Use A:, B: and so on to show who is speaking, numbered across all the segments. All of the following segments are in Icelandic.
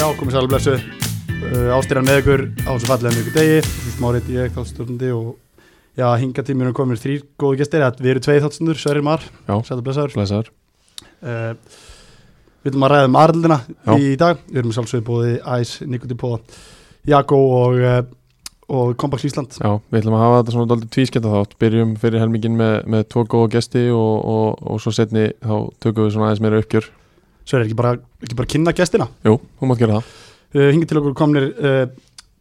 A: Já, komið sæl og blessu uh, Ástýran með ykkur á þessu fallega mjög degi Smárið ég þáttstjórnandi og já, hinga tíminu komir þrýr góðu gestir að við erum tveið þáttstundur, Sverrir Mar
B: Já.
A: Sæl og blessaður
B: Blessaður
A: uh, Við viljum að ræða um aðrildina
B: Já.
A: í dag Við erum sjálfsögðu bóði Æs, Nikotipóða, Jakó og, uh, og Kompaks Ísland
B: Já, við ætlum að hafa þetta svona daldið tvísketta þátt Byrjum fyrir helmingin með, með tvo góða gesti og, og, og svo setni þá tökum við svona aðeins meira uppgjör
A: Sverrir, ekki bara, ekki bara kynna gestina
B: Jú, þú mátt gera það
A: uh, Hinga til okkur komnir uh,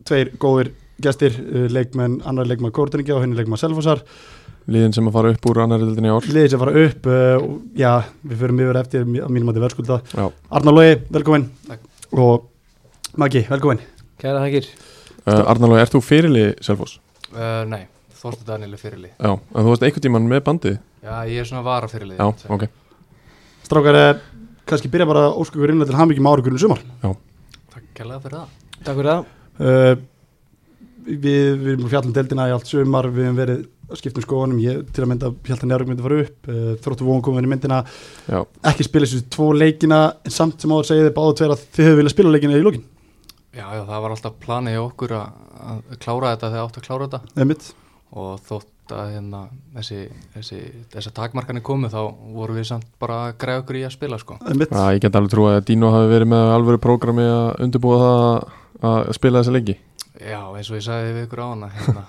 A: tveir góðir gestir uh, leikmenn, annar leikmann Kórtringja og henni leikmann Selfossar
B: Liðin sem að fara upp úr annar rildinni í ár
A: liðið sem fara upp uh, og, já, við förum yfir eftir mí- að mínum að þið verðskulda
B: Já.
A: Arnar Lói, velkomin og Maggi, velkomin
C: Kæra þakkir.
B: uh, Arnalói, ert þú fyrirlið Selfoss?
C: Uh, nei, Þorstu Daniel er fyrirlið.
B: Já, en þú varst einhvern tímann með bandið
C: Já, ég er svona vara fyrirlið.
B: Já, ok
A: Strákar, uh, kannski byrja bara óskukur innlega til hambyggjum árugurinn sumar
C: Takk kærlega fyrir það.
D: Takk fyrir það.
A: uh, við, við erum fjallum um deildina í allt sumar, við hefum verið að skipta um skoðanum, ég til að mynda Hjaltan Njárvík myndi fara upp, uh, þróttu vóðum komin í myndina
B: Já.
A: ekki spila þessu tvo leikina en samt sem áður segið þið báðu tveir að þið hefur viljað spila leikina í lókin,
C: Já, já, það var alltaf planið hjá okkur að að klára þetta þegar átt að klára þetta
A: eða mitt
C: og þótt að hérna þessi, þessi, þessi takmarkanir komu þá voru við samt bara að græða okkur í að spila sko.
A: eða mitt,
B: Já, ég get alveg trúið að Dino hafi verið með alvöru prógrami að undirbúa það að- að spila þessa leiki
C: Já, eins og ég sagði við ykkur á hana hérna.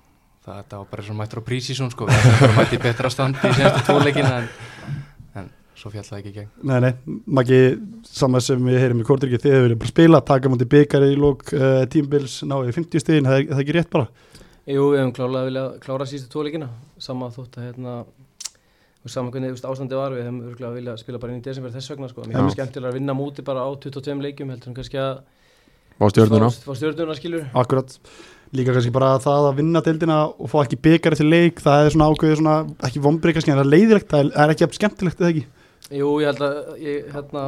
C: það þetta var bara svona mættur á prísísum sko, við ætlum bara að mætti betra standi í senstu tóleikina en, en svo fjall það ekki í gegn.
A: Nei, nei, Maggi, saman sem við heyrim í Kortryggi, þið hefur bara spila, taka mútið byggari í lók uh, tímbils, náðu í 50 stíðin, það er það er ekki rétt bara.
D: Jú, við hefum klárlega vilja klára sístu tóleikina, sama þótt að hérna, og sama hvernig þú veist, ástandi var, við hefum örgulega vilja spila bara inn í desember þess vegna, sko. Mér
B: Já.
D: hefum skemmtilega að vinna múti bara á 22 leikjum, heldur en kannski að
B: Vá stjörnuna
D: Fá stjórnuna, skilur.
A: Akkurat, líka kannski bara það að vinna deildina og fá ekki byggari til leik, það er svona ákveðið svona, ekki vombrið kannski, en það er leiðilegt, það er- það er ekki jafn skemmtilegt eða ekki.
D: Jú, ég held að, ég, hérna,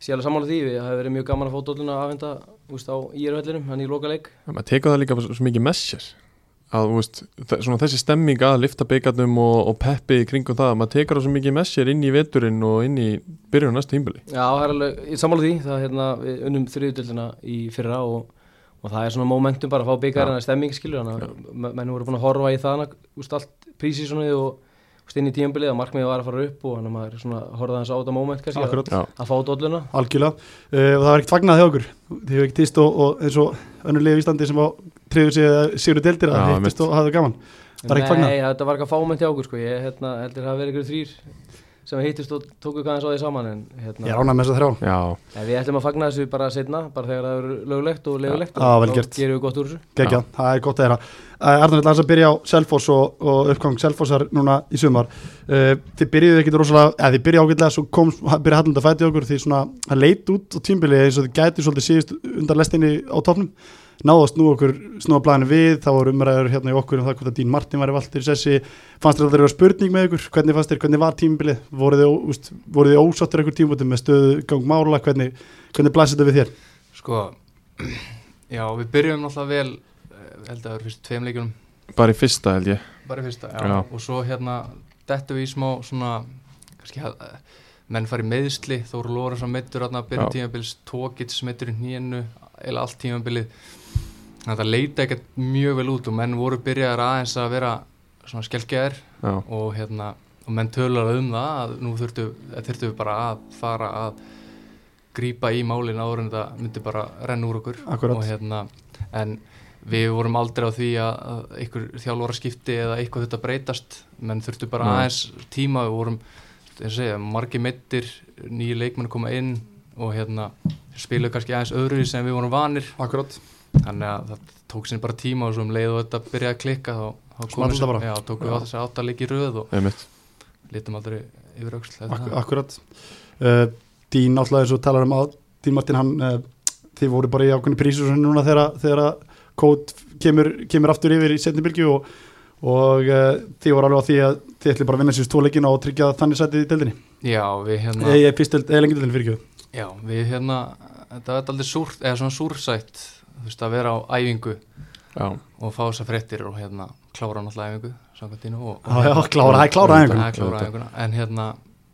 D: sé alveg sammála því, við hefum verið mjög gaman að fá dóluna afhenda, þú veist, á írhöllinum, hann í loka leik.
B: Já, maður tekur það líka bara svo mikið með sér að þú veist, þe- svona þessi stemming að lifta byggarnum og, og peppi í kringum það maður tekur það svo mikið með sér inn í veturinn og inn í byrjun á næsta tímbili
D: Já, það er alveg, ég er sammála því, það er hérna, við unnum þriðutöldina í fyrra og, og það er svona momentum bara að fá byggarinn að stemming skilur hann að menn voru búin að horfa í það úst allt prísísonið og úst inn í tíumbilið að markmiðið var að fara upp og hann að maður svona horfa þess á þetta moment kannski að,
A: Akkurat,
B: Já,
D: að fá dolluna.
A: algjörlega. Uh, og það var ekkert fagnað hjá okkur, þið hefur ekki týst og, og eins og önnulegu Íslandi sem á treyður sig sigur deildir að
B: Já,
A: hittist
B: mitt.
A: og hafðu gaman. Var ekki fagnað?
D: Nei, þetta var ekki að fá moment hjá okkur sko, ég hérna, heldur það að vera ykkur þrýr sem hittist og tóku aðeins á því saman en hérna,
A: Ég er ánægð með þess að þrjá.
B: já,
D: en við ætlum að fagna þessu bara setna, bara þegar það eru löglegt og legulegt
A: Já, vel
D: og
A: gert.
D: þá gerum við gott úr þessu.
A: Gekja, það er gott að Eh, þeirra. Arnur, ætla aðeins að byrja á Selfoss og, og uppgang Selfossar núna í sumar. Uh, þið byrjuðu ekkit rosalega, eða þið byrjuðu ágætlega, svo kom, byrjuðu hallum að fæti okkur, því svona, það leit út á tímbilið eins og þið gæti svolítið síðust undan lestinni á topnum. Náðast nú okkur snúa blæðinu við, þá voru umræður hérna í okkur um það hvort að Dín Martin var í valdir í sessi. Fannst þér að það eru spurning með ykkur? Hvernig fannst þér, hvernig var tímbilið? Voruð þið, ó- úst, voruð þið ósáttir ykkur tímutum með stöðu gang mála? Hvernig, hvernig blæst þetta við þér?
C: Sko, já, við byrjum náttúrulega vel, eh, held að það eru fyrst tveim leikjum,
B: bara í fyrsta held ég
C: bara í fyrsta, já.
B: Já.
C: og svo hérna, dettu við í smá svona, kannski að menn fari meðsli, Þóru Lóraðsson meittur hérna, byrjum
B: Já.
C: tímabils, Tókitt smittur í hnínu, eða allt tímabilið, þannig að það leita ekkert mjög vel út og menn voru byrjaðar aðeins að vera svona skelgjaðir
B: já,
C: og hérna, og menn tölar um það að nú þurftu, að þurftu við bara að fara að grípa í málin áður en þetta myndi bara renna úr okkur
A: Akkurat.
C: og hérna, en við vorum aldrei á því að, að einhver þjálfvara skipti eða eitthvað þetta breytast menn þurftu bara
B: Nei.
C: aðeins tíma við vorum, ég segja, margi meittir nýju leikmenn koma inn og hérna, spilaðu kannski aðeins öðru sem við vorum vanir
A: Akkurat.
C: þannig að það tók sér bara tíma og svo um leið og þetta byrjaði að klikka þá, þá
A: Small þetta bara.
C: já, tókum við á þessi áttaleg í röð og
B: einmitt
C: litum aldrei yfir öxl eftir
A: Ak
C: það.
A: akkurat uh, Dín náttúrulega eins og talar um að Dín Martin hann, uh, þið voru bara í ákveðinu prísur núna þegar, þegar að kót kemur, kemur aftur yfir í setni bylgju og, og uh, þið voru alveg á því að þið ætli bara að vinna sér stóleikina og tryggja þannig sætið í deildinni
C: já, við hérna
A: eða pistöld, eða lengi deildin fyrir ekki
C: já, við hérna, þetta er aldrei súrt eða svona súrsætt, þú veist að vera á æfingu
B: já,
C: og fá þessar fréttir og hérna klára náttúrulega æfingu samkvæmt þínu og, og
A: Já, já, klára, það er klára
C: Það
A: aðeins
C: er klára æfinguna, en hérna,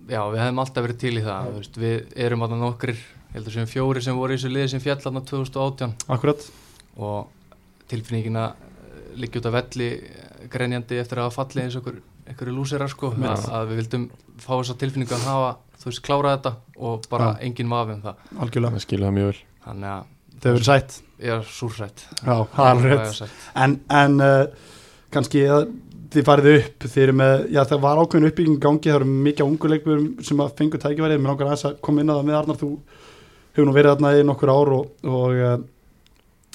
C: já, við hefum alltaf verið til í það, þú veist, við erum alltaf nokkrir ég held að séum fjóri sem voru í þessu liði sem fjall aðna 2018
A: akkurat
C: og tilfinningina liggja út af velli eh, grenjandi eftir að hafa fallið eins og einhver- einhverju lúsirar sko
A: Já.
C: að, að við vildum fá þessa tilfinningu að hafa þú veist klára þetta og bara
A: Já.
C: enginn vafi um það
A: algjörlega,
B: það skilja það mjög vel
C: þannig að
A: það hefur verið sætt
C: ég er súrsætt
A: já, það er alveg rétt en, en uh, kannski að þið farið upp þið eru með, já það var ákveðin uppbygging í gangi það eru mikið unguleikur sem að fengu tækifærið, mér langar aðeins að koma inn á það með Arnar þú hefur nú verið þarna í nokkur ár og, og uh,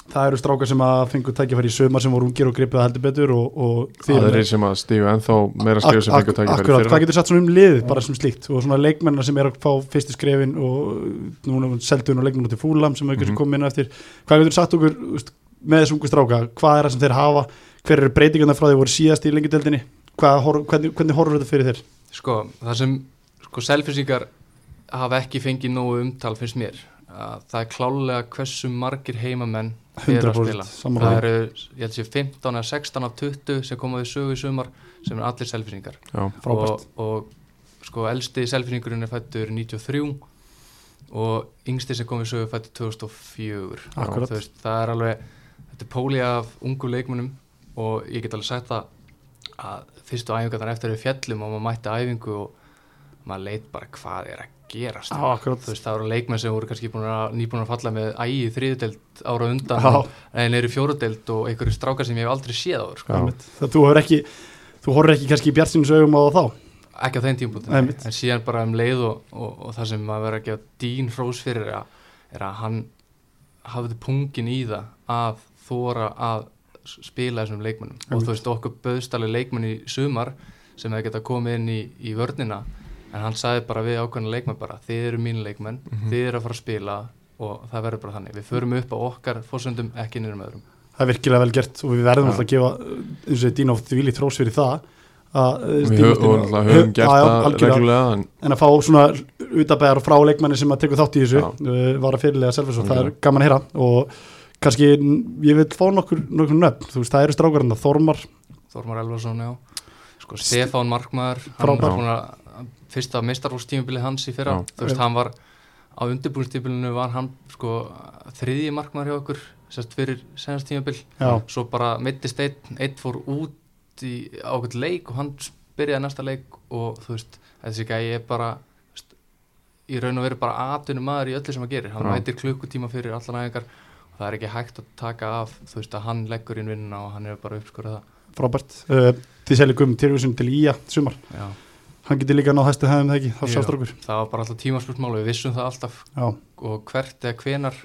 A: það eru strákar sem að fengu tækifæri í sömar sem voru ungir og gripið heldur betur og, og þið
B: það
A: eruð með-
B: er sem að stígu ennþá meira skrifu sem
A: Ak-
B: fengur
A: ak-
B: tækifæri
A: akkurat,
B: í
A: hvað
B: fyrra.
A: getur satt svona um liðið bara sem slíkt og svona leikmennina sem er að fá fyrstu skrefin og núna seldun og leikmennu til fúlam sem auðvitað mm
B: Mhm.
A: -hmm. inn á eftir hvað getur satt okkur úst, með þessu ungu stráka hvað er það sem þeir hafa, hver eru breytingarna frá þeir voru síðast í lengjadeldinni hor, hvernig, hvernig horfur þetta fyrir þér
C: Sko, það sem sko selfinsíkar hafa ekki fengið nógu umtal finnst mér að það er klálega hversu margir heimamenn eru að
A: 100%
C: spila það
A: samanlega
C: eru, ég held sé 15 eða 16 af 20 sem koma við sögu í sumar sem er allir selfinsingar
B: Já.
A: frábært,
C: og, og sko elsti selfinsingurinn er fættur 93 og yngsti sem kom við sögu er fættur 2004
A: Akkurat.
C: Þú veist, það er alveg þetta er póli af ungu leikmunum og ég get alveg sagt það að fyrstu æfingarnar eftir við fjallum og maður mætti æfingu og maður leit bara hvað er að gerast
A: á, akkurat
C: þú veist það voru leikmenn sem voru kannski búin að, nýbúin að falla með ægi þriðudeld ára undan
A: Já.
C: en eru fjórudeld og einhverju strákar sem ég hef aldrei séð áður sko.
B: Já.
A: Einmitt. það þú horfur ekki þú horfur ekki kannski í bjartsinns augum á þá
C: ekki á þeim
A: Nei,
C: tímpúntin
A: mitt.
C: en síðan bara um leið og, og, og það sem maður verður að gefa dín hrós fyrir er að, er að hann hafði pungin í það að þóra að s- spila þessum leikmennum og þú veist okkur böðstali leikmenn í sumar sem hefði geta komið inn í, í vörnina en hann sagði bara við ákveðna leikmenn bara þið eru mín leikmenn, þið eru að fara að spila og það verður bara þannig, við förum upp á okkar fórsöndum ekki nýrum öðrum
A: það er virkilega vel gert og við verðum
B: Já.
A: alltaf að gefa uh, eins og Dino þvíli þrós fyrir það að, uh,
B: Við
A: Dino-
B: hö- og náttúrulega höfum gert
A: Já, já,
B: það
A: algjörlega.
B: reglulega en
A: en að fá svona utabæðar og fráleikmanni sem að tekur þátt í þessu
B: Já.
A: uh, var að fyrirlega selvfins og það er
B: Algjörlega.
A: gaman að heyra og kannski n- ég vil fá nokkur, nokkur nöfn, þú veist það eru strákarinn að Þormar,
C: Þormar Elvarsson, já sko, Stefán Markmaður, hann
A: Frábær.
C: var búin að fyrsta mestarfólkstímabilið hans í fyrra
B: Já.
C: þú veist, hann var á undirbúinstímabilinu var hann sko þriðji markmaður hjá okkur sérst fyrir senast tímabil
A: já,
C: svo bara mittist einn, einn fór út í ákveð leik og hann byrjaði næsta leik og þú veist þessi gæi er bara þú veist, í raun og veru bara atunum maður í öllu sem hann gerir hann
B: Já.
C: mætir klukkutíma fyrir allan æfingar og það er ekki hægt að taka af þú veist að hann leggur inn vinnuna og hann er bara uppskurða
A: frábært uh, þið selja Guðmund Tyrfjusson til Ía sumar,
C: það já.
A: hann getur líka náð hæstu hefðum það ekki, þá
C: Já.
A: sjást okkur,
C: það var bara alltaf tímaspursmál við vissum það alltaf
A: já,
C: og hvert eða hvenar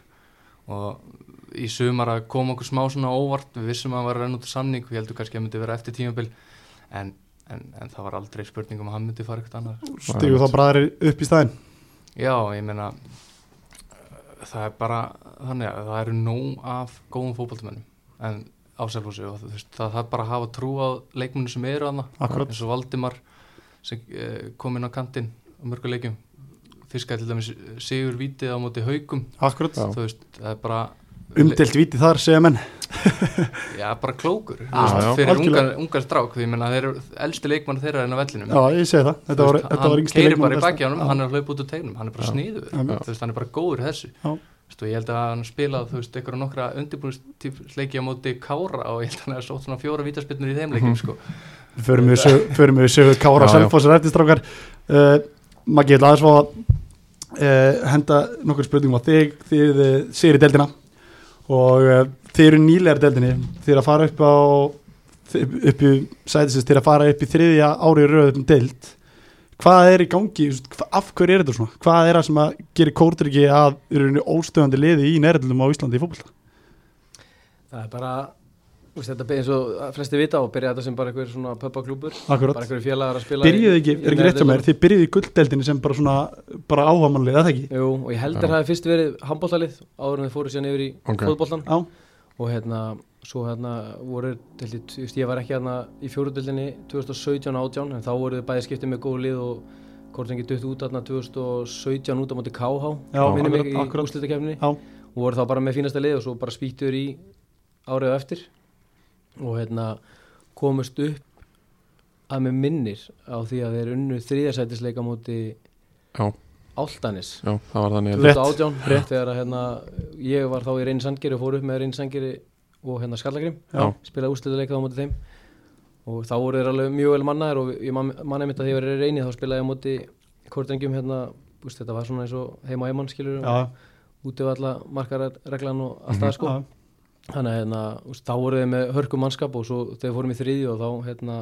C: og í sumar að koma okkur smá svona óvart við vissum að hann var að renna út af samning við heldum kannski að hann myndi vera eftir tímabil en, en, en það var aldrei spurning um að hann myndi fara eitthvað annar
A: stigur þá bræðir upp í staðinn,
C: já, ég meina uh, það er bara þannig að það eru nóg af góðum fótballtumennum en á selfhósi og þú veist, það þarf bara að hafa trú á leikmunni sem eru að
A: akkurat
C: eins og Valdimar sem eh, kom inn á kantinn á mörguleikjum fiskaði til dæmis Sigur Vítið á móti haugum
A: akkurat,
B: Já.
C: þú veist, það er bara
A: umdelt viti þar segja menn,
C: já, bara klókur
A: Já,
C: þú veist,
B: já.
C: fyrir
A: Algjörlega.
C: ungar, ungar strák því ég menna, þeir eru elsti leikmann þeirra en á vellinum
A: já ég segi það þetta var, þetta var
C: hann
A: yngsti
C: keirir bara í
A: leikmaður
C: baki á
A: Já.
C: hann hann er að hlaupa út úr tegnum, hann er bara
B: Já.
C: sniður
A: Já.
C: þú veist, hann er bara góður í þessu
A: Já.
C: Þú veist, og ég held að hann spilað, þú veist, ykkur og nokkra undirbúinsleiki á móti Kára og ég held að hann er sótt svona fjóra vítaspinnur í þeim leikum
A: Mhm.
C: sko.
A: förum við sögu, förum við sögu Kára
B: Já, já.
A: Selfossar eftirstrákar uh, Maggi, ég ætla aðeins fá að uh, henda nokkur spurningum á þig þið uh, sér í deldina og uh, þið eru nýlegar í deldinni þið eru að fara upp á þið- upp í sætisins, þið eru að fara upp í þriðja ári röðum deld hvað er í gangi, þú veist, hva- af hverju er þetta svona hvað er það sem að gerir Kórdryggi að eru óstöðandi liði í nærðlum á Íslandi í fótbolta?
D: Það er bara, þú veist, þetta byrja eins og að flesti vita og byrja þetta sem bara einhver svona pöpaklúpur, bara
A: Akkurat,
D: einhverju félagar að spila í-
A: byrjuðu ekki,
D: í
A: er ekki rétt hjá
D: neðri
A: mér
D: deildum.
A: þið byrjuðu í gulldeldinni sem bara svona bara áhamannlið, eða ekki?
D: Jú, og ég held
B: Já.
D: að það hefði fyrst verið handbóltalið áður en þið fóru síðan yfir í
B: Ok.
D: okay. fótboltan
A: Já,
D: og hérna, svo hérna voru, til, ég, veist, ég var ekki hérna í fjóruðildinni 2017-18 en þá voru þið bæði skiptið með góð lið og hvort sem getið út hérna 2017 út á móti KH
A: Já,
D: minnir mig,
A: akkurat,
D: í
A: akkurat.
D: úrslitakefninni
A: já,
D: og voru þá bara með fínasta lið og svo bara spýttur í árið á eftir og hérna komust upp að með minnir á því að þeir unnu þriðarsætisleika móti
B: Já.
D: Áltanis
B: Já, það var þannig
A: Rétt.
D: 2018, rétt þegar að hérna, ég var þá í reyni sangeri og fór upp með reyni sangeri og hérna Skallagrim,
B: Já.
D: spilaði úrslitaðleika á móti þeim og þá voru þeir alveg mjög vel mannaðir og ég man- manna mitt að því að ég var í reyni þá spilaði ég á móti kortrengjum hérna, úst, þetta var svona eins og heima og heimann skilur
A: já,
D: út af alla markarreglan og allt það sko
A: já,
D: þannig að hérna, úst, þá voru þeir með hörkum mannskap og svo þegar við fórum í þriðju og þá hérna,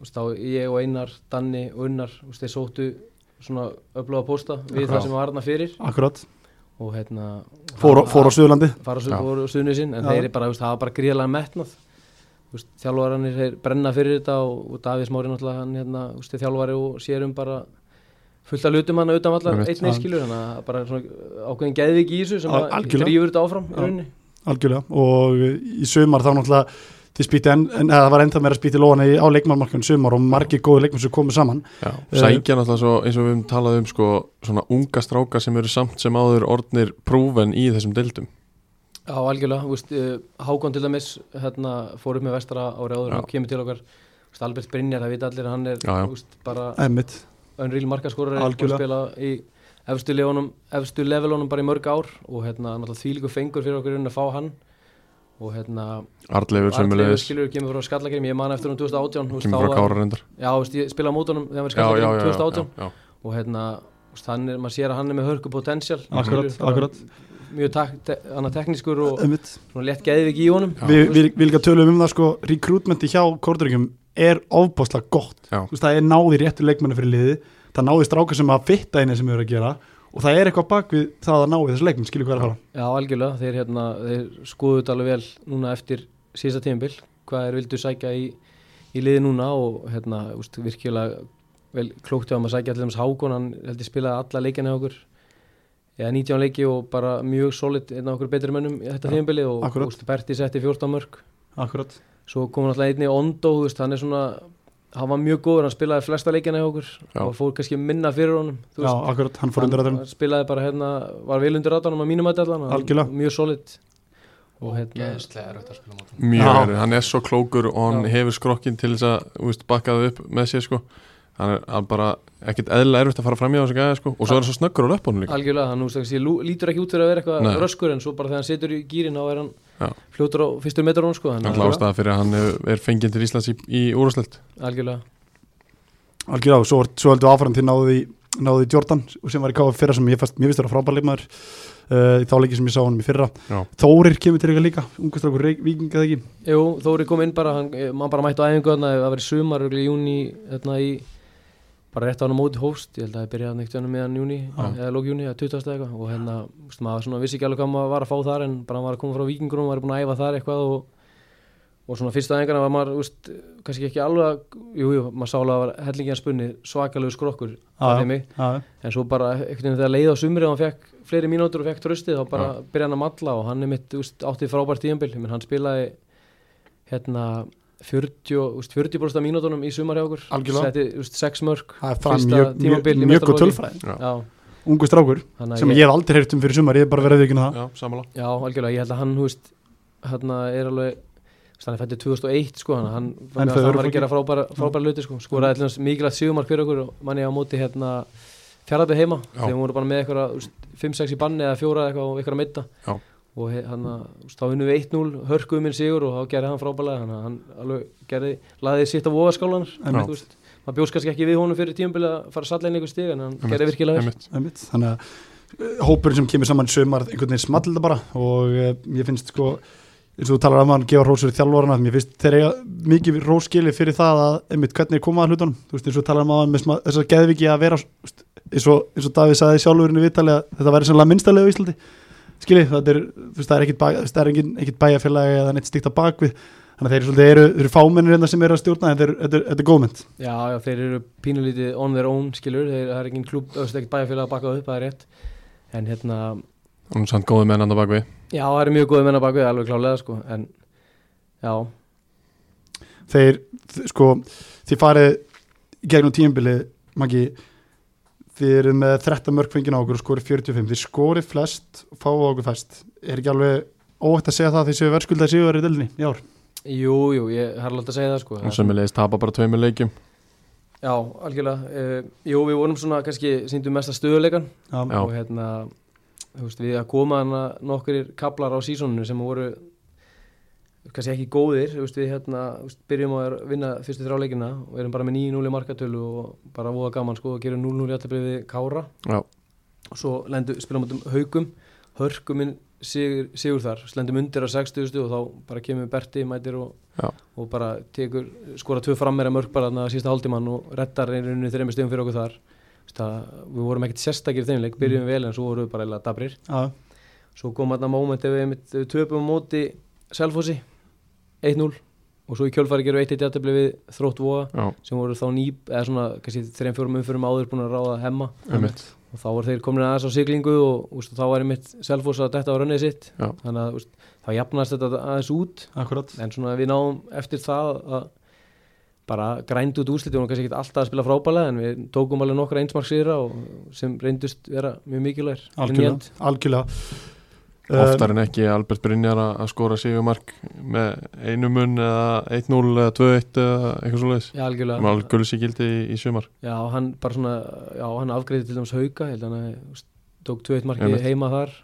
D: úst, þá ég og Einar, Danni og Unnar, úst, þeir sóttu svona öflóða pósta við
B: Já.
D: það sem var Arna fyrir
A: akkurat
D: og hérna
A: fór, fór á Suðurlandi
D: fara svo
B: Já.
D: fór á suðunni sinn en
A: Já.
D: þeir eru bara, þú veist, það var bara gríðlega metnað Þú veist, þjálfararnir þeir brenna fyrir þetta og, og Davís Mári náttúrulega hann hérna, þú veist, er þjálfari og sér um bara fullt af lutum hann utan allar
B: Einmitt.
D: einn einskilur þannig að bara svona uh, ákveðin geðvik í þessu sem
A: Al-
D: að
A: algjörlega.
D: drýfur þetta áfram í
A: Já.
D: rauninni
A: algjörlega og í sumar þá náttúrulega þið spýtti enn, en eða það var ennþá meira spýtti lóðan á leikmannmarkunum sumar og margir góði leikmann sem komu saman
B: Já,
A: eh.
B: sækja náttúrulega svo eins og við höfum talað um sko, svona unga strákar sem eru samt sem áður orðnir prófen í þessum deildum
D: Já, algjörlega, þú veist, uh, Hákon til dæmis hérna, fór upp með vestra ári áður
B: Já.
D: og kemur til okkar, þú veist, Albert Brynjar það vita allir, að hann er
B: Já, já.
D: þú veist, bara
A: Emmitt,
D: önrýl markaskorari og
A: Algjörlega.
D: spila í efstu, lefunum, efstu levelunum bara í mörg ár og hérna náttúrulega þvílíku fengur fyrir okkur í rauninni að fá hann og hérna
B: Arleifur
D: Arnleifur
B: sömulegis,
D: skilur kemur frá Skallagrim, ég man eftir hún 2018 þú veist,
B: kemur
D: þá
B: frá
D: var-
B: Kára reyndar
D: Já, þú veist, ég spila á mótunum þegar hann var
B: Já, já,
D: í
B: já,
D: Skallagrim
B: já,
D: 2018
B: já,
D: og hérna þú veist, hann er, maður sér að hann er með hörku potensial
A: akkurat,
D: skilurðu, bara
A: akkurat
D: mjög tak, te, annað teknískur og
A: Emmitt
D: svona létt geðvik í honum
B: Já.
A: Við, við, við líka tölum um það sko rekrútmenti hjá kórdurringum er ofbáslega gott
B: Já.
A: Þú veist, það er náði réttu leikmennu fyrir liði það náði stráka sem að fitta einu sem við erum að gera og það er eitthvað bak við það að náði þessu leikmenn skilur hvað er að fara
D: Já, algjörlega, þeir, hérna, þeir skoðu þetta alveg vel núna eftir síðasta tímabil, hvað þeir vildu sækja í, í liði núna og hérna, úst, virkilega vel klókt hjá þeim að sækja allir þess Hákon, hann heldur spilaði alla leikina hjá okkur eða 19 leiki og bara mjög solid einn af okkur betri mönnum í þetta tímabili og
A: akkurat.
D: úst, Berti setti 14 mörg
A: Akkurat,
D: svo kom alltaf einni Ondo, þú veist, hann er svona hann var mjög góður, hann spilaði flesta leikina hjá okkur
B: Já.
D: og fór kannski minna fyrir honum þú
A: já, akkurat, hann fór undir að
D: hann spilaði bara hérna var vel undir rátanum að mínum að allan hann var
A: Algjörlega.
D: mjög solid og
C: og
D: hérna
C: geðslega er auðvitað að spila mótum
B: Mjög
A: Já.
B: verið, hann er svo klókur og hann
D: Já.
B: hefur skrokkin til þess að þú veist, bakka það upp með sér sko. hann er hann bara ekkert eðla erfitt að fara fram í þessu gæða sko. og svo er hann svo snöggur á löpunum líka
D: algjörlega hann úst, ég, lítur ekki út fyrir að vera
B: Nei.
D: eitthvað röskur en svo bara þegar hann setur í gýrin þá er hann
B: Já.
D: fljótur á fyrstur metrónum sko, þannig
B: hann
D: að-
B: klást það fyrir að hann er- er fenginn til Íslands í, í úrúsleilt
D: algjörlega
A: Algjörlega, og svo, svo heldur áfram til náði, náði Jordan sem var í KF fyrra sem ég fast, mér finnst vera frábær leikmaður uh, í þá leiki sem ég sá honum í fyrra
B: Já.
A: Þórir kemur til eitthvað líka, ungastrákur vikingað ekki
D: Jú, Þóri kom inn bara, hann, eh, maður bara mætti á æfingu þarna, það verið sumar, örugglega í júni, þarna í, bara rétt á hann á móti hóst, ég held að það byrjaði neitt hann meðan júni, eða lók júni, eða 20. eitthvað, og hérna, veist, maður svona vissi ekki alveg hvað maður var að fá þar, en bara hann var að koma frá vikingur og maður er búin að æfa þar eitthvað og, og svona fyrstu æfingana var maður, veist, kannski ekki alveg, að- jú, jú, maður sálega var hellingi hans spunni, svakalegu skrokkur,
A: Já,
D: það
A: já.
D: er mig,
A: Já,
D: en svo bara einhvern veginn þegar leið á sumri og hann fekk fleiri mínútur og fekk tröstið þá bara byrja hann að matla og hann er mitt úst, áttið frábært tíðanbill, menn hann spilaði hérna 40, úst, 40 mínútunum í sumar hjá okkur
A: Algjörlega.
D: setti úst, 6 mörg
A: Það er fram
D: Fyrsta
A: mjög, mjög,
D: tímabil í
A: mjög góð
D: meistaraflokki.
A: tölfræði
B: Já.
D: já,
A: Ungastrákur,
D: þannig
A: sem
D: að
A: ég hef aldrei heyrt um fyrir sumar, ég hef bara verið að ekki það
B: Já, samanlá
D: já, algjörlega, ég held að hann húst, hérna er alveg þú veist, hann er fættið 2001 sko hann, hann,
A: En
D: hann,
A: þau Mm.
D: hann
A: eru
D: var
A: fólki-
D: að gera frábæra, frábæra luti sko, skoraði allir mikilvægt sigumark fyrir okkur og manni á móti hérna fjaraðbyrð heima,
B: Já.
D: þegar við vorum bara með eitthvað 5-6 í banni eða fjóra eitthvað og eitthvað að meita
B: Já.
D: og he- hann að, þú veist, þá vinnum við 1-0 hörkuðu minn sigur og þá gerði hann frábælega þannig að hann alveg gerði, laði sitt af ofarskálanar
A: Einmitt.
D: þú veist, maður bjóst kannski ekki við honum fyrir tíumbil að fara sallegin einhver stig en hann gerði virkilega vel
A: Einmitt. Þannig að eh, hópurinn sem kemur saman í sumar einhvern veginn small þetta bara og eh, ég finnst sko eins og þú talar um hann, gefa rósur í þjálfarana mér finnst þeir eiga mikið róskili fyrir það að einmitt hvernig er komað að hlutunum þú veist eins og þú talar um hann með sma- þess að geðviki að vera þú veist, eins og, eins og Davíð sagði sjálfurinn í vitali að þetta væri sannlega minnstælega á Íslandi skili, það er, þú veist, það er ekkit, bæ, það er ekkit, ekkit bæjarfélagi eða neitt stíkt að bakvið þannig að þeir eru svolítið eru, eru fámennir hérna sem eru að stjórna en þeir- þetta er- þetta er góðmynd
D: Já, já, þeir eru pínulítið on their own, skilur, þeir það er engin klub, öðvist ekkert bæjarfélag að baka upp, það er rétt en hérna,
B: Hún er samt góði menn andan bak við
D: já, það eru mjög góðið menna baka við, alveg klálega, sko, en já,
A: þeir, þ- sko, þið farið í gegnum tíumbili, Maggi þið eru með 13 mörg fengina á okkur og skorið 45, þið skorið flest og fáið á okkur fest, er ekki alveg óætt að segja það að þið séu verðskuldað síður í delinni í ár,
D: jú, jú, ég har alveg að segja það, sko
B: Hún sömulegis tapa bara tveimur leikjum
D: Já, Já, algjörlega. Uh, jú, við vorum svona kannski síndum mesta stöðuleikan
B: Já.
D: og hérna, þú veist, við að koma hana nokkur kaplar á sísoninu sem voru kannski ekki góðir, þú veist, við hérna þú veist, byrjum að vinna fyrstu þrjá leikina og erum bara með 9-0 í markatölu og bara voða gaman sko og gerum 0-0 í alltaf við Kára
B: já,
D: og svo lendu, spilum við um haugum hörkuminn sigur, sigur þar slendum undir á 60 og þá bara kemur Berti mætir og,
B: Já.
D: og bara tekur, skora tvö frammera mörg bara þarna sísta hálftíman og reddar einrunni þreymur stegum fyrir okkur þar Þú veist að, við vorum ekkert sérstakir í þeim leik, byrjum vel en svo vorum við bara eða dabrir
A: Já.
D: svo kom þarna moment ef við einmitt- ef við töpum á móti Selfossi 1-0 og svo í kjölfari gerum við 1-1 jafntefli við þrótt voga
B: já,
D: sem voru þá ný, eða svona kannski 3-4 umfyrum áður búin að ráða hemma
B: einmitt
D: og þá voru þeir komin aðeins á siglingu og úst, þá var einmitt Selfoss að detta á rönnið sitt
B: Já.
D: þannig að úst, þá jafnast þetta aðeins út
A: Akkurat
D: en svona við náum eftir það að bara grændu út úrslitum og kannski ekki alltaf að spila frábælega en við tókum alveg nokkra einsmark sýra og sem reyndust vera mjög mikilvægir inn í end.
A: Algjörlega, algjörlega. Eh,
B: Oftar en ekki Albert Brynjar að að skora sigumark með einu mun eða 1-0 eða 2-1 eða eitthvað svo leiðis.
D: Já, algjörlega.
B: Það var alveg gullusikildi í, í sumar.
D: Já, hann bara svona, já, hann afgreði til dæmis hauka, held hann að úst, tók 2-1 marki
B: Einmitt.
D: heima þar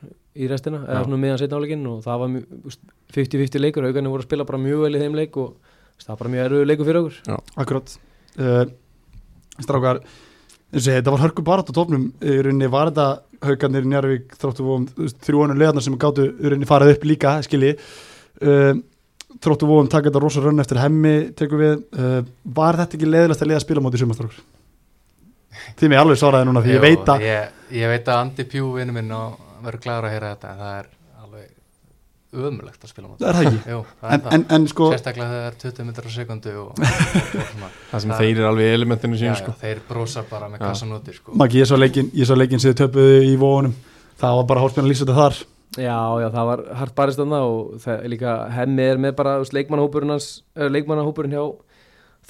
D: í restina, eða
B: Já.
D: svona meðan setna áleikinn og það var mjög, úst, 50-50 leikur, haukarnir voru að spila bara mjög vel í þeim leik og úst, það var bara mjög erfiður leikur fyrir okkur.
A: Akkurat uh, Strákar eins og ég, þetta var hörku barat á topnum í rauninni var þetta haugarnir í Njárvík þróttu vóum þrjónu leðarnar sem gátu í rauninni farið upp líka, skilji uh, þróttu vóum taka þetta rosa rönn eftir hemmi, tekum við uh, var þetta ekki leiðilegast að leiða spilamóti í sumastrákur? Tími alveg svaraði núna því ég
C: Jú,
A: veit að
C: ég, ég veit að Andi Pjú vinnu minn og verður glæður að heyra þetta en það er alveg ömulegt að spila á móti
A: það er það ekki
C: Jú, það
A: en,
C: er það
A: en, en sko,
C: sérstaklega þegar það er 20 metrar á sekundu og, og, og svona,
B: Það sem
C: Það-
B: þeir eru alveg í elementinu
C: já,
B: sín,
C: já,
B: sko.
C: þeir brosa bara með
B: Já.
C: kassanóti sko.
A: Maggi, ég sá leikin, ég sá leikin sem þið töpuðu í vóunum það var bara hórspjörn að lýsa þetta þar
D: Já, já, það var hart barist þarna og það er líka hemmi er með bara úst, leikmannahópurinn hans, eh, leikmannahópurinn hjá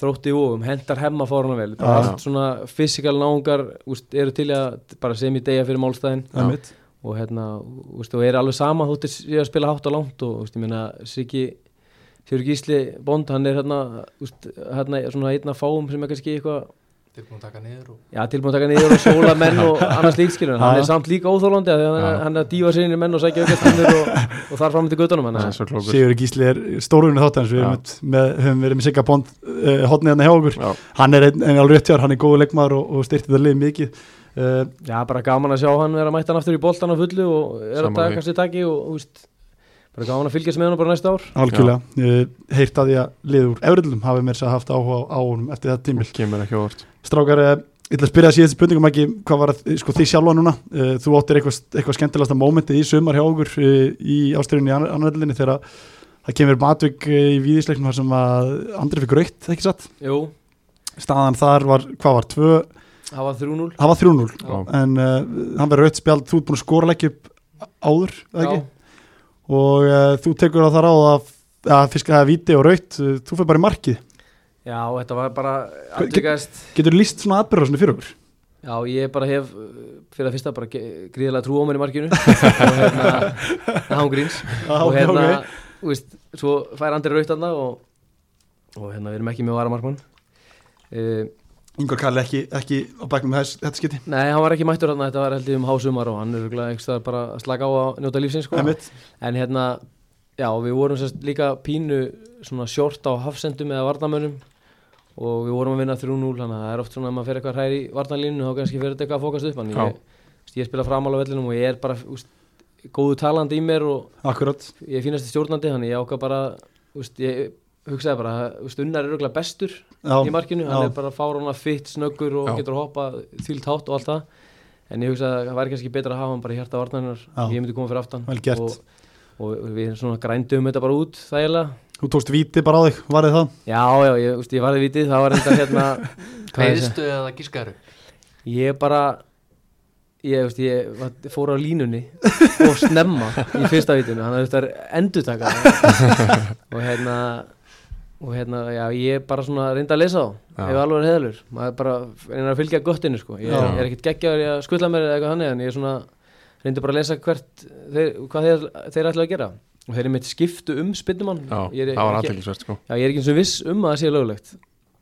D: þrótti í ofum, hendar hemma fóruna vel, bara
A: Já.
D: allt svona fysikal náungar, úst, eru til í að bara sem í degja fyrir málstæðin
A: það er mitt
D: og hérna, úst, og er alveg sama þú þóttir séu að spila hátt og langt og úst, ég meina, Siggi Sigur Gísli Bond, hann er hérna, úst, hérna svona einna fáum sem er kannski eitthvað
C: þeir búin að taka niður og
D: Já, tilbúin að taka niður og sóla menn og annars líkt skilur en
A: Já.
D: hann er samt líka óþólandi að hann,
B: Já.
D: hann er að dífa sér inn í menn og sækja aukastundir og, og þar fram til guttunum hann
B: Það er svo klókur.
A: Sigur Gísli er stórunni þáttan við erum með, höfum verið með Sigga Bond uh, hotnið hérna hjá okkur,
B: Já,
A: hann er ein, ein, alveg rétt hjá hann er góðu leikmaður og, og styrti það lið mikið uh,
D: Já, bara gaman að sjá hann vera að mæta hann aftur í boltan á fullu og er
B: Sammála
D: að taka
B: því.
D: kannski taki og þú veist, bara gaman að fylgjast með hann bara næsta ár
A: algjörlega uh, heyrt að því að liður úr Evrilum hafi mér sér haft áhuga á, á honum eftir þetta tímil
B: kemur ekki á óvart.
A: Strákar, uh, ég ætla að spyrja það síðan spurningum ekki hvað var að, sko, þið sjálfa núna uh, þú áttir eitthvað, eitthvað skemmtilegasta mómentið í sumar hjá okkur uh, í ástriðunni í annaröldinni þegar það kemur matvík uh, í víðisleiknum þar sem að Andri fikk raukt, ekki satt
D: Jú,
A: staðan þar var, hvað var, tvö
D: það var 3-0
A: það var 3-0
B: Já.
A: en uh, hann verður auðvitað spjald, þú ert búin að skora leggja upp áður, eða
D: Já,
A: ekki? og uh, þú tekur það þar á að, að fiska það viti og raut uh, þú fyrir bara í markið,
D: já, þetta var bara atvikaðist
A: getur líst svona atbyrður svona fyrir okkur
D: Já, ég bara hef uh, fyrir að fyrsta bara ge- gríðarlega trú á mér í markinu og hérna, það án gríns og hérna, þú veist, svo fær Andri raut þarna og, og hérna, við erum ekki með varamarkmann uh,
A: Ingvar Karl ekki, ekki á baknum þess, þetta skiti
D: Nei, hann var ekki mættur þarna, þetta var held ég um hásumar og hann er örugglega einhvers staðar bara að slaka á að njóta lífsins sko.
A: Einmitt.
D: En hérna, já, við vorum sérst líka pínu svona sjort á hafsendum eða varnamönnum og við vorum að vinna 3-0, þannig að það er oft svona að maður fer eitthvað hræri í varnalínu þá kannski fer þetta eitthvað að fókast upp
B: Já.
D: en ég, þú veist, ég spila framál á vellinum og ég er bara úst, góðu talandi í mér og
A: akkurat,
D: ég er fínasti stjórnandi þannig ég ákvað bara, úst, ég hugsaði bara, úst, unnar er örugglega bestur
A: já,
D: í markinu,
A: já.
D: hann er bara fárana fitt, snöggur og
B: Já.
D: getur hoppað þýlt hátt og allt það en ég hugsa að það væri kannski betra að hafa hann bara í hjarta varnarinnar,
A: Já.
D: ég myndi koma fyrir aftan
A: Vel gert.
D: og, og við svona grændum þetta bara út þægilega
A: þú tókst viti bara á þig, varðið það
D: já, já, ég, úst, ég varði vitið, það var enda hérna hvað er þessi?
C: veistu eða gískaru
D: ég bara ég, úst, ég var, fór á línunni og snemma í fyrsta vitinu þannig að þetta er endutaka og hérna og hérna, já, ég bara svona reyndi að lesa þá
B: Já.
D: ef alveg er heðalur, maður bara reynir að fylgja göttinu sko, ég
A: Já.
D: er, er ekkert geggjaður í að skutla mér eða eitthvað þannig en ég er svona, reyndi bara að lesa hvert þeir, hvað þeir, þeir ætla að gera og þeir eru mitt skiptu um spyndumann
B: Já,
D: ég er,
B: það var
D: ekki,
B: aðteglisvert, sko.
D: já, ég er ekki eins og viss um að það sé löglegt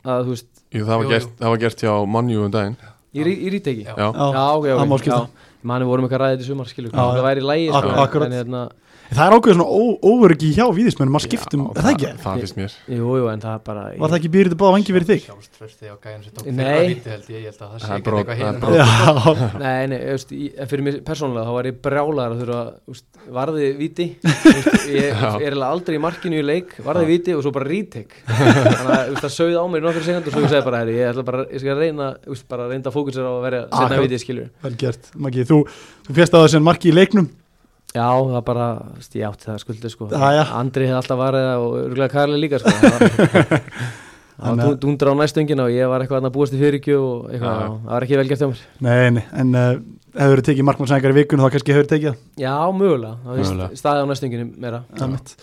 D: að þú veist,
B: Jú, það, var
C: Jú,
B: gert,
C: jú.
B: það var gert hjá mannjú um daginn
D: í, rí- í ríteki
C: Já.
B: Já,
A: Já,
D: já, ok,
A: það má
D: ok,
A: skipta.
D: já manni vorum eitthvað ræðið í sumar skilur
A: Já,
D: hvað
A: já.
D: það væri í lægi
A: Ak- akkurat.
D: en hérna,
A: Það er ákveðið svona óvergi hjá víðismennum að skiptum,
B: Já,
A: um- er það ekki?
B: Það finnst mér
D: jú, jú, en það er bara
A: Var það ekki býrið báða vangi fyrir þig?
C: Sjálfströsti á gæðan sem tók
D: Nei.
C: fyrir að viti held ég, ég held að það
B: Það
C: sé
B: er
C: ekki
B: brot-
C: eitthvað
B: það er
C: hérna.
B: brot.
A: Já,
D: Nei, nei, þú veist, í- en fyrir mig persónulega þá var ég brjálaður að þurfa úst, varði viti Þú veist, ég
B: Já.
D: er eiginlega aldrei í markinu í leik varði viti og svo bara retake þannig að þú veist, það sögði á mér í nokkru sekundu og svo ég segi bara, herri, ég ætla bara, ég skal reyna þú veist, bara reynda að fókusera á að verja
A: Akkurat.
D: setna viti skilur
A: vel gert, Maggi, þú, þú fjast á þessan marki í leiknum
D: Já, það bara, þú veist, ég átti það skuldið sko
A: Já, já.
D: Andri hefði alltaf varðið það og örgulega Karli líka sko það var,
A: Þannig
D: það var
A: að-
D: dundra á næstöngina og ég var eitthvað að búast í fyrirgju og eitthvað,
B: Já, já.
D: það var ekki vel gert hjá mér
A: Nei, nei, en uh, hefur tekið markmannsæðingar í vikun og þá kannski hefur tekið það
D: Já, mögulega, það
B: Mögulega.
D: er staðið á næstönginu meira
A: Það er mitt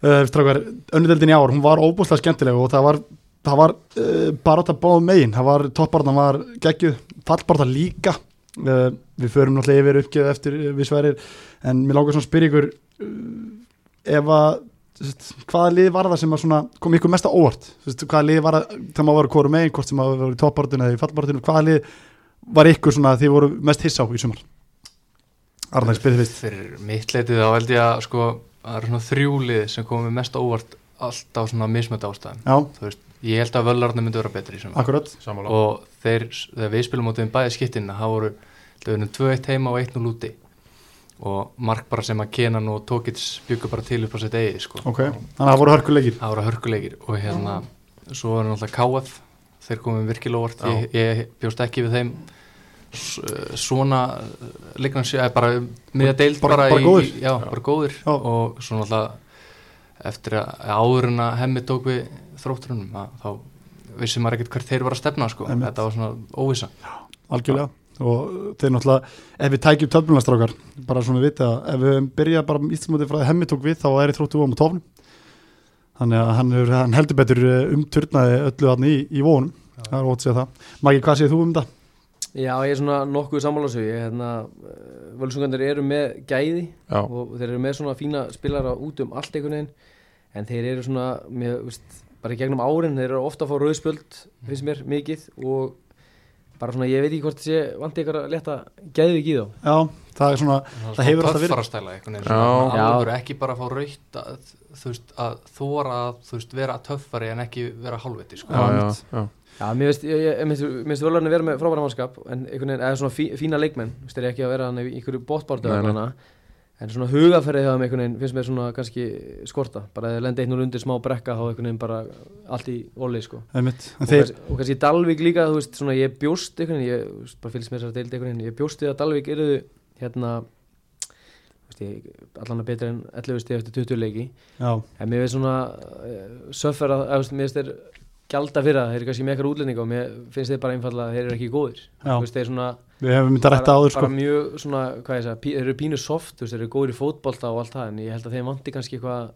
A: uh, Strákar, önnudeldin í ár, hún var óbúslega skemmtileg og það var, það var uh, barátta báð megin, það var toppbarna var geggjuð, fallbarna líka uh, við förum náttúrulega yfir uppgjöð eftir uh, við sverir, en mér lágur svona að spyrja ykkur uh, ef að sest, hvaða lið var það sem að svona, kom ykkur mesta óvart, sest, hvaða lið var það það má vera hvora megin, hvort sem að vera í toppbartinu eða í fallbartinu, hvaða lið var ykkur svona þið voru mest hissa á í sumar Arnæg spyrði fyrst
C: Fyrir mitt leitið þá held ég að sko, það eru svona þrjúlið sem komið mest á óvart allt á svona mismönd ástæðum.
A: Já,
C: Ég held að völarnir myndi vera betri í sumar.
A: akkurat
B: Sammála
C: og þeir, þegar við spilum á þeim bæði skiptin það voru, það voru 2-1 heima og 1-0 úti og mark bara sem að Kenan og Tókits byggur bara til upp á sitt eigi sko.
A: Ok, þannig að það voru hörkuleikir
C: það voru hörkuleikir og hérna svo er náttúrulega KF þeir komum virkilega óvart, ég, ég bjóst ekki við þeim S eh, svona leiknum sé, eh, bara miða deild
A: Bara-
C: bara,
A: bara
C: í,
A: góðir.
C: í- já, bara góðir
A: Já.
C: og svo náttúrulega eftir að eh, áður en að hemmi tók við þrótturunum að, þá vissi maður ekkert hvert þeir var að stefna sko.
A: Einmitt.
C: þetta var svona óvisa
A: algjörlega og uh, þeir náttúrulega, ef við tækjum töflunastrákar bara svona við vita, ef við byrja bara íslumótið frá því að hemmi tók við þá er þróttu vóum á tófnum þannig að hann, er, hann heldur betur uh, umturnaði öllu hann í, í vónum
C: Já.
A: það er ótt að segja það. Maggi, hvað segir þú um þetta?
D: Já, ég er svona nokkuð sammálasug ég, hérna, Völsungandir eru með gæði
B: Já,
D: og þeir eru með svona fína spilara út um allt einhvern veginn en þeir eru svona, með, veist, bara í gegnum árin þeir eru ofta að fá rauðspöld finnst mér mikið og bara svona, ég veit ekki hvort sé vandi ykkur að leta gæðvík í þá
A: Já, það er svona, Það hefur alltaf verið-
C: töffarastæla einhvern veginn
B: Já.
C: svona
D: Já.
C: alvöru, ekki bara að fá raukt að, þú veist, að þóra að þú veist, vera töffari en ekki vera halvviti sko.
B: já, já,
A: mitt.
B: já.
D: Já, mér veist, ég, ég, mér finnst völarni vera með frábæra mannskap en einhvern veginn, eða svona fí, fína leikmenn þú veist, þeir eru ekki að vera hann í einhverju bóttbártu
B: Nei, nei.
D: en svona hugaferðið hjá þeim einhvern veginn finnst mér svona kannski skorta bara þeir lendi einnur undir smá brekka þá einhvern veginn bara allt í óli sko
A: einmitt.
D: og,
A: en þeir,
D: kannski, og kannski Dalvík líka, þú veist, svona ég bjóst einhvern veginn, ég þú veist, bara fylgst með þessar deildi einhvern veginn, ég bjóst við að Dalvík eruðu hérna, þú veist, ég allan að betra en 11 stið eftir 20 leiki,
A: já,
D: en mér veist svona uh, söffar að, að, þú veist, mér veist þeir gjalda fyrir það, þeir eru kannski með eitthvað útlendinga og mér finnst þeir bara einfallega að þeir eru ekki góðir
A: Já.
D: þú veist, þeir svona,
A: við hefum myndið að rætta
D: bara,
A: áður sko.
D: bara mjög svona, hvað ég segja, pí, þeir eru pínu soft, þú veist, þeir eru góðir í fótbolta og allt það, en ég held að þeim vanti kannski eitthvað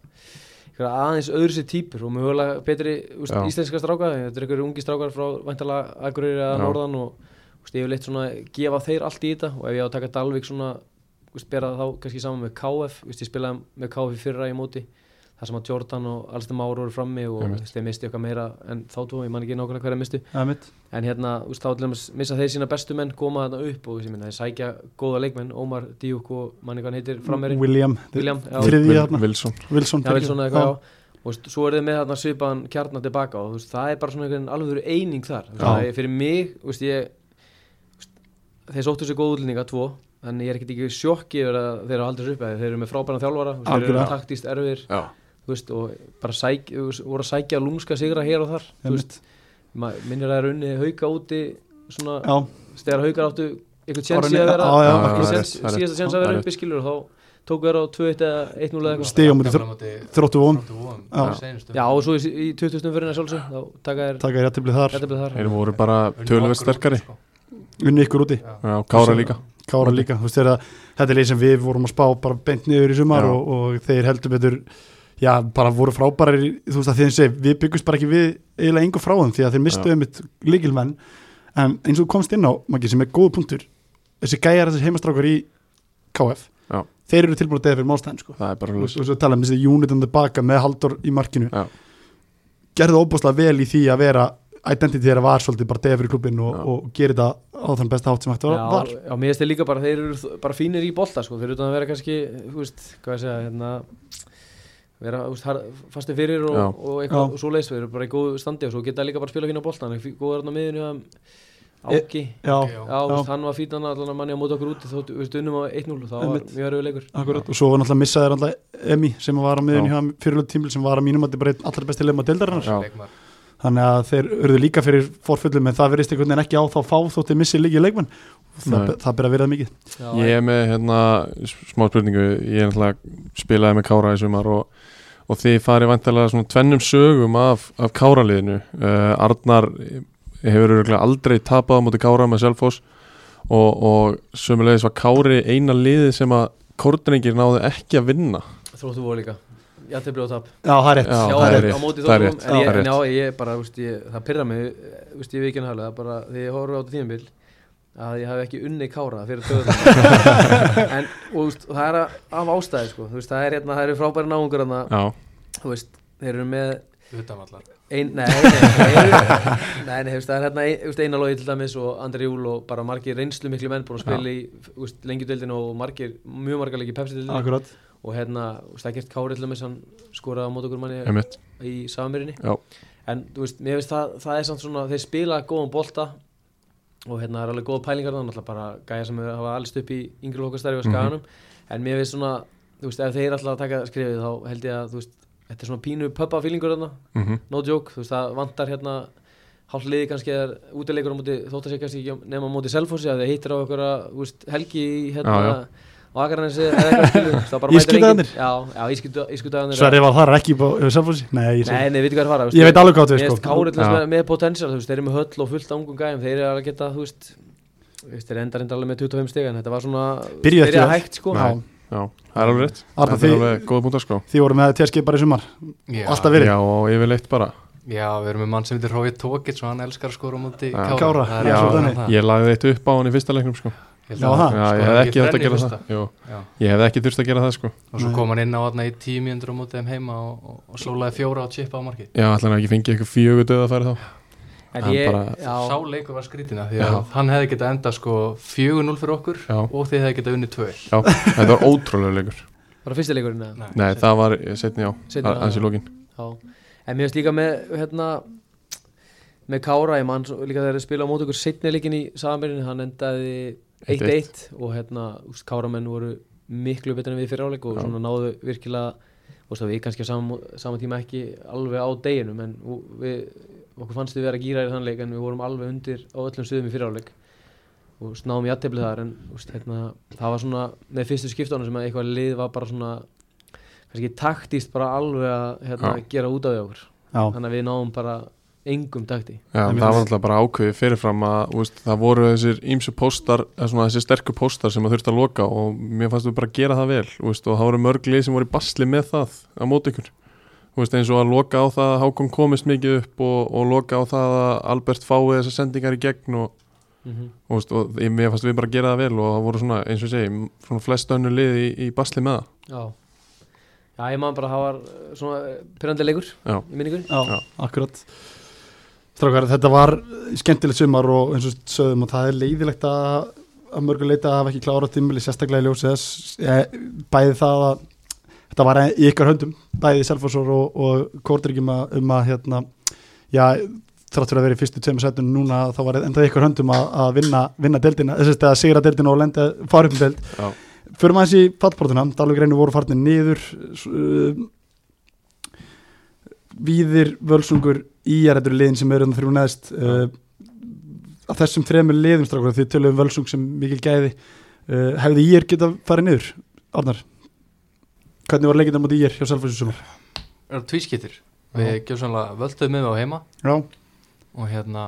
D: eitthvað aðeins öðru sér típur og mögulega betri úst,
B: Já.
D: íslenska stráka, þetta eru einhverju ungi strákar frá væntalega Akureyri eða
B: Já.
D: Norðan og úst, ég vil eitt svona gefa þeir allt í þetta og ef ég á að taka Dalvik svona úst, bera þá kannski saman með KF úst, ég spilaði með KF í fyrra í móti þar sem að Jordan og Alistair Már voru frammi og
B: Einmitt.
D: þú veist, þeir misti okkar meira en þá tvo, ég man ekki nákvæmlega hverja mistu
A: Einmitt.
D: en hérna, þú veist, þá til dæmis missa þeir sína bestu menn koma þarna upp og ég minna, þeir sækja góða leikmenn, Ómar Díuk og manni hvað hann heitir frammeri,
A: William,
D: William, já,
A: Mm. Þriðji
B: Vil-
A: þarna.
B: Wilson
A: Wilson,
D: já, Wilson eða eitthvað, já og þú veist, svo er þeir með þarna svipaðan kjarnar tilbaka og þú veist, það er bara svona einhvern alveg eining þar, þú veist,
A: Já.
D: það er fyrir mig þú veist, ég þú veist, þeir sóttu sér góð útlendinga tvo en ég er ekkert ekki sjokki yfir að þeir eru aldrei upp eða þeir eru með frábæna þjálfara, þú veist, þeir eru
A: Algjörlega.
D: taktist erfir
B: Já,
D: þú veist, og bara sæk, þú veist, voru að sækja lúmska sigra hér og þar, þú veist,
A: Einmitt.
D: ma- minnir að það er unni hauka úti svona
A: já,
D: þegar haukar áttu eitthvað tjens
A: Orðinni-
D: í að vera
A: já, já,
D: einhver
B: akkurat.
D: séns-
B: Það er rétt,
D: síðasta tjens
B: það
D: að
B: er
D: vera
B: rétt.
D: uppi skilur og þá tóku þér á 2-1 eða 1-0 eða eitthvað
A: Stig á móti Þró-
C: þróttu
A: þróttu vóum,
C: vóum
A: Já.
D: já og svo í, í 2000 fyrir næst sjálfsög þá taka þér
A: taka þér rétt til þar,
D: þetta byrð þar
B: þeir voru bara tölvöld sterkari
C: sko.
A: unni ykkur úti
B: Já, Kára líka
A: Kára líka, þú veist þegar að þetta er leið sem við vorum að spá bara beint niður í sumar
B: Já.
A: og, og þeir heldur betur já, bara voru frábærar í- þú veist að þeir segi, við byggumst bara ekki við eiginlega engu frá þeim því að þeir mistu
B: Já.
A: einmitt líkilmenn en eins og þú komst inn á, Maggi, sem er góð punktur þessi gæjar þessir heimastrákar í KF,
B: Já. Mm.
A: þeir eru tilbúin að deða fyrir málstæðin sko,
B: Það er bara
A: og
B: hlust
A: svo tala um þessi unit on the baka með Halldór í markinu
B: Já.
A: gerði óbúslega vel í því að vera identity þeirra var svolítið bara degja fyrir klubin og,
B: Já.
A: og gerir það á þann besta hátt sem hægt var, var.
D: já, mér finnst þið líka bara þeir eru þ- bara fínir í bolta sko, fyrir utan að vera kannski þú veist, hvað ég segja, hérna vera þú veist, har- fastur fyrir og,
B: Já.
D: og
A: Já.
D: eitthvað svo leist, þeir eru bara í góðu standi og svo geta líka bara að spila fína bolta, hann er fí- góður hann á miðinu um,
B: E-
D: Áki,
A: Já,
C: já.
D: já, þú veist, hann var fítan allan að manni á móti okkur úti, þó þú veist, unnum á 1-0 þá var
A: Einmitt.
D: mjög erfið leikur
A: akkurat og svo var náttúrulega missaðir alltaf Emi sem var á miðun
B: Já.
A: hjá fyrirlut tímil sem var að mínum að þetta bara einn allra besti leima deildarinnar
B: Já.
C: leikmaður.
A: þannig að þeir urðu líka fyrir forföllum en það verðist einhvern veginn ekki á þá fá þótt þeir missið líki leikmenn það,
B: Nei.
A: það byrja að vera mikið
D: já,
B: Ég er með hérna s- smá spurningu, ég er náttúrulega spilaði með Kára í sumar og, og þið farið vantilega svona tvennum sögum af, af Káraliðinu uh, Arnar hefur örgulega aldrei tapað á móti Kára með Selfoss og, og sömulegis var Kári eina liðið sem að Kórdrengir náðu ekki að vinna
D: þróttu voru líka Já, þeir blóðu tap
A: Já, það er rétt,
B: Já,
D: Já,
A: það er
D: á
A: rétt
B: rétt,
D: móti
B: það er
D: Þóttum,
B: rétt,
D: en
B: það
D: ég,
B: er
D: en já, ég bara, veist, ég, það pyrra mig eh, veist, ég veikinn haflega, bara þegar ég horfði á þetta tímabil að ég hafi ekki unni kára fyrir töðum en og, veist, það er af ástæði sko, þú veist, það er hérna, það eru frábæri náungur hana,
B: Já,
D: þú veist, þeir eru með
C: utanvallar
D: ein, nei, nei, nei, nei, nei, nei þú veist, það er hérna ein, þú veist, einalogi til dæmis og Andri Júl og bara margir reynslu miklu menn búin að spila í þú veist, lengjudeildinu og margir, mjög margar leikir pepsi-deildinu
A: Akkurat,
D: og hérna, þú veist, það gert Kári til dæmis hann skoraði á mót okkur
C: Eh,
D: manni
B: einmitt
D: í samverðinni
B: Já.
D: en þú veist, mér finnst það, það er samt svona þeir spila góðan bolta og hérna það er alveg góða pælingar þannig alltaf bara gæja sem hafa allist upp í yngri lókastarfi
B: Mhm.
D: á skaganum en mér finnst svona, þú veist, ef þeir alltaf að taka skrifið þá held ég að, þú veist, þetta er svona pínu pöppa fílingur þarna,
B: mm
A: Mhm.
B: -hmm.
D: no joke þú veist, það vantar hérna hálf liði kannski er útilegur á móti þótt að sé kannski ekki nema á móti selfósi að þeir hittir á okkur að, veist, helgi í, hérna,
B: Já, já.
D: á Akranesi eða eitthvað skilu, þá bara mætir enginn-
A: Ískutagarnir?
D: já, já, ískutu- ískutagarnir, já.
A: Sverri var þar ekki bá- yfir Selfossi Nei, ég,
D: Nei, nei, veitu hvað er að fara þú veist,
A: ég veit alveg hvað þú sko.
D: Mér
A: veist
D: finnst Kári til
B: Já.
D: þess með, með potensial þú veist, þeir eru með höll og fullt af ungum gæjum þeir eru að geta, þú veist þú veist, þeir enda enda alveg með 25 stig en þetta var svona
A: Byrjuðu ekki
D: byrjaði
A: vel.
D: hægt sko
B: Nei. Já, það er alveg rétt
A: Arnar,
B: Þetta er
A: þið-
B: alveg góða punktar sko
A: Því voru með teskið bara í sumar
C: já,
A: Alltaf verið
B: Já, og yfirleitt bara
C: já, við erum með mann sem heitir Rói Tókits og hann elskar að skora á móti
B: Já.
C: Kára,
A: Kára,
C: Það er
A: já,
C: alveg
A: þannig.
C: annað.
B: Ég lagði eitt upp á hann í fyrsta leiknum sko
C: Ég held
A: Já,
C: að-
A: það.
B: Já,
C: skoraði
B: ég hef
C: ekki
B: ekki þurft
C: þrennu
B: að gera
C: fyrsta.
B: það Jú,
C: Já.
B: ég hef ekki þurft að gera það sko
C: og svo
A: Nei.
C: kom hann inn á þarna í tímjöndur á móti þeim heima og, og, og slólaði fjóra á chipa á marki
B: Já, ætla hann ekki fengið eitthvað fjögur döð að fara þá
D: en
B: Hann
D: ég,
B: bara-
C: sá
D: já,
C: leikur var skrítina því
B: Já.
C: að hann hefði getað enda sko 4-0 fyrir okkur
B: Já,
C: og þið hefði getað unni 2
B: já, þetta var ótrúlega leikur
D: bara fyrsta leikurinn eða?
B: Nei, það var eh, setni á,
D: Seinni, já,
B: aðeins
D: já.
B: í lókin
D: já, en mér finnst líka með hérna með Kára, ég mann svo- líka þegar þeir spila á móti okkur setni leikin í samanbyrjun, hann endaði 1-1 og hérna úst, Káramenn voru miklu betur en við fyrir áleik og
B: Já.
D: svona náðu virkilega og það við kannski á sama, sama tíma ekki alveg á deginum en við, okkur fannst við vera gýraðir þann leik en við vorum alveg undir á öllum stöðum í fyrir áleik og snáðum í aðtefli þar en úst, hérna, það var svona með fyrstu skiptunum sem að eitthvað lið var bara svona kannski taktíst bara alveg að hérna,
B: Já.
D: gera út af því okkur
A: Já,
D: þannig að við náðum bara engum takti
B: Já,
A: Nei,
B: það
A: mér
B: var
A: finnst-
B: alltaf bara ákveðið fyrirfram að úst, það voru þessir ímsu póstar eða svona þessi sterku póstar sem að þurfti að loka og mér fannst við bara að gera það vel úst, og það voru mörg lið sem voru í basli með það að móti ykkur úst, eins og að loka á það að Hákon komist mikið upp og, og loka á það að Albert fái þessar sendingar í gegn og,
D: mm
B: úst, og ég, mér fannst við bara að gera það vel og það voru svona, eins og ég segi, m- svona flest önnur lið í, í basli með það
D: Já Já, ég maður bara það var eh, svona eh, pirrandi leikur
B: Já.
D: í minningunni
A: já,
B: Já.
A: akkurat Strákar, þetta var skemmtilegt sumar og eins og sögðum og það er leiðilegt að að mörgu leita að hafa ekki klára tímili sérstaklega í ljósi þess eh, bæði það að þetta var í ykkar höndum bæði Selfossor og, og Kórdryggjum um að hérna já, þrátt fyrir að vera í fyrstu tveim setun núna þá var enda í ykkar höndum að, að vinna, vinna deildina, þess að sigra deildina og lenda fara upp um deild
B: Já.
A: Förum aðeins í fallbrotina, Dalvík reynir voru farnir niður s- uh, Víðir, Völsungur, Íjar þetta eru liðin sem eru þarna þrjú neðst uh, að þessum þremur liðum strákur því tölum við um Völsung sem mikil gæði uh, hefði Íjar geta farið niður Arnar, hvernig var leikinn á móti Íjar hjá Selfossi sumar?
C: er tvískittir við gjössanlega völdum með á heima
A: Já,
C: og hérna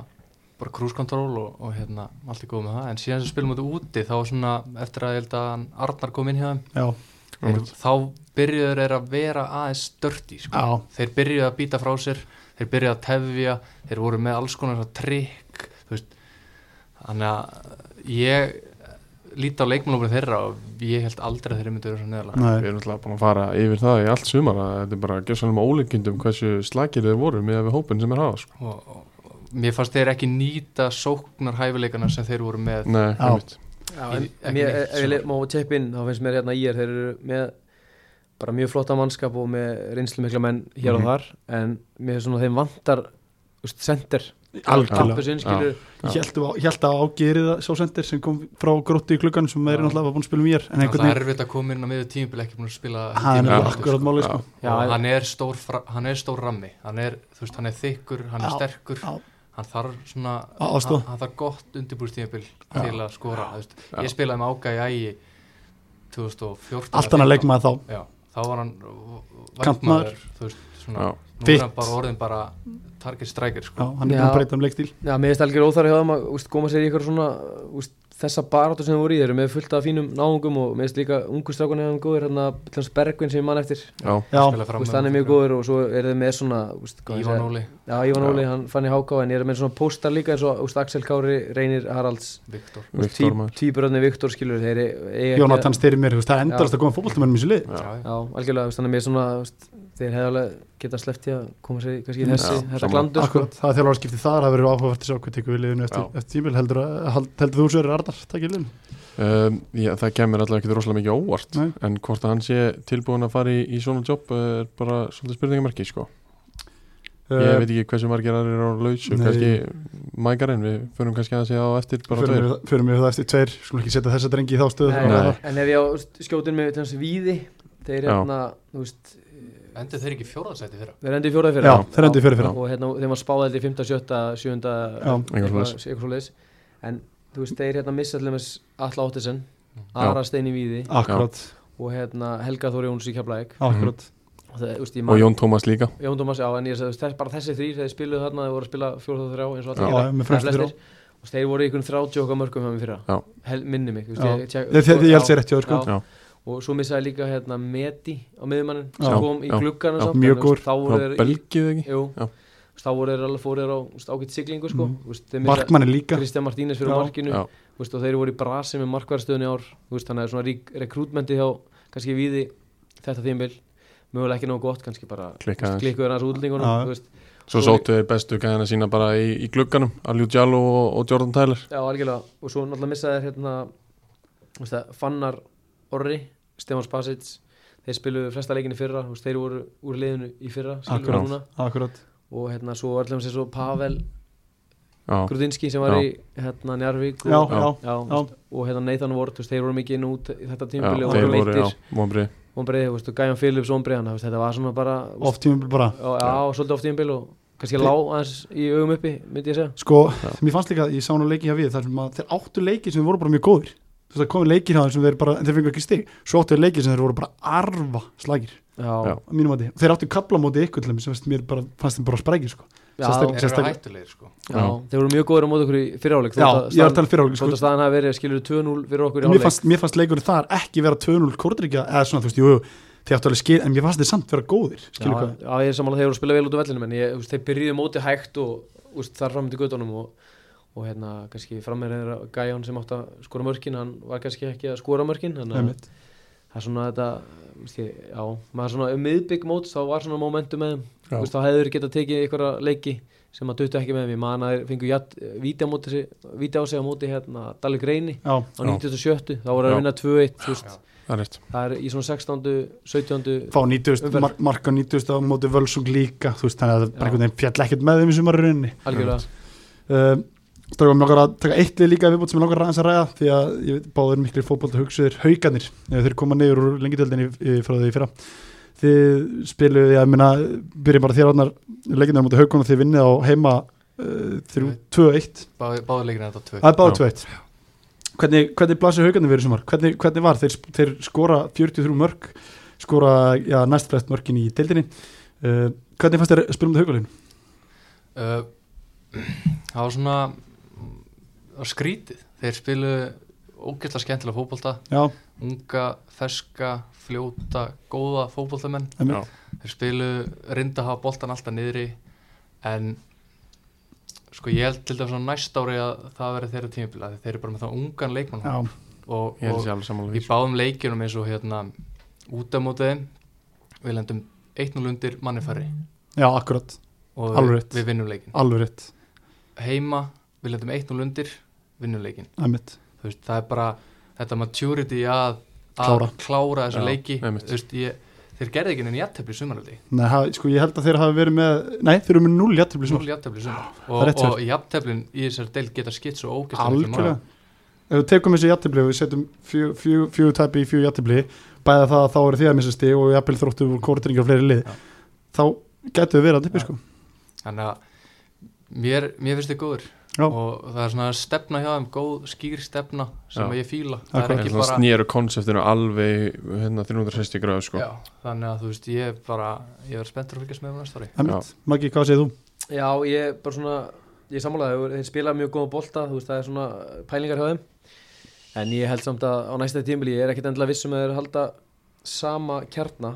C: bara krúskontról og, og hérna allt er góð með það en síðan sem spilum þetta úti þá svona eftir að ég held að hann Arnar kom inn hjá þeim
A: já,
C: þeir, þá byrjuður er að vera aðeins störti sko.
A: já,
C: þeir byrjuðu að býta frá sér þeir byrjuðu að tefja þeir voru með alls konar svona trikk þú veist. þannig að ég líta á leikmannhópur þeirra og ég held aldrei að þeirra myndu vera svo neðalega
A: Nei.
B: Við erum alltaf búin að fara yfir það í allt sumar að þetta er bara gjössanlega með ólíkindum hversu slagir þeir voru með við hópin sem er hafa sko.
C: og, og, og mér fannst þeir ekki nýta sóknarhæfileikana sem þeir voru með
B: Nei,
A: Já.
B: einmitt.
D: Já,
C: Ég-
D: en
C: ekki
D: mér,
C: neitt
D: ef ég le- má tjepp inn þá finnst mér hérna í er þeir eru með bara mjög flotta mannskap og með reynslu mikla menn
B: Mhm.
D: hér og þar en mér finnst svona þeim vantar úst, center,
A: Algjörlega.
D: kappusinn skilur
B: Já.
A: Ég held að ágerið sá sendir sem kom frá grótti í klukkan sem er
D: Já.
A: náttúrulega búin að spila mér en
C: það
A: einhvern
C: er
A: veginn,
C: erfitt að koma inn á miður tímubil ekki búin að spila
A: það er
B: Já.
A: náttúrulega
C: tímabil,
A: akkurat máli sko.
D: Já,
C: og
D: ég-
C: hann er stór, fra- hann er stór rammi hann er, þú veist, hann er þykkur, hann er
A: Já,
C: sterkur
A: já.
C: hann þarf svona
A: Á- aðstoð.
C: hann, hann þarf gott undirbúrstímabil til að skora þú veist,
B: Já.
C: ég spilaði með Ága í ægi 2014
A: allt annað leikmaði þá
C: já, þá var hann
A: Kantmaður.
C: væntmaður þú veist, svona,
B: Já.
C: nú
A: Fit.
C: er hann bara orðin bara target striker
A: Já,
C: sko.
A: hann er
D: Já.
A: búin að breyta um leikstíl
D: Já, mér finnst algjör óþarf hjá þeim að úst, koma sér í ykkur svona úst, þessa baráttu sem þeir voru í þeir eru með fullt af fínum náungum og mér finnst líka ungu strákunni hefum góðir hérna til hans Bergvin sem ég man eftir
B: Já.
A: Já,
C: Spilaði fram
D: úst,
C: með
D: hann er mjög góður og svo eru þeir með svona úst, hvað á ég að
C: Ívan
D: segja?
C: Óli,
D: Já, Ívan
B: Já.
D: Óli, hann fann í háká en ég er með svona póstar líka eins og úst, Axel Kári, Reynir Haralds
C: Viktor
B: Viktor maður
D: Týburöðni Viktor skilur þeir eiga ekki-
A: Jónatan styrir mér, þú veist, það endalast
D: Já.
A: að koma fótboltamennum í sér lið
B: Já.
C: Já, já.
D: Já, algjörlega, þú veist, þannig að mér svona þú veist, þeir hefði alveg getað sleppt í að koma sér í kannski í þessi,
B: Já,
D: þetta
B: sammála.
D: glandur sko.
A: Akkurat, það er þjálfara skipti þar, það verður áhugavert að sjá hvað tekur við liðinu eftir,
B: Já.
A: eftir tímil heldur, að- hald- heldur þú sér Arnar, takk í liðinu
B: um, já, Það kemur alltaf ekki rosalega mikið á óvart
A: Nei.
B: en hvort að hann sé tilbúin að fara í, í svona jobb er bara svolítið spurningamarki sko. Ég veit ekki hversu margir aðrir eru á lausu
A: Eh, Nei.
B: kannski mækarinn, við förum kannski að segja á eftir bara
A: Förum
B: tveir
A: við- förum við það eftir tveir, skulum ekki setja þessa drengi í þá stöðu
D: en,
B: Nei.
D: en ef ég á þú veist, skjótin með þessi víði þeir
B: Já.
D: hérna, þú veist
C: endur þeir ekki fjóraðsæti þeirra
D: þeir endur fjóraði fyrir
A: Já, þeir endur fyrir fyrir
D: og hérna, þeim var spáð held í 5. 7. 7.
A: Já.
B: Eitthvað svoleiðis.
D: eitthvað svo leiðis en þú veist, þeir hérna missa allir með Alla Óttisen
B: Já.
D: Ara Steini Víði
A: Akkurat,
D: og hérna Helga Þóri Jóns í Keflæk
B: Mhm.
A: akkurat
D: og það, þú veist, ég
B: og
D: man
B: Jón Tómas líka
D: Jón Dómas, já, en ég sagði þess, bara þessi þrýr þeir spiluðu þarna, þeir voru að spila 4-3 eins
A: Já,
D: og allir gera,
A: já, með
D: eða
A: fremstu
D: flestir. og þeir voru í einhvern 30 okkar mörgum hjá
B: Já.
D: mér fyrra, Hel, minni mig þú veist,
A: Já.
D: ég, tjek,
A: Þe- þe- þe- ég held sér rétt hjá þér, sko.
D: já. og svo missaði líka hérna Medi á miðumannin
A: Já.
D: sem kom í
B: Já.
D: gluggana
B: Já.
D: samt, en,
A: Mjög
D: þú veist,
A: góður.
D: þá
B: Frá
D: voru þeir í-
B: Belgið ekki
D: jú,
B: Já.
D: þú veist, þá voru þeir alveg fóru þeir á þú veist, ágætt siglingu sko,
A: Mhm.
D: þú veist, þeir missa
A: Markmanni líka,
D: Kristján Martínez fyrir
A: Já.
D: markinu
B: Já.
D: þú veist, og þeir voru í brasi með markværstöðunni ár þú veist, þannig að svona rík, rekrútmenti hjá kannski viði þetta þýmbil mögulega ekki nógu gott, kannski bara
B: Klikkaði aðeins.
D: klikkuður hans
A: Já.
D: útlendingunum þú veist,
B: Svo
D: Svo-
B: sóttu þeir bestu gæðina sína bara í, í glugganum Aljú Djaló og, og Jordan Tyler
D: Já, algjörlega og svo náttúrulega missaði þér hérna þú veist það, Fannar Orri Stefán Spasic, þeir spiluðu flesta leikinni fyrra, þú veist, þeir voru úr liðinu í fyrra, skilur
B: Akkurát.
D: núna
A: akkurat
D: og hérna svo var allir um sér svo Pavel
B: Já,
D: Grudinski sem var
B: Já.
D: í hérna Njarvík
A: Já,
D: og,
B: Já.
A: já,
D: já, þú
A: já.
D: veist, og hérna Nathan Ward, þú veist, þeir voru mikið inn og út í þetta
B: já
D: tímabili og
B: þeir voru,
D: voru
B: já,
D: meittir
B: vonbrið
D: ombriði, þú veist, og Gæjan Phillips ombriði hann, þú veist, þetta var svona bara þú veist,
A: oft tímil bara
D: já, já, svolítið oft tímabil og kannski lá aðeins í augum uppi, myndi ég segja
A: Sko,
B: Já.
A: mér fannst líka, ég sá nú leiki hjá við þar sem að þeir áttu leiki sem voru bara mjög góðir þú veist það komið leikir hjá þeim sem þeir bara en þeir fengur ekki stig, svo áttu þeir leiki sem þeir voru bara arfa slagir,
D: Já,
B: Já.
A: að mínum að þeir áttu kapla á móti ykkur til þeim sem veist, mér bara, fannst þeim bara sprækir sko. Sérstaklega-
C: þeir eru
A: Sérstaklega-
C: hættulegir sko
D: Já, þeir voru mjög góður á mót okkur í fyriráleik
A: Já, ég var að tala fyrir áleik
D: Svona
A: sko.
D: að um staðan hafi verið skilur 2-0 fyrir okkur í
A: mér,
D: hálfleik
A: fannst, mér fannst leikurinn þar ekki vera 2-0 kordrykja eða svona, þú veist, jú, jú, þeir áttu alveg skil en mér fannst þeir samt vera góðir,
D: já,
A: skilur hvað
D: já, ég er samanlega þeir voru að spila vel út á vellinum en ég, úst, þeir byrjuðu mótið hægt og úst, þar fram til göttunum og, og hérna kannski frammeirður Gæjón sem átt að skora mörkin hann var kannski ekki að skora mörkin þannig að
A: Einmitt.
D: það er svona þetta úst, ég, já, maður svona um miðbygg mót þá var svona momentum með
B: Já.
D: þeim úst, þá hefur getað tekið einhverja leiki sem að duttu ekki með þeim ég man að þeir fengu jatt, víti, á móti, víti á sig á móti hérna Dalí Greini
A: Já,
D: á
B: Já.
D: 97 þá voru
B: Já.
D: þeir að vinna 2-1 þú veist,
B: Það er rétt
D: það er í svona 16. 17.
A: fá 90
D: Umferð.
A: mar mark á 90 á móti völsung líka þú veist, þannig að það bara
D: Já.
A: einhvern veginn fjall ekkert með þeim í sumarunni
D: algjörlega
A: Um, Strákum, mér langar að taka eitt lið líka viðbútt sem mér langar aðeins að ræða því að ég veit báður miklir fótbolta hugsuðir hauganir þeir koma niður úr lengjadöldinni frá því í fyrra þið spiluðu, ég meina byrjum bara þér átnar leikindar mútið haugunum þið vinnið á heima uh, þrjú, 2-1
C: báður leikina þetta tvö
A: Það er báður
B: Já.
A: 2-1 Hvernig, hvernig blasir hauganir verið sumar? Hvernig, hvernig var? Þeir, þeir skora 43 mörg skora já, næst flest mörkin í deildinni uh, Hvernig fannst þér spilum þetta haugalinu?
C: Uh, það var svona mm, það var skrítið þeir spilu ógeðslega skemmtilega fótbolta
A: Já,
C: unga, ferska, fljóta góða fótboltamenn
A: emmi,
C: þeir spilu reynda að hafa boltan alltaf niðri en sko ég held til dæmis á næst ári að það verði þeirra tímabila þeir eru bara með það ungan leikmann
A: já,
C: og,
B: Ég held
C: og
B: sér alveg sammála
C: í
B: því sko.
C: báðum leikjunum eins og hérna út af mótiðum við lendum 1-0 undir manni færri
A: já, akkurat,
C: og
A: Alveg
C: við,
A: rétt.
C: við vinnum leikin
A: alveg rétt
C: heima, við lendum 1-0 undir vinnum leikin,
A: Æmitt.
C: þú veist, það er bara þetta maturity að, að
A: Klára.
C: klára þessa
B: Já,
C: leiki,
B: einmitt.
C: þú veist, ég, þeir gerði ekki enn jættefli sumaraldi,
A: Nei, ha- sko, ég held að þeir hafi verið með nei, þeir eru með 0 jættibli
C: núl jættefli sumar
A: Ah, það er
C: og,
A: rétt hjá
C: og jætteflin í þessari deil geta skitt svo ógæst
A: algjörlega ef við tekum þessi jættibli og við setjum fjö- fjö- fjögur tæpi í fjögur jættibli bæða það að þá eru því að missa stig og jættibli þróttu úr kórtringa fleiri lið
C: Já.
A: þá getur við verið að tippi
C: Já.
A: sko
C: þannig að mér, mér finnst þið góður
A: Já.
C: og það er svona stefna hjá þeim, góð skýr stefna sem
B: Já.
C: að ég fíla, það
A: Akkurat.
C: er
B: En
C: ekki
B: svona
C: bara
B: snýru konseptinu alveg hérna 360 gráðu sko
C: Já, þannig að þú veist, ég er bara, ég er spenntur að fylgjast með mér næsta ári.
A: Emmett, Maggi, hvað segir þú?
D: Já, ég bara svona ég sammálaði, þeir spila mjög góða bolta þú veist, það er svona pælingar hjá þeim en ég held samt að á næsta tímil ég er ekkit endilega viss um að þeir halda sama kjarna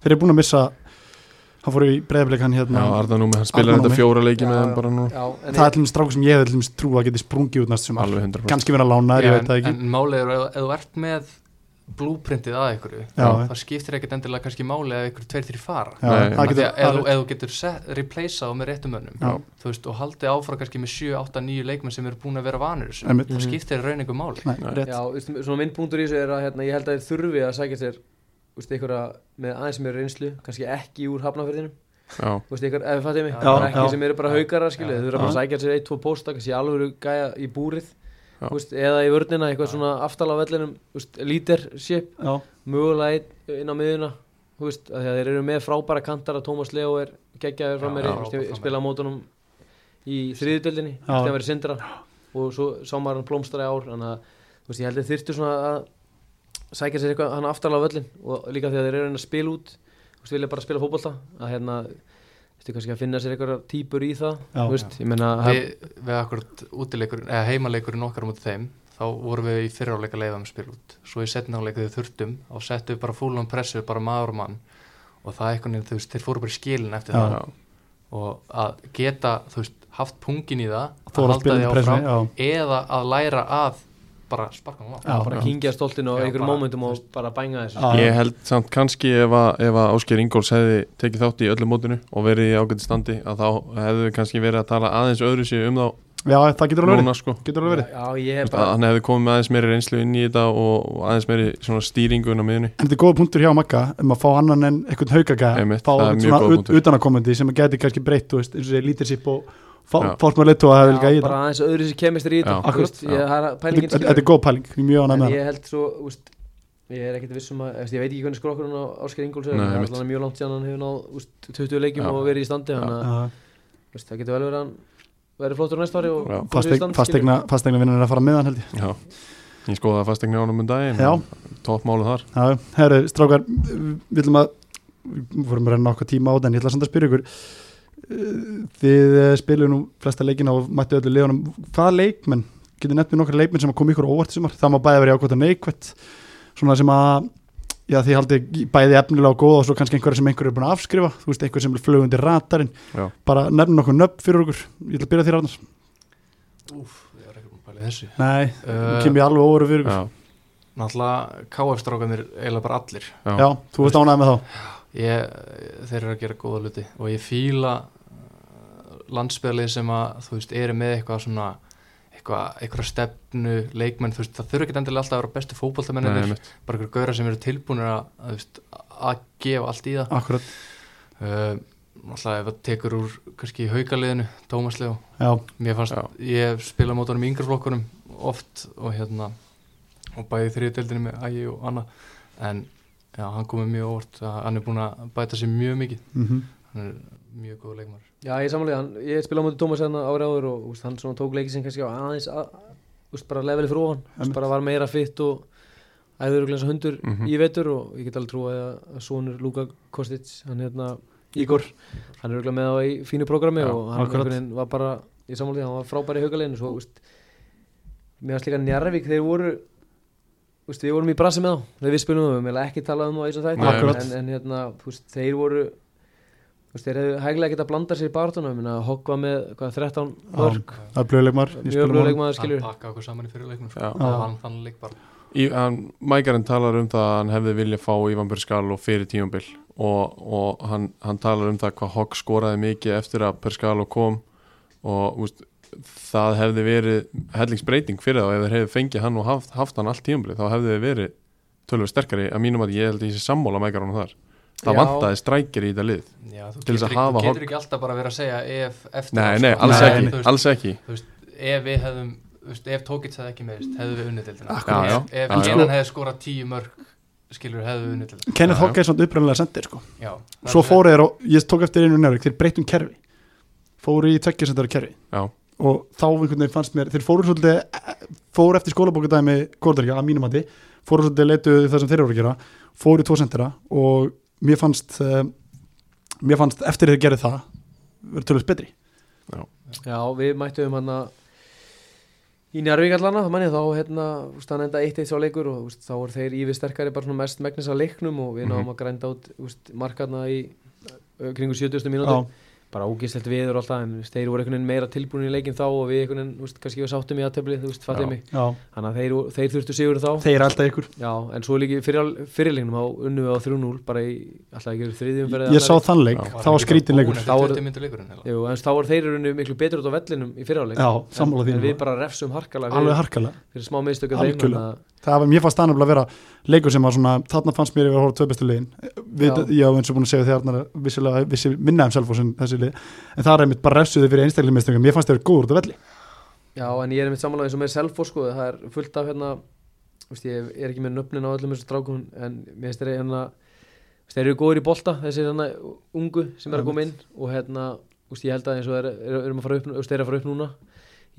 A: Þeir eru búin að missa hann fór í breyðblik hann
B: Já,
A: hérna
B: Arda Númi, hann spilar
A: Arnar
B: þetta
A: Númi.
B: fjóra leiki
D: Já,
B: með þeim
D: já.
B: bara nú
D: Já, en
A: það er til dæmis strákur sem ég hefði til dæmis trú að geti sprungið út næst sem
B: Alveg 100%
A: kannski verið að lána þér, ég veit það ekki
C: En málið er að ef þú ert með blúprintið að ykkur,
A: Já.
C: það skiptir ekkert endilega kannski málið ef ykkur tveir þrjir fara.
A: Já,
B: Nei,
A: það
C: Af því
A: getur-
C: að Ef þú- ef þú getur set- replaceað þá með réttum mönnum,
A: Já.
C: þú veist, og haldið áfram kannski með 7, 8, 9 leikmenn sem eru búin að vera vanur þessu,
A: Einmitt.
C: það skiptir raun ykkur máli.
A: Nei,
B: Nei.
A: rétt.
D: Já, veist, svona myndpunktur í þessu er að hérna, ég held að þeir þurfi að sækja sér veist, einhverja með aðeins meira reynslu kannski ekki úr hafnafyrðinum
B: Já,
D: veist, einhver, ef við fattum mig,
C: Já,
D: bara ekki
A: já.
D: sem eru bara haugara skilju, þeir þurfa bara að
A: Já.
D: sækja sér eitt, tvo pósta kannski alveg gæja í búrið
B: Já.
D: veist, eða í vörnina, eitthvað svona aftal á vellinum veist, leadership,
A: Já,
D: mögulega einn inn á miðuna þú veist, af því að þeir eru með frábæra kantara Tómas Leo er geggjaður fram meiri
C: Já, frábær framherji.
D: spila á mótunum í þriðutöldinni,
A: Já.
D: eftir að vera sindra og svo sá maður hann blómstara í ár þannig að þú veist, ég held að þyrftu svona að sækja sér eitthvað hann aftarlega á völlin og líka því að þeir eru að reyna að spila út þú veist, vilja bara spila fótbolta að hérna, þú veist, kannski að finna sér eitthvað típur í það,
A: Já.
D: þú veist, ég menna
C: Við, við akkurat útileikurinn, eða heimaleikurinn okkar á móti þeim, þá vorum við í fyrráleika leiðum spil um út, svo í setnáleika þau þurftum og settum við bara fúlan pressu, bara maður og mann og það er einhvern veginn, þú veist, þeir fóru bara í skilin eftir
A: Já.
C: það og að geta, þú veist, haft pungin í það
A: Þóra um að spila
C: því
A: undir pressunni,
C: eða að læra að bara sparka hann
A: Já.
C: á
D: bara kingja stoltinu á
C: Já,
D: einhverjum
C: bara,
D: mómentum
C: þú
D: og bara bænga þessu
A: Já.
B: Ég held samt kannski ef að, ef að Ásker Ingóls hefði tekið þátt í öllu mótinu og verið í ágæti standi að þá hefði við kannski verið að tala aðeins öðru sér um þá
A: já, það getur alveg verið
B: núna sko
A: getur alveg verið
D: Já, ég er
B: Vist,
D: bara
B: að hann hefði komið með aðeins meiri reynslu inn í þetta og, og aðeins meiri svona stýringu inn á miðunni
A: En þetta er góða punktur hjá Magga um að fá annan en eitthvað haugagæða
B: Einmitt,
A: fá
B: það er
A: einhvern
B: mjög góður
A: svona
B: punktur.
A: utanakomandi sem gæti kannski breytt þú veist, eins og segir lítirsip og
B: Já.
A: fólk með leitu að hafa líka í þetta
D: bara aðeins öðru sér kemistri í
B: Já.
D: þetta þú veist,
B: Akkurat.
D: ég- það er
A: Þetta
D: pælingin
A: þetta- þetta er góð pæling, ég er mjög ánægð
D: en
A: með
D: ég held svo úst, ég er ekkert vissum að eftir, ég veit ekki hvernig skrokkurinn á Ásker Ingóls
B: Nei,
D: er en það er
B: einmitt.
D: allan mjög langt síðan hann hefur náð úst, 20 leikjum
B: Já.
D: og verið í standi þannig að
A: það
D: úst, það getur vel verið að hann verið flottur á næsta ári og
B: Já.
D: komist í
A: Fasteign-
D: stand,
A: Fasteigna fasteigna vinnan er að fara meðan held ég
B: Já, ég skoða að fastegna ánum um daginn
A: Já.
B: Toppmálu þar
A: Já, herru, strákar við viljum að, við vorum að renna okkar tíma á þetta en ég ætla samt að spyrja ykkur Eh, þið eh, spilum nú flesta leikina og mættu öllu leikunum, hvaða leikmenn getur nefnt mér nokkra leikmenn sem að koma ykkur á óvart í sumar, það má bæði verið ákvæmt og neikvætt svona sem að já, þið haldið bæði efnilega og góða og svo kannski einhverja sem einhverju er búin að afskrifa þú veist, einhver sem er flög undir ratarinn
B: Já.
A: bara nefnum nokkuð nöfn fyrir okkur ég ætla að byrja þér annars,
C: Úf, ég var ekki búin að pæla í þessu
A: nei, uh,
B: Eh,
C: uh,
A: kem ég alveg óveru fyrir ykkur,
B: Já,
C: Náttúrulega KF-strákanir eiginlega bara allir
B: já,
A: já, þú veist ánægð með þá
C: ég, þeir eru að gera góða luti og ég fíla landsbyrlið sem að þú veist eru með eitthvað svona eitthvað, eitthvað stefnu, leikmenn þú veist, það þurfa ekki endilega alltaf að vera bestu
B: Nei,
C: fótboltamennir
B: einmitt.
C: bara einhverjur gauðra sem eru tilbúinir að, að, þú veist, að gefa allt í það
A: akkurat,
C: uh, alltaf ef það tekur úr kannski haukaliðinu, Tómas Leo
A: já,
C: mér fannst,
B: Já.
C: ég spila mót honum í yngra flokkunum oft og hérna og bæði þriðdeldinu með Ægi og Anna en já, hann komið mjög óvart að hann er búin að bæta sér mjög mikið
A: mm
C: hann er mjög góð leikmar
D: Já, ég samlega, hann, ég spila á móti Tómas hérna ári áður og úst, hann svona tók leiki sem kannski á aðeins að, úst, bara leveli fyrir ofan, úst,
A: Einmitt.
D: bara var meira fitt og æður og glensa hundur
B: Mhm.
D: í vetur og ég get alveg trúið að, að sonur Luka Kostic, hann hérna Ígor, hann er auðvitað með á í fínu prógrami
B: Já,
D: og hann
A: akkurat.
D: einhvern veginn var bara ég samlega því, hann var frábær í haugaleginu svo, úst, mér varst líka Njarvík þeir voru Úst, við vorum í brasi með þá, þegar við spilum um við meðlega ekki talað um þá eins og
B: Nei,
D: það
A: Akkurat.
D: en, en hérna, úst, þeir voru úst, þeir hefðu hæglega getað blandað sér í barátuna minna, Hogg var með hvað, 13
A: Já,
D: mörg
A: það er blöðuleikmar
D: mjög blóðleik maður skilur
C: hann pakka okkur saman í fyrirleiknum sko.
B: Já.
C: það var hann þannig leik bara
B: Í, hann, Mækarinn talar um það að hann hefði viljað fá Ívan Perskalo fyrir tíumbil og, og hann, hann talar um það hvað Hogg skoraði mikið eftir að Perskalo kom og úst, það hefði verið hellingsbreyting fyrir það og ef þeir hefði fengið hann og haft, haft hann allt tíumbil þá hefði þeir verið tölvöld sterkari að mínum að ég held að ég sé sammála Mækarinn þar það
D: Já.
B: vantaði strækir í þetta lið
C: Já, þú
B: Til þess
C: getur,
B: að
C: ekki,
B: hafa
C: þú getur
B: Hogg.
C: ekki alltaf bara verið að segja ef eftir á,
B: nei,
C: sko.
B: nei, alls
A: Nei,
B: ekki,
C: þú veist,
B: alls ekki.
C: þú veist, ef við hefðum þú veist, ef Tókits hefði ekki meðist, hefðu við unnið dildina
B: Akkurat. Já, já.
C: ef, ef
B: Já, já.
C: Kenan hefði skorað tíu mörg skilur hefðu við unnið dildina
B: Já,
A: Kenneth
B: já.
A: Hogg er svona upprænlega sendir sko.
C: já,
A: svo fóru þeir og ég tók eftir einu njárvík þeir breytum kerfi fóru í tveggjasendara kerfi
B: Já.
A: og þá einhvern veginn fannst mér þeir fóru svolítið eh, fóru eftir skólabókadæmi kórdækja að mínum hætti fóru svolítið leitu það sem þeir voru að gera fóru í tvo sendara og mér fannst eh, mér fannst eftir þeir gerði það verið tölvist betri
D: Já, við mættum hann að í Njarvík allana, manni, þá hérna, úst, hann enda 1-1 sá leikur og úst, þá voru þeir yfir sterkari bara svona mest megnis á leiknum og við náðum
B: Mhm.
D: að grænda út úst, markarna í ö, kringu 70. mínútur bara ógislegt viður og alltaf en úst, þeir voru einhvern veginn meira tilbúin í leikin þá og við einhvern veginn, úst, kannski við sáttum í aðtöfli þú veist,
B: Já.
D: fattið mig,
A: já, já.
D: þannig að þeir, þeir þurftu sigur þá
A: þeir er alltaf ykkur
D: Já, en svo líki fyrir, fyrirleiknum á unnu við á 3-0 bara í alltaf ekki þriðjum
A: ég, ég sá þann leik,
B: Já.
A: það var skrítin leikur
D: Þá
C: þá
D: voru-
C: er myndu leikurinn heila.
D: Jú, en þá var þeir unnu miklu betur út á vellinum í fyrirleik
A: Já, sammála
D: en,
A: þínum.
D: en við bara refsum harkalega fyrir-
A: alveg harkalega
D: fyrir smá miðstöku þeim
A: Algjörlega.
D: þannig að-
A: það var, mér fannst það nefnilega að vera leikur sem var svona, þarna fannst mér yfir að horfa tvö bestu liðin við,
D: Já.
A: já, eins og búin að segja þegar þarna vissilega, vissi minna um selfos en þessi lið en það er einmitt bara refsuði fyrir einstaklega mistöngum mér fannst það verið góður út af velli
D: Já, en ég er einmitt samanlega eins og með Selfoss sko, það er fullt af hérna veist, ég er ekki með nöfnin á öllum þessu strákum en mér finnst þeir hérna veist, þeir eru góður í bolta, þessi hérna ungu sem er að koma inn og hérna veist, ég held að eins og þeir eru- eru að fara upp, veist, þeir eru að fara upp núna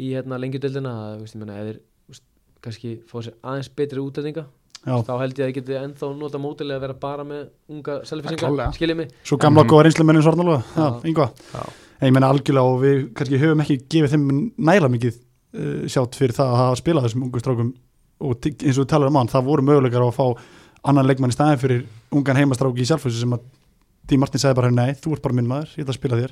D: í hérna lengjudeldina að, veist, ég meina, ef þeir veist, kannski fá sér aðeins betri útlendinga
A: já,
D: þá held ég að þeir geti ennþá nota mótilega að vera bara með unga
A: klárlega.
D: selfisingar, skiljið mig
A: svo gamla og góða reynslumennin svarnalega já,
D: Já.
A: yngva,
B: Já.
A: en ég menna algjörlega og við kannski höfum ekki gefið þeim næla mikið uh, sjátt fyrir það að hafa spilað þessum ungu strákum og ti- eins og við talaðum um hann, það voru möguleikar á að fá annan leikmann í staðin fyrir ungan heimastráki í selfossi sem að Tí Martin sagði bara, nei, þú ert bara minn maður, ég ætla að spila þér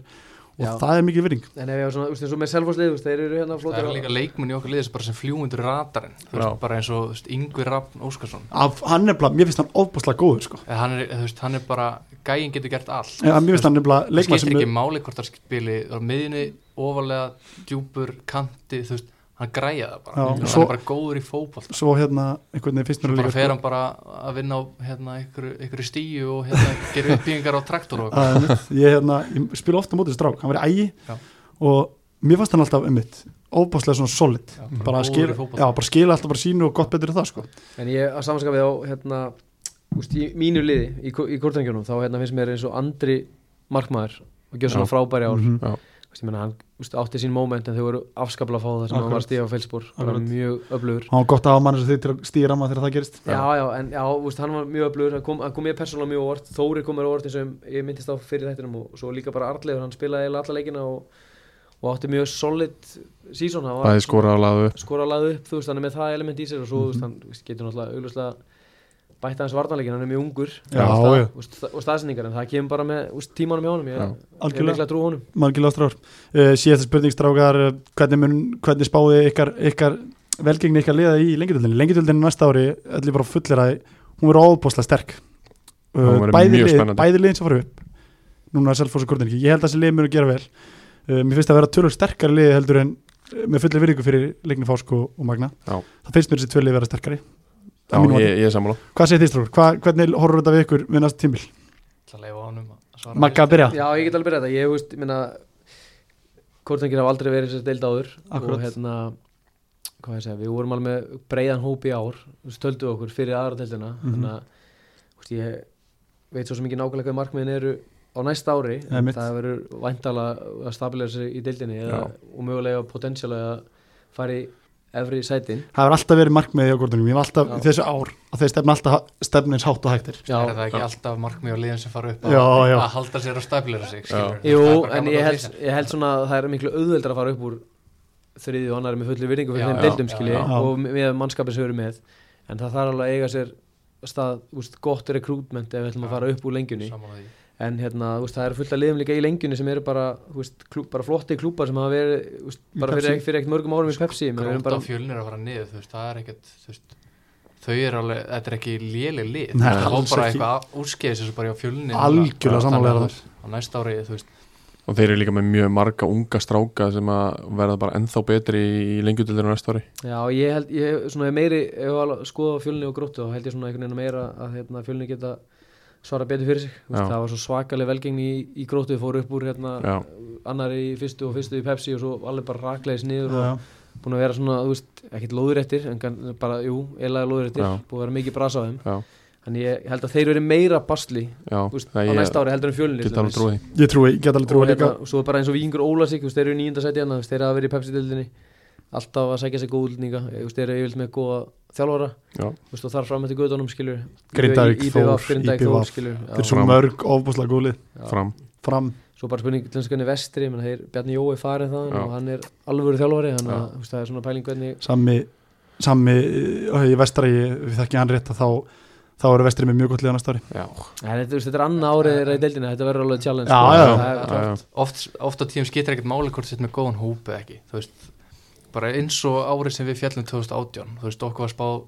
A: og
D: Já.
A: það er mikið virðing
D: en ef ég var svona, veist, eins og með selfosleið, veist, þeir eru hérna
C: það
D: flóttir
C: er líka leikmenn í okkar liðis bara sem fljúundur ratarinn þú
B: Já.
C: veist, bara eins og þú veist, Yngvi Rafn Óskarsson
A: af, hann nefnilega, mér finnst hann ofbúslega góður sko.
C: Eh, hann er, þú veist, hann er bara gæin getur gert allt
A: en, mér finnst hann nefnilega
C: það
A: leikmann
C: skiptir
A: sem
C: ekki máli hvort það spili á miðinni, ofalega, djúpur, kanti þú veist, hann græja það bara
A: Já,
C: hann
A: svo-
C: er bara góður í fótboll
A: svo hérna, einhvern veginn finnst mér
C: bara
A: líka sko-
C: fer hann bara að vinna á hérna, einhverju, einhverju stíu og hérna, gera uppbyggingar á traktor og
A: að, einmitt, ég, hérna, ég spila ofta mótið strák, hann var í ægi
C: Já.
A: og mér fannst hann alltaf einmitt ofbúslega svona solid
C: Já,
A: bara,
C: bara Mhm. góður
A: að
C: í
A: skila,
C: fótbolta.
A: já, bara skila alltaf bara sínu og gott betur en það sko.
D: En ég að samanskapið á hérna, úst, í mínu liði í, kó- í kortrengjunum þá hérna, finnst mér eins og andri markmaður og gjöð svona
B: Já.
D: frábæri ár mm
A: Mhm.
B: Já.
D: úst, meina, hann úst, átti sín móment en þau voru afskaplega að fá það sem hann var
A: Akkurat.
D: að stíða á felsbúr bara
A: Akkurat.
D: mjög öflugur
A: hann var gott að hafa mann sem þau til að stýra maður þegar það gerist
D: Já, já, en já, úst, hann var mjög öflugur hann kom, hann kom ég persónulega mjög á óvart, Þóri kom mér á óvart eins og ég- ég myndist á fyrir þættinum og svo líka bara Arleifur, hann spilaði eiginlega alla leikina og, og átti mjög solid season, hann var
B: bæði skora á laðu
D: skora að laða upp, þú veist, hann er með það element í sér og svo, þú veist, hann þú veist, getur náttúrulega augljóslega bætt aðeins varnarleikin, hann er mjög ungur
A: Já,
D: og, stað,
A: já.
D: og, stað, og staðsendingar, en það kemur bara með úst, tímanum hjá honum, ég,
B: Já.
D: ég er
A: Algjörlega.
D: mikla að trú honum
A: margilega strár uh, síðasta spurning strákar eh, hvernig, mun, hvernig spáði ykkar, ykkar velgengni ykkar liða í lengjadöldinni lengjadöldinni næsta ári, allir bara fullir að hún verður ofbúslega sterk
B: Hún
A: uh,
B: verður
A: bæði,
B: mjög
A: lið,
B: spennandi.
A: bæði liðin sem fara upp núna er Selfoss og Kortenki, ég held að þessi lið munu gera vel uh, mér finnst það að vera tölur sterkari lið heldur en eh, með fullir virðingu fyrir leikni Fásk og, og Magna
B: Já.
A: það finnst mér þessi tvö lið vera sterkari
B: Já,
A: Að mínu
B: ég, ég er sammála
A: hvað segir þið strákar, Hva- hvernig horfur þetta við ykkur við næsta tímil,
C: ætla að leifa honum að svara
A: Magga að byrja
D: Já, ég get alveg byrjað þetta, ég, þú veist, minna Kortengir hafa aldrei verið sér deild áður
A: Akkúrat.
D: og hérna hvað ég að segja, við vorum alveg með breiðan hóp í ár þú veist, töldu okkur fyrir aðra deildina
A: Mhm.
D: þannig að, þú veist, ég veit svo sem ekki nákvæmlega hvað markmiðin eru á næsta ári,
A: Nei,
D: en
A: mitt.
D: það verður væntala að stabilera sig í deildinni eða, og mögulega potensiálega að fara í efri sætin
A: það hefur alltaf verið markmiðið á Kortenki, ég hef alltaf
D: Já.
A: þessu ár að þeir stefna alltaf stefnins hátt og hægtir
D: Já,
C: er það ekki alltaf markmið á liðin sem fara upp að,
A: Já, já.
C: að halda sér og stabilira sig skilurðu?
D: Jú,
C: Það er bara
D: en
C: gaman
D: ég
C: að
D: held,
C: lýsa.
D: ég held svona að það er miklu auðveldra að fara upp úr þriði og annari með fullu virðingu fyrir
C: Já,
D: þeim
C: já,
D: deildum
C: já,
D: skilji
A: já.
D: og með mannskapin sem við erum með en það þarf alveg að eiga sér stað úst, gott rekrútment ef við ætlum að
C: Já.
D: fara upp úr lengjunni
C: Sammála því.
D: en hérna, úst, það eru fullt af liðum líka í lengjunni sem eru bara, úst, klú, bara flotti klúpar sem hafa verið úst,
A: Í
D: bara fyrir,
A: Pepsi. Sko,
D: fyrir ekkert mörgum árum í Pepsi menn við erum
C: gróta
D: bara,
C: fjölnir að fara niður þú veist, það er ekkert þú veist, þau eru alveg, þetta er ekki léleg lið
A: Nei,
C: það
A: alls
C: var
A: ekki.
C: bara eitthvað úrskeiðis þessu bara á fjölni
A: Algjörlega sammála þér
C: á næsta ári, þú veist,
B: Og þeir eru líka með mjög marga unga stráka sem að verða bara ennþá betri í lengjutildinu næsta ári.
D: Já, ég held, ég svona er meiri, ef ég var að skoða fjölni og gróttu þá held ég svona einhvern veginn meira að hérna, fjölni geta svara betur fyrir sig Þú veist,
B: Já.
D: það var svo svakaleg velgengni í, í gróttu fóru upp úr hérna
B: Já,
D: annari í fyrstu og fyrstu í Pepsi og svo alveg bara rakleis niður
A: Já, já.
D: og búin að vera svona, þú veist, ekkert lóðuréttir en kann- bara, jú, eilaði lóðuréttir
B: Já.
D: búin að vera mikið brasa á þeim
B: já,
D: þannig ég held að þeir verið meira basli
B: já.
D: þú veist, á
B: Það ég
D: næsta ári heldur en fjölni
B: get alveg trúið því.
A: Ég trúi, ég get alveg
D: og
A: trúið líka
D: hérna, svo bara eins og Víkingur Ólasík þeir eru í nýjunda sæti hérna, þú veist, þeir hafa verið í Pepsi-dildinni alltaf að sækja sér góð útlendinga þú veist, þeir eru yfirleitt með góða þjálfara
B: Já.
D: þú veist, og þar fram eftir guðdónum skilur
A: Grindavík, Þór,
D: Grindavík
A: IPVF.
D: Þór skilur
A: Þeir eru
D: já,
A: svo
B: Fram.
A: mörg ofbúslega góli
D: já.
B: Fram,
A: fram
D: svo bara spurning til þess hvernig vestri menn, þeir, Bjarni Jói farið það
B: Já.
D: og hann er alvöru þjálfari þannig að þú veist, það er svona pæling hvernig
A: sami, sami eh, í vestari, við þekki hann rétt að þá þá eru vestri með mjög gott liða næsta ári
B: já,
D: Nei, þetta, þú veist, þetta er annað árið þeirra í deildinni þetta verður alveg challenge
A: Já,
D: sko.
A: já,
D: það er
C: já,
D: klart.
B: já,
C: oft, oft á tíum skiptir ekkert máli hvort þetta með góðan hóp eða ekki, þú veist bara eins og árið sem við fjallum 2018 þú veist, okkur var spáð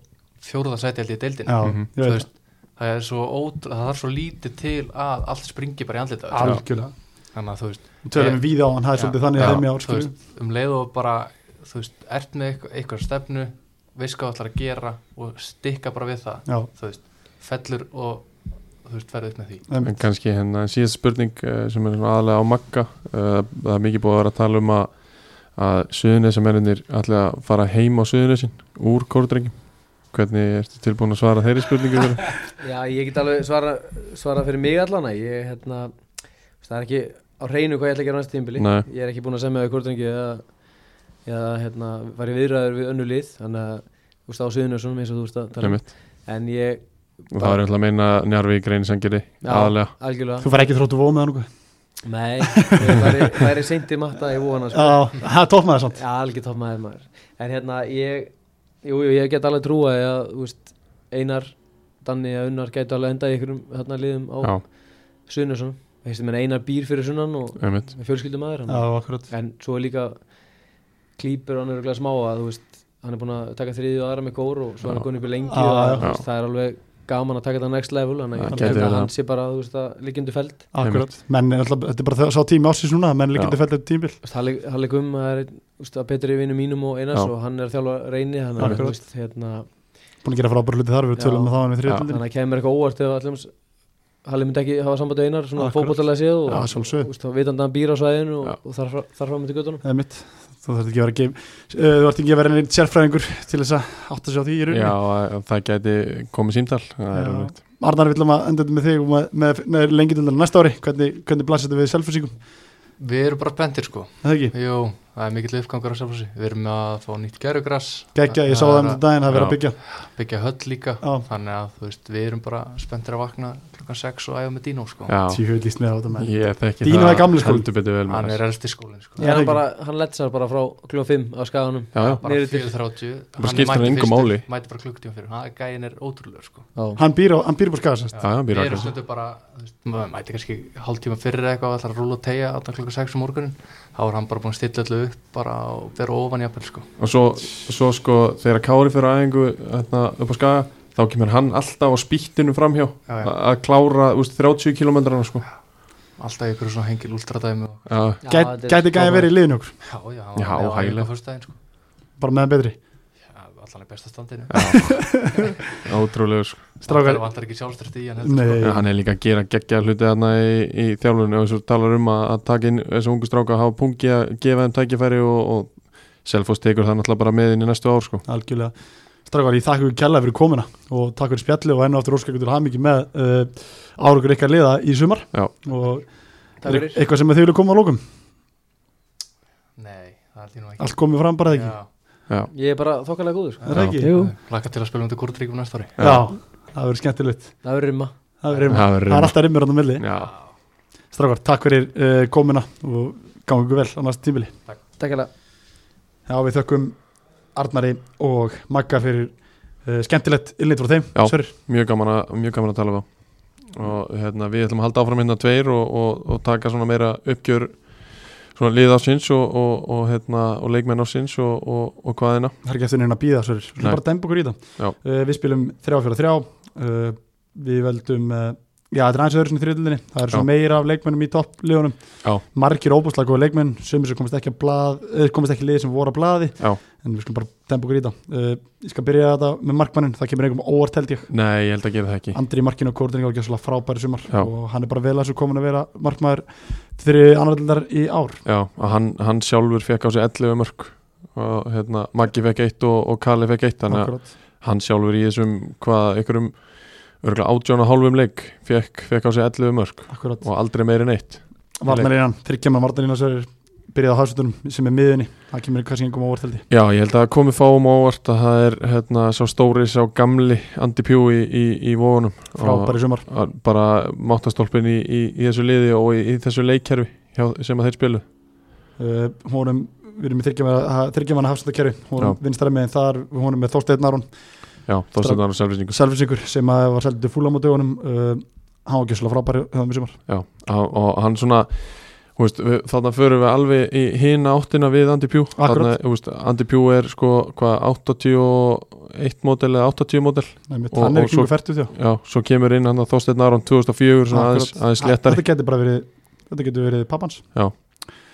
C: fjóruða sæti held ég í deildinni,
A: Já,
B: Mhm.
A: ég
C: þú
A: veit
C: veist það er svo ótrú, það þarf svo lítið til að allt springi bara í andlita
A: það algjörlega,
C: þannig að þú veist,
A: tölum við víða á hann það er
C: Já.
A: svolítið þannig
B: Já,
A: að þeim í ár
C: þú
A: skilju.
C: veist um leið og bara, þú veist, ert með eitthvað, eitthvað stefnu, veist hvað þú ætlar að gera og stikka bara við það
A: Já,
C: þú veist, fellur og þú veist, ferðu upp með því
A: em,
B: en kannski hérna síðast spurning eh, sem er svona aðalega á Magga Eh, það er mikið búið að vera að tala um að að suðunesamennir ætla að fara heim á suðunesin úr kórdrengjum hvernig ertu tilbúin að svara þeirri spurningu þeirra?
D: Já, ég get alveg svara, svara fyrir mig allana ég, hérna, þú veist, það er ekki á hreinu hvað ég ætla að gera næsta tímbili
B: Nei.
D: ég er ekki búin að semja við kvortrengi eða, eða hérna, var ég viðræður við önnu lið þannig að, þú veist, á Suðunusum eins og þú veist að tala um.
B: Einmitt.
D: en ég,
B: og það er alltaf að meina Njarvík reynisangeri
D: Já.
B: aðalega
D: algjörlega
A: Þú fær ekki þróttu vóð með hann eitthvað
D: nei, ég væri, væri seint í matta í vóana sko.
A: Já, það er toppmaður samt
D: Já, algjör topp maður maður En hérna, ég, jú, jú, ég get alveg trúa að, þú veist, Einar, Danni að Unnar gæti alveg endað í einhverjum hérna liðum á
B: já,
D: Suðunusum Veistu, menn Einar býr fyrir sunnan og
B: einmitt
D: með fjölskyldum aður
A: Já, akkurat
D: en svo er líka klípur hann er glæð smá að þú veist hann er búin að taka þriðju og aðra með gór og svo er
B: Já.
D: hann er góðin upp í lengi
A: Já,
D: og að,
A: já.
D: þú veist, það er alveg gaman að taka þetta next level þannig
B: Það
D: að
B: gæti
D: ég held
B: verið
D: að
B: það.
D: hann sé bara þú veist að liggjundu feld
A: Akkurat, menn, er alltaf, þetta er bara þau- sá tími ásins núna menn líkindi
B: Já.
A: fælt þetta tímil
D: Þú veist, Halli Halli Gumm það er einn, þú veist, að betri vinnu mínum og einars
B: Já.
D: og hann er að þjálfa reyni þannig að,
A: Akkurat.
D: þú veist, hérna,
A: Búin að gera frábæru hluti þar, við
D: Já.
A: tölum með það með þriðjöldinni
D: þannig að kemur eitthvað óvart ef allir Halli myndi ekki hafa samband við einar svona
A: Akkurat.
D: fókbóttalega séð
A: Já,
D: og,
A: sjálfsögðu.
D: og, og vitandi að hann býr á svæðinu
B: Já.
D: og, og þarf þarf fram til göttunum
A: Það er mitt, þú þarf ekki að vera game eh, Þú þarf ekki að vera einn sérfræðingur til þess að átta sig á því í
B: já,
A: rauninni
B: að það gæti komið símtal það er
A: Já.
B: alveg rétt.
A: Arnar, við ætlum að enda þetta með þig og með, með, með lengjutildar næsta ári, hvernig, hvernig blasir þetta við selfusíkum,
C: við erum bara spenntir sko,
A: er það ekki?
C: jú, það er mikill uppgangur á sjálfhúsi, við erum að fá nýtt gerugras
A: Gækja, ég sá það um þetta daginn, það er verið að
B: Já.
A: byggja
C: byggja höll líka
A: Já.
C: þannig að þú veist, við erum bara spenntir að vakna klukkan 6 og æfa með Dino sko
B: já,
A: Tíu líst með á þetta menn
B: ég þekki
A: Dínu er gamli sko. skólinn.
B: heldur betur vel
C: hann
B: með
C: er elsti skólinn sko
A: Já,
D: hann,
A: ekki.
D: bara, hann letsar bara frá kljóðum 5 á skaganum
B: já, já,
C: bara
D: Niður til-
C: 4.30
B: Bara
C: er
B: skiptir
C: mættur
B: engu
C: fyrstur,
B: máli.
C: mættir bara klukktíma fyrir, hann gæin er ótrúlega sko
D: Já.
A: Hann býr á, hann býr búið skagast
B: Já, hann býr á
C: Við erum
B: Akranes.
C: stundum bara, þú veist, maður mæti kannski hálftíma fyrir eða eitthvað, ætlar að rúla og tegja 8 klukka 6 um morgunin, þá er hann bara búin að stilla allu upp bara og vera ofan í appel sko.
B: og svo, svo sko þegar Kári fyrir aðingu hérna, upp á skaga þá kemur hann alltaf á spýttinu framhjá
C: Já, já.
B: a- að klára úst, 30 kilometrana sko.
C: Alltaf í ykkur svona hengil últradæmi og
B: já,
D: Já, þetta er
A: Gæti gæði
D: frábært.
A: verið í liðinu okkur,
C: já, já,
B: Já, hægilega.
C: Fyrst daginn sko.
A: bara meðan betri
C: Já, allan í besta standinu.
B: ótrúlega sko.
A: Strákar-
C: Það vantar ekki sjálfstyrst í hann heldur. sko.
A: Nei,
B: Já, hann er líka að gera geggja hluti þarna í, í þjálfunni og svo talar um að, að taka inn þessu ungu stráka að hafa pungi að gefa þeim tækifæri og, og Selfoss tekur það náttúrulega bara með inn í næstu ár sko.
A: algjörlega Strákar, ég þakka ykkur kærlega fyrir komuna og takk fyrir spjalli og enn og aftur óskar ykkur til hamingi með uh, árugur ykkar liða í sumar
B: Já.
A: og
D: Takk fyrir.
A: eitthvað sem þið vilja koma á lókum
C: Nei, það er því nú ekki.
A: allt komið fram bara eða ekki,
B: já,
D: Ég er bara þokkalega góður sko.
A: er það ekki?
D: Jú.
C: Laka til að spila um þetta kúrtryggjum næsta ári.
A: Já, það verður skemmtilegt
D: Það verður rimma
A: Það verður
B: Það
A: rimur.
B: verður
A: Það er
B: rimur.
A: alltaf rimur á milli
B: já.
A: Strákar, takk fyrir uh, komuna og gangi ykkur vel á næsta tímili
D: Takk hella
A: Já, við þökkum Arnari og Magga fyrir uh, skemmtilegt innlýtt frá þeim
B: Já.
A: Sverrir.
B: mjög gaman að, mjög gaman að tala við á og hérna, við ætlum að halda áfram hérna tveir og, og, og taka svona meira uppgjör svona lið ásins og, og, og, hérna, og leikmenn ásins og, og, og hvaðina
A: það er ekki eftir neina að býða Sverrir, við
B: Nei.
A: bara dempa okkur í það
B: Já.
A: uh, við spilum 3-4-3 uh, við veldum uh, já, þetta er aðeins öðru sinni þriðlunni, það er svo
B: Já.
A: meira af leikmennum í toppliðunum,
B: Já.
A: margir óbúslega góða leikmenn, sömur sem komast ekki að blað, eh, komast ekki í lið sem voru að blaði
B: Já.
A: en við skulum bara dempa okkur í það uh, ég skal byrja þetta með markmannin, það kemur einhverjum óvart held ég
B: nei, ég held að gera það ekki
A: Andri í markinu og Kórdin er ekki svona frábæri sumar
B: Já.
A: og hann er bara vel að þessu komin að vera markmaður fyrir annaðildar í ár
B: já, að hann, hann sjálfur fekk á sig 11 mörg og hérna, Maggi fekk eitt og, og Kali fekk eitt þannig að
A: Akkurat.
B: hann sjálfur í þessum hvað, einhverjum örgulega átjón og hálfum leik fekk, fekk á sig 11 mörg
A: Akkurat.
B: og aldrei meiri neitt
A: Varnarínan, þryggjama Varnarínan sem er byrjað á hafsutunum sem er miðunni, það kemur kannski einhverjum óvart held ég
B: Já, ég held að það komi fáum á óvart að það er hérna, sá stóri, sá gamli Andy Pjú í, í, í vóðunum
A: frábæri sumar
B: að bara máttastólpin í, í, í þessu liði og í, í þessu leikkerfi hjá, sem að þeir spilu
A: uh, honum, við erum með þryggjama hafsutunarkerfi, honum
B: Já.
A: vinstæri meðin þar honum með Þorsteinn Aron,
B: Já, þá stendur hann á selvisingu
A: Selvisingur sem að var seldið fúlam á dögunum uh, hann var ekki svona frábæri höfum í sumar
B: Já, og, og hann svona þú veist, við, þarna förum við alveg í hina áttina við Andy Pjú
A: Akkurat.
B: þú veist, Andy Pjú er sko hvað 81 módel eða 80 módel
A: Einmitt,
B: Og-
A: hann er
B: og
A: ekki
B: svo-
A: einhver fært út já
B: Já, svo kemur inn hann að Þorsteinn Aron 2004 svona aðeins,
A: Akkurat.
B: aðeins
A: Þetta
B: léttari
A: getur bara verið, þetta getur verið pappans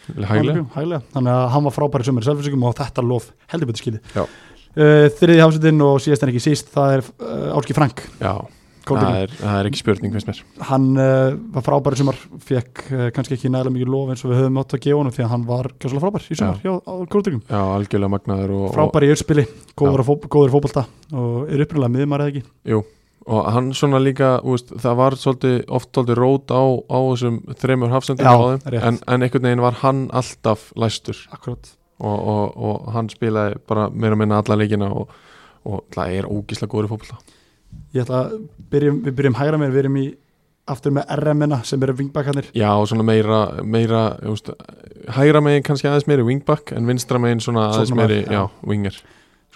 B: Hæglega,
A: Alveg, hæglega, þannig að hann var frábæri sömur í selfinsingum og þetta lof heldur betur skilið
B: Já.
A: uh, þriði hafsendinn og síðast en ekki síst það er uh, Álki Frank
B: já, það
A: Kóldurinn.
B: er, það er ekki spurning finnst mér
A: hann uh, var frábæri sömur fekk uh, kannski ekki nægilega mikið lof eins og við höfum átt að gefa honum því að hann var gæslega frábær í sömur hjá Kóldingum
B: Já, algjörlega magnaður og, og,
A: frábæri í uppspili, góður, fó, góður í fótbolta og er upprunalega miðmar eða ekki
B: og hann svona líka úst, það var svolítið, oft svolítið rót á, á þessum þremur hafsendum
A: Já,
B: á þeim
A: rétt.
B: en, en einhvern veginn var hann alltaf læstur
A: akkurat,
B: og, og, og hann spilaði bara meira og minna alla leikina og, og það er ógísla góður í fótbolta
A: ég ætla að byrjum, við byrjum hægra meir, við erum í aftur með RM-ina sem eru vingbakkarnir
B: Já, og svona meira, meira úst, hægra megin kannski aðeins meiri wingback en vinstra megin svona aðeins
A: Sóknarmaður,
B: meiri
A: já.
B: já, winger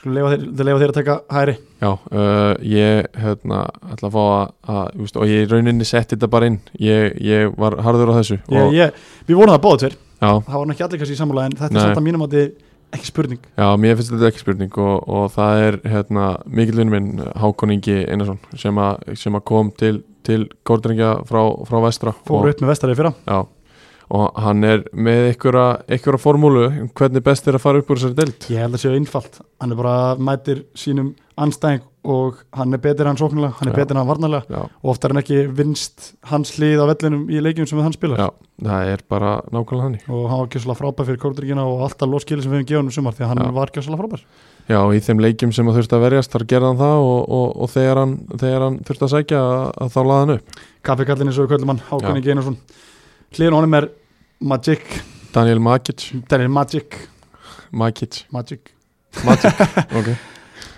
A: skulum leifa þeir, leifa þeir að taka hæri
B: Já, uh, ég hérna, ætla að fá að, að þú veist, og ég í rauninni setti þetta bara inn ég, ég var harður á þessu
A: ég,
B: og,
A: ég, við vorum það báðið tver
B: Já,
A: það var nú ekki allir kannski í sammála en þetta
B: Nei.
A: er samt að mínum að þetta ekki spurning
B: já, mér finnst þetta ekki spurning og, og það er hérna, mikill vinn minn Hákon Ingi Einarsson sem, a, sem að kom til, til Górdringja frá, frá vestra
A: fóru
B: og,
A: upp með vestarið fyrra
B: já, og hann er með einhverja, einhverja formúlu um hvernig best er að fara upp úr þessari deild
A: ég held að séu einfalt, hann er bara mætir sínum anstæðing og hann er betur en hann sóknulega, hann er
B: Já.
A: betur en hann varnalega
B: Já,
A: og oftar en ekki vinst hans hlið á vellinum í leikjum sem hann spilar
B: já, það er bara nákvæmlega þannig
A: og hann var ekki svolítið frábær fyrir kórdryggina og alltaf lóskili sem við hefum gefið hann um sumar því að hann
B: Já.
A: var ekki svolítið frábær
B: Já, og í þeim leikjum sem að þurfti að verjast þar gerði hann það og, og, og þegar, hann, þegar hann þurfti að sækja að, að þá laði hann upp
A: kaffekallin eins og við köllum hann,
B: Já.
A: Hákon Ingi Einarsson hliðin á honum er Magic,
B: Daniel Makic
A: það er Magic
B: Makic,
A: Magic
B: Makic, ok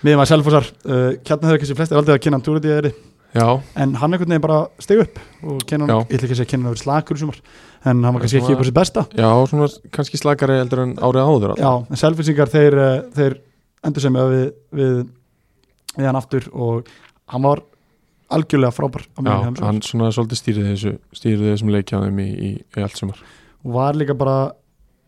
A: miðum að selfhúsar, uh, kjarnar þegar kannski flestir aldrei að kynna hann túrið í þeirri
B: Já,
A: en hann einhvern veginn bara steg upp og kenna
B: Já.
A: hann, ég ætla ekki að segja kenna hann verið slakur í sumar, en hann var kannski
B: Svona-
A: ekki upp á sitt besta
B: já, svona kannski slakari heldur en árið áður
A: já, en selfinsingar þeir, eh, þeir endur sem við, við við hann aftur og hann var algjörlega frábær á
B: já
A: meðan hann
B: hann svona svolítið stýrði þessu stýrði þessum leikjaðum í, í, í allt sumar
A: og var líka bara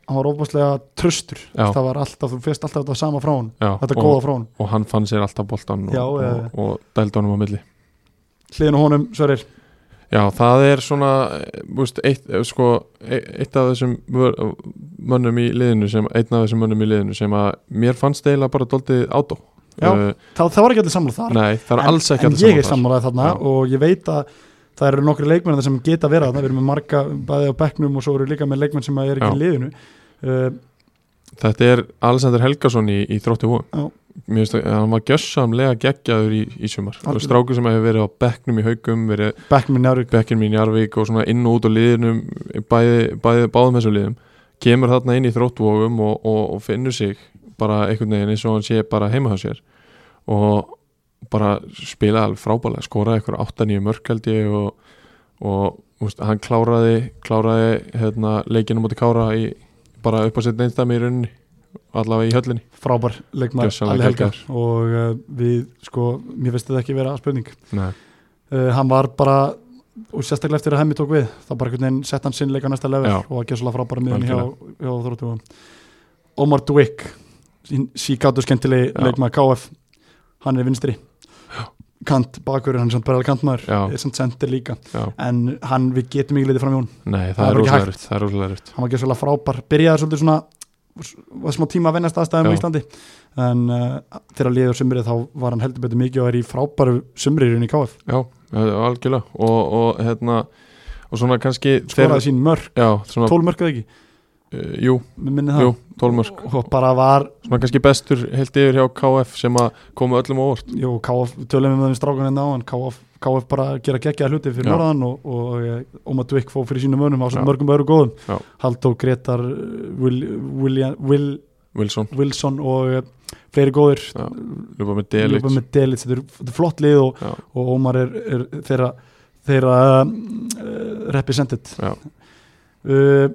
A: hann var óbúslega tröstur
B: Já.
A: það var alltaf, þú fyrst alltaf þetta sama frá hann
B: já,
A: þetta
B: og,
A: góða frá hann,
B: og hann fann sér alltaf boltan og,
A: Já,
B: og,
A: eh.
B: og, dældi honum á milli
A: hliðin á honum Sverrir,
B: Já, það er svona eh, veist, eitt, eh, sko, e- eitt af þessum vör- mönnum í liðinu sem, einn af þessum mönnum í liðinu sem að mér fannst eiginlega bara dóltið átó
A: Já.
B: Eh,
A: það, það var ekki allir samlað þar
B: Nei, það er alls ekki
A: en, en
B: allir
A: ég er
B: þar.
A: sammálaðið þarna
B: Já.
A: og ég veit að það eru nokkri leikmenn þarna sem geta verið þarna, við erum með marga bæði á bekknum og svo eru líka með leikmenn sem er ekki
B: Já.
A: í liðinu uh,
B: Þetta er Alexander Helgason í, í þróttu
A: Já.
B: húum Mér finnst að hann var gjössamlega geggjaður í, í sumar
A: Algjörlega.
B: og strákur sem hefur verið á bekknum í haugum verið
A: bekknum í Njárvík
B: bekknum í Njarvík og svona inn og út á liðinum bæði, bæði báðum þessum liðum kemur þarna inn í þróttu húum og, og, og finnur sig bara einhvern veginn eins og hann sé bara heima hjá sér og bara spila alveg frábælega skoraði einhver 8-9 mörk held ég og, og úst, hann kláraði kláraði hérna, leikinu móti Kára í, bara upp á sitt neinsdæmi í rauninni allavega í höllinni
A: frábær leikmaður
B: Gjörsamlega
A: Ali Helga eh,
B: geggjaður.
A: og uh, við sko, mér finnst þetta ekki vera spurning
B: Nei.
A: uh, hann var bara og sérstaklega eftir að hemmi tók við þá bara einhvern veginn sett hann sinnleika næsta level
B: Já.
A: og að gera svolítið frábæra miðan hjá,
B: Algjörlega.
A: hjá þróttum Omar Dwick síkátu skemmtilegi
B: Já.
A: leikmaður KF hann er vinstri kant bakur, hann er samt bara alveg kantmaður
B: Já.
A: er samt sendir líka,
B: já,
A: en hann við getum ekki litið fram í hún,
B: nei, það,
A: Það
B: er
A: er ekki
B: rosalega
A: hægt.
B: erfitt, það er rosalega erfitt
A: hann var ekki svolítið frábær byrjaði svolítið svona var smá tíma að vennast aðstæðum
B: Já.
A: á Íslandi en uh, þegar liður sumrið þá var hann heldur betur mikið og er í frábæru sumriðurinn í KF,
B: Já, eh, algjörlega og, og hérna og svona kannski
A: skoraði sín mörg
B: já, svona,
A: 12 mörg eða ekki,
B: uh, jú,
A: mér minni það
B: jú, tólmörk
A: og bara var
B: svona kannski bestur heilt yfir hjá KF sem að koma öllum á óvart
A: Jú, KF, tölum við með þeim strákan hérna á hann KF, KF bara gera geggjaða hluti fyrir
B: Já.
A: norðan og, og eh, Ómar Dvík fóð fyrir sínum önum á
B: Já.
A: svona mörgum öðru góðum
B: Já.
A: Haldó, Gretar, eh, Will, William, Will,
B: Wilson,
A: Wilson og eh, fleiri góðir
B: Já, ljúpa með Delic
A: Ljúpa með Delic, þetta er, þetta er flott lið og,
B: Já.
A: og Ómar er, er þeirra, þeirra uh, represented
B: Já.
A: uh,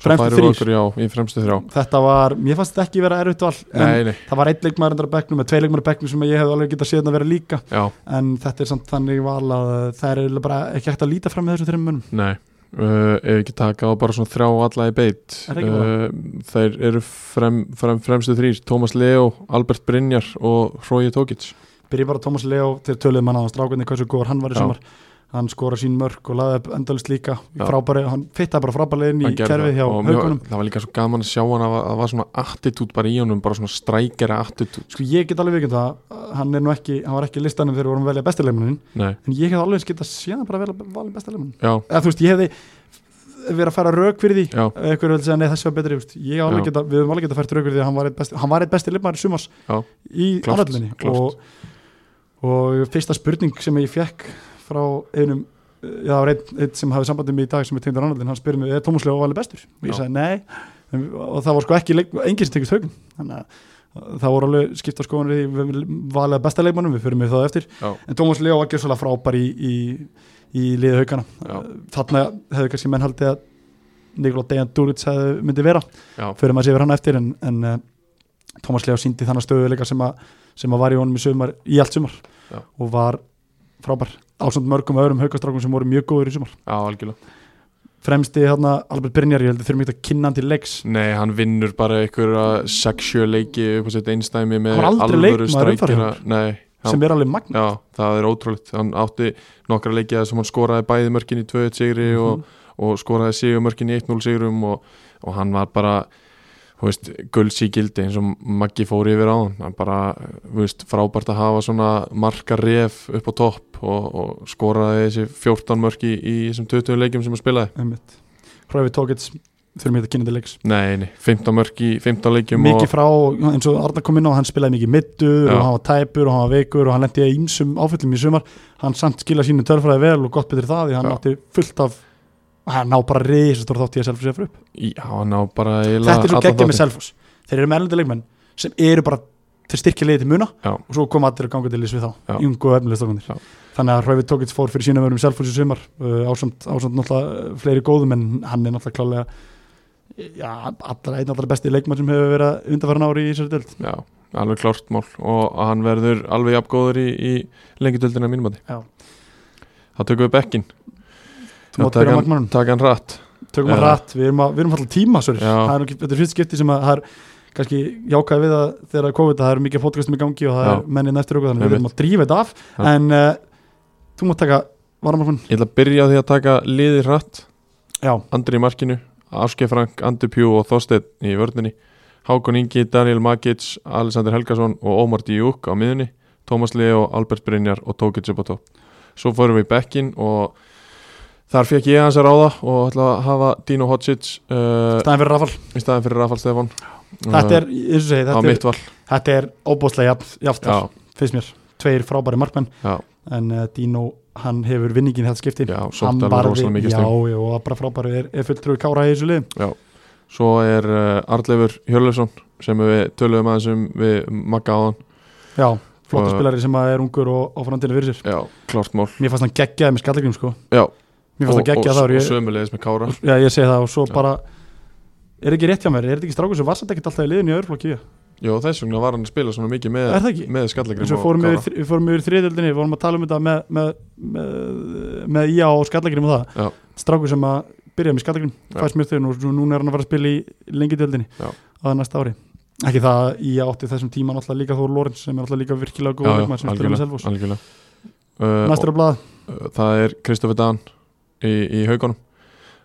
B: svo
A: Fremstu
B: færum við
A: þrír.
B: okkur já, í fremstu þrjá
A: Þetta var, mér fannst þetta ekki vera erfitt val en
B: Nei, nei,
A: það var einn leikmaður endur að bekknum með tvei leikmaður að bekknum sem ég hef alveg getað séð að vera líka
B: já,
A: en þetta er samt þannig val að það er eiginlega bara ekki hægt að líta fram með þessum þreim munum
B: nei Uh, ef ekki taka á bara svona þrjá alla í beitt
A: Er það ekki bara?
B: þeir eru frem, frem, fremstu þrýr Tómas Leo, Albert Brynjar og Hrói Tókic
A: byrja bara Tómas Leo til töluð manna á strákunni hversu góður hann var í
B: Já.
A: sumar hann skora sín mörg og laði upp endalist líka
B: Já.
A: frábæri, hann fittaði bara frábæriðin í
B: Hann gerði
A: kerfið hjá
B: það og mjög-
A: haugunum
B: það var líka svo gaman að sjá hann að það var svona attitút bara í honum, bara svona strækjara attitút
A: sko ég get alveg vikund það hann er nú ekki, hann var ekki í listanum þegar við vorum að velja bestilegmanin
B: Nei,
A: en ég hef alveg eins getað síðan bara velja valið bestilegmanin
B: já,
A: eða þú veist, ég hefði verið að færa rauk fyrir því
B: já,
A: eitthvað vil segja nei þessi var betri þú veist. ég hef alveg
B: Já.
A: geta, við höfum alveg geta fært rauk fyrir því að hann var eitt besti, hann var eitt besti leikmaður sumars
B: Já.
A: í
B: Klárt,
A: ánætlinni
B: klárt.
A: og, og fyrsta spurning sem ég fekk frá einum já það var einn, einn sem hafði sambandið mig í dag sem er tegndar ánætlinn, hann spurði mig, er Tómas Leó valið bestur? og ég
B: Já.
A: sagði nei En- og það var sko ekki, leik, enginn sem tekist haugum þannig að það voru alveg skipta skoðanir í við- við valið besta leikmannum, við fyrir mig það eftir
B: já,
A: en Tómas Leó var ekki svolítið frábær í, í, í liði haugana
B: já,
A: þarna hefðu kannski menn haldið að Nikola Dejan Dúlitz hefði myndi vera
B: já,
A: fyrir maður sé yfir hann eftir en, en uh, Thomas Leo síndi þannig stöðuleika sem að, sem að var í honum í, sumar, í allt sumar
B: Já.
A: og var frábær ásamt mörgum öðrum haukastrákum sem voru mjög góður í sumar
B: já, algjörlega
A: fremsti hérna Albert Brynjar, ég held heldur þurfum ekki að kynna hann til leiks
B: Nei, hann vinnur bara einhverja sexjö leiki upp á sitt einstæmi með
A: Hann var aldrei
B: alvöru
A: leikmaður
B: strækjara Nei, Já.
A: sem er alveg magna
B: já, það er ótrúlegt hann átti nokkra leiki sem hann skoraði bæði mörkin í 2-1 sigri
A: Mhm.
B: og, og skoraði sigurmörkin í 1-0 sigrum og, og hann var bara þú veist, guldsíkildi eins og Maggi fór yfir á hann hann bara, þú veist, frábært að hafa svona marka ref upp á topp og, og skoraði þessi 14 mörki í þessum 20 leikjum sem hann spilaði
A: Hræfi Tókits, þurfum ekki að kynna til leiks
B: Nei, nei, 15 mörk í 15 leikjum
A: mikið
B: og,
A: frá, eins og Arna kom inn á hann spilaði mikið middur
B: Já.
A: og hann var tæpur og hann var veikur og hann lendi í einsum áföllum í sumar hann samt skila sínu tölfræði vel og gott betur það því hann
B: Já.
A: átti fullt af hann ná bara reisastór þátt í að selfos sér upp
B: Já, hann á bara
A: þetta er svo geggjum með selfos þeir eru með erlendi leikmenn sem eru bara þeir styrkja liðið til muna
B: Já.
A: og svo koma allir að ganga til liðs við
B: Já.
A: þá jungu og
B: Já.
A: efnilegstokkandir þannig að Hröfi Tókits fór fyrir sínum örum selfos í sumar uh, ásamt, ásamt náttúrulega uh, fleiri góðum en hann er náttúrulega klálega Já, allra, einn allra besti leikmann sem hefur verið undarfæran ári í þessari deild
B: Já, alveg klárt mál og hann verður alveg jafngóður í, í lengjadöldina mínum að
A: Já.
B: því Þá tökum við bekkin
A: Þú mátt byrja á
B: hann,
A: markmannum.
B: taka hann rætt
A: tökum að
B: Já.
A: rætt, við erum, að, við erum alltaf tíma Sverrir.
B: Já.
A: það er nú ekki, þetta er fyrst skipti sem að það er kannski jákaði við að þegar að COVID að það eru mikið podcastum í gangi og það
B: Já.
A: er mennin eftir okkur þannig að við erum að
B: Einmitt.
A: drífa þetta af
B: Já.
A: en uh, þú mátt taka varamarkmann
B: Ég ætla að byrja á því að taka liði rætt
A: já,
B: Andri í markinu, Áske Frank, Andi Pjú og Þorsteinn í vörninni Hákon Ingi, Daniel Magic, Alexander Helgason og Ómar Díuk á miðunni Tómas Leo, Albert Brynjar og Tókic upp á topp Svo fórum við í bekkin og þar fekk ég hans að ráða og ætla að hafa Dino Hotsic uh,
A: staðan fyrir rafal
B: í staðin fyrir Rafal Stefán Eh,
A: þetta er, eins og segi,
B: á
A: þetta er,
B: mitt val
A: þetta er óbóðslega jafn,
B: já,
A: finnst mér, tveir frábæri markmann
B: já,
A: en uh, Dino, hann hefur vinningin í þetta skipti,
B: já,
A: hann
B: sótt alveg rosalega mikið
A: já,
B: stegum
A: já, og bara frábæri er, er fulltrúi kára í þessu lið
B: Svo er uh, Arleifur Hjörlefsson sem við töluðum aðeins um við Magga á hann
A: já, flottu
B: Og-
A: spilari sem að er ungur og, og framtíðinu fyrir sér
B: Já, klárt mál
A: mér fannst hann geggjaði með skallagrim sko
B: Já,
A: Mér fannst það geggja það
B: og
A: ég,
B: sömulegis með Kára
A: já, ég segi það og svo
B: Já.
A: bara er ekki rétt hjá mér, er þetta ekki strákur sem var samt ekkert alltaf í liðinu í öðruflokki er
B: Jó, þess vegna var hann að spila svona mikið með,
A: það ekki?
B: með skallagrim
A: eins og við fórum yfir, við fórum yfir þriðöldinni, við vorum að tala um þetta með, með, með, með IA og skallagrim og það
B: Já.
A: strákur sem að byrjaði með skallagrim
B: Já.
A: fæst mér þegar og núna er hann að fara að spila í lengi dildinni
B: Já.
A: að næsta ári ekki það að IA átti þessum tíma náttúrulega líka Þór Lorenz sem er náttúrulega líka virkilega góð leikmaður sem spilaði með Selfoss
B: algjörlega uh, og,
A: næstur á blaða,
B: uh, það er Kristoffer Dan í, í haugunum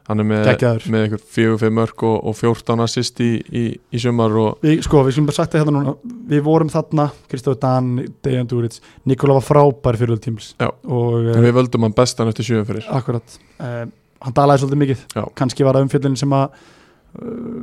B: hann er með,
A: geggjaður
B: með einhver fjögur, fimm mörg og, og 14 assist í, í, í sumar og
A: Við, sko, við skulum bara sagt það hérna núna Við vorum þarna, Kristof Dan, Dejan Duric Nikola var frábær fyrir öll tímils
B: Já.
A: Og
B: en
A: uh,
B: við völdum hann bestan eftir sjöum fyrir
A: akkurat uh, Hann dalaði svolítið mikið
B: Já.
A: Kanski var það umfyllin sem að uh,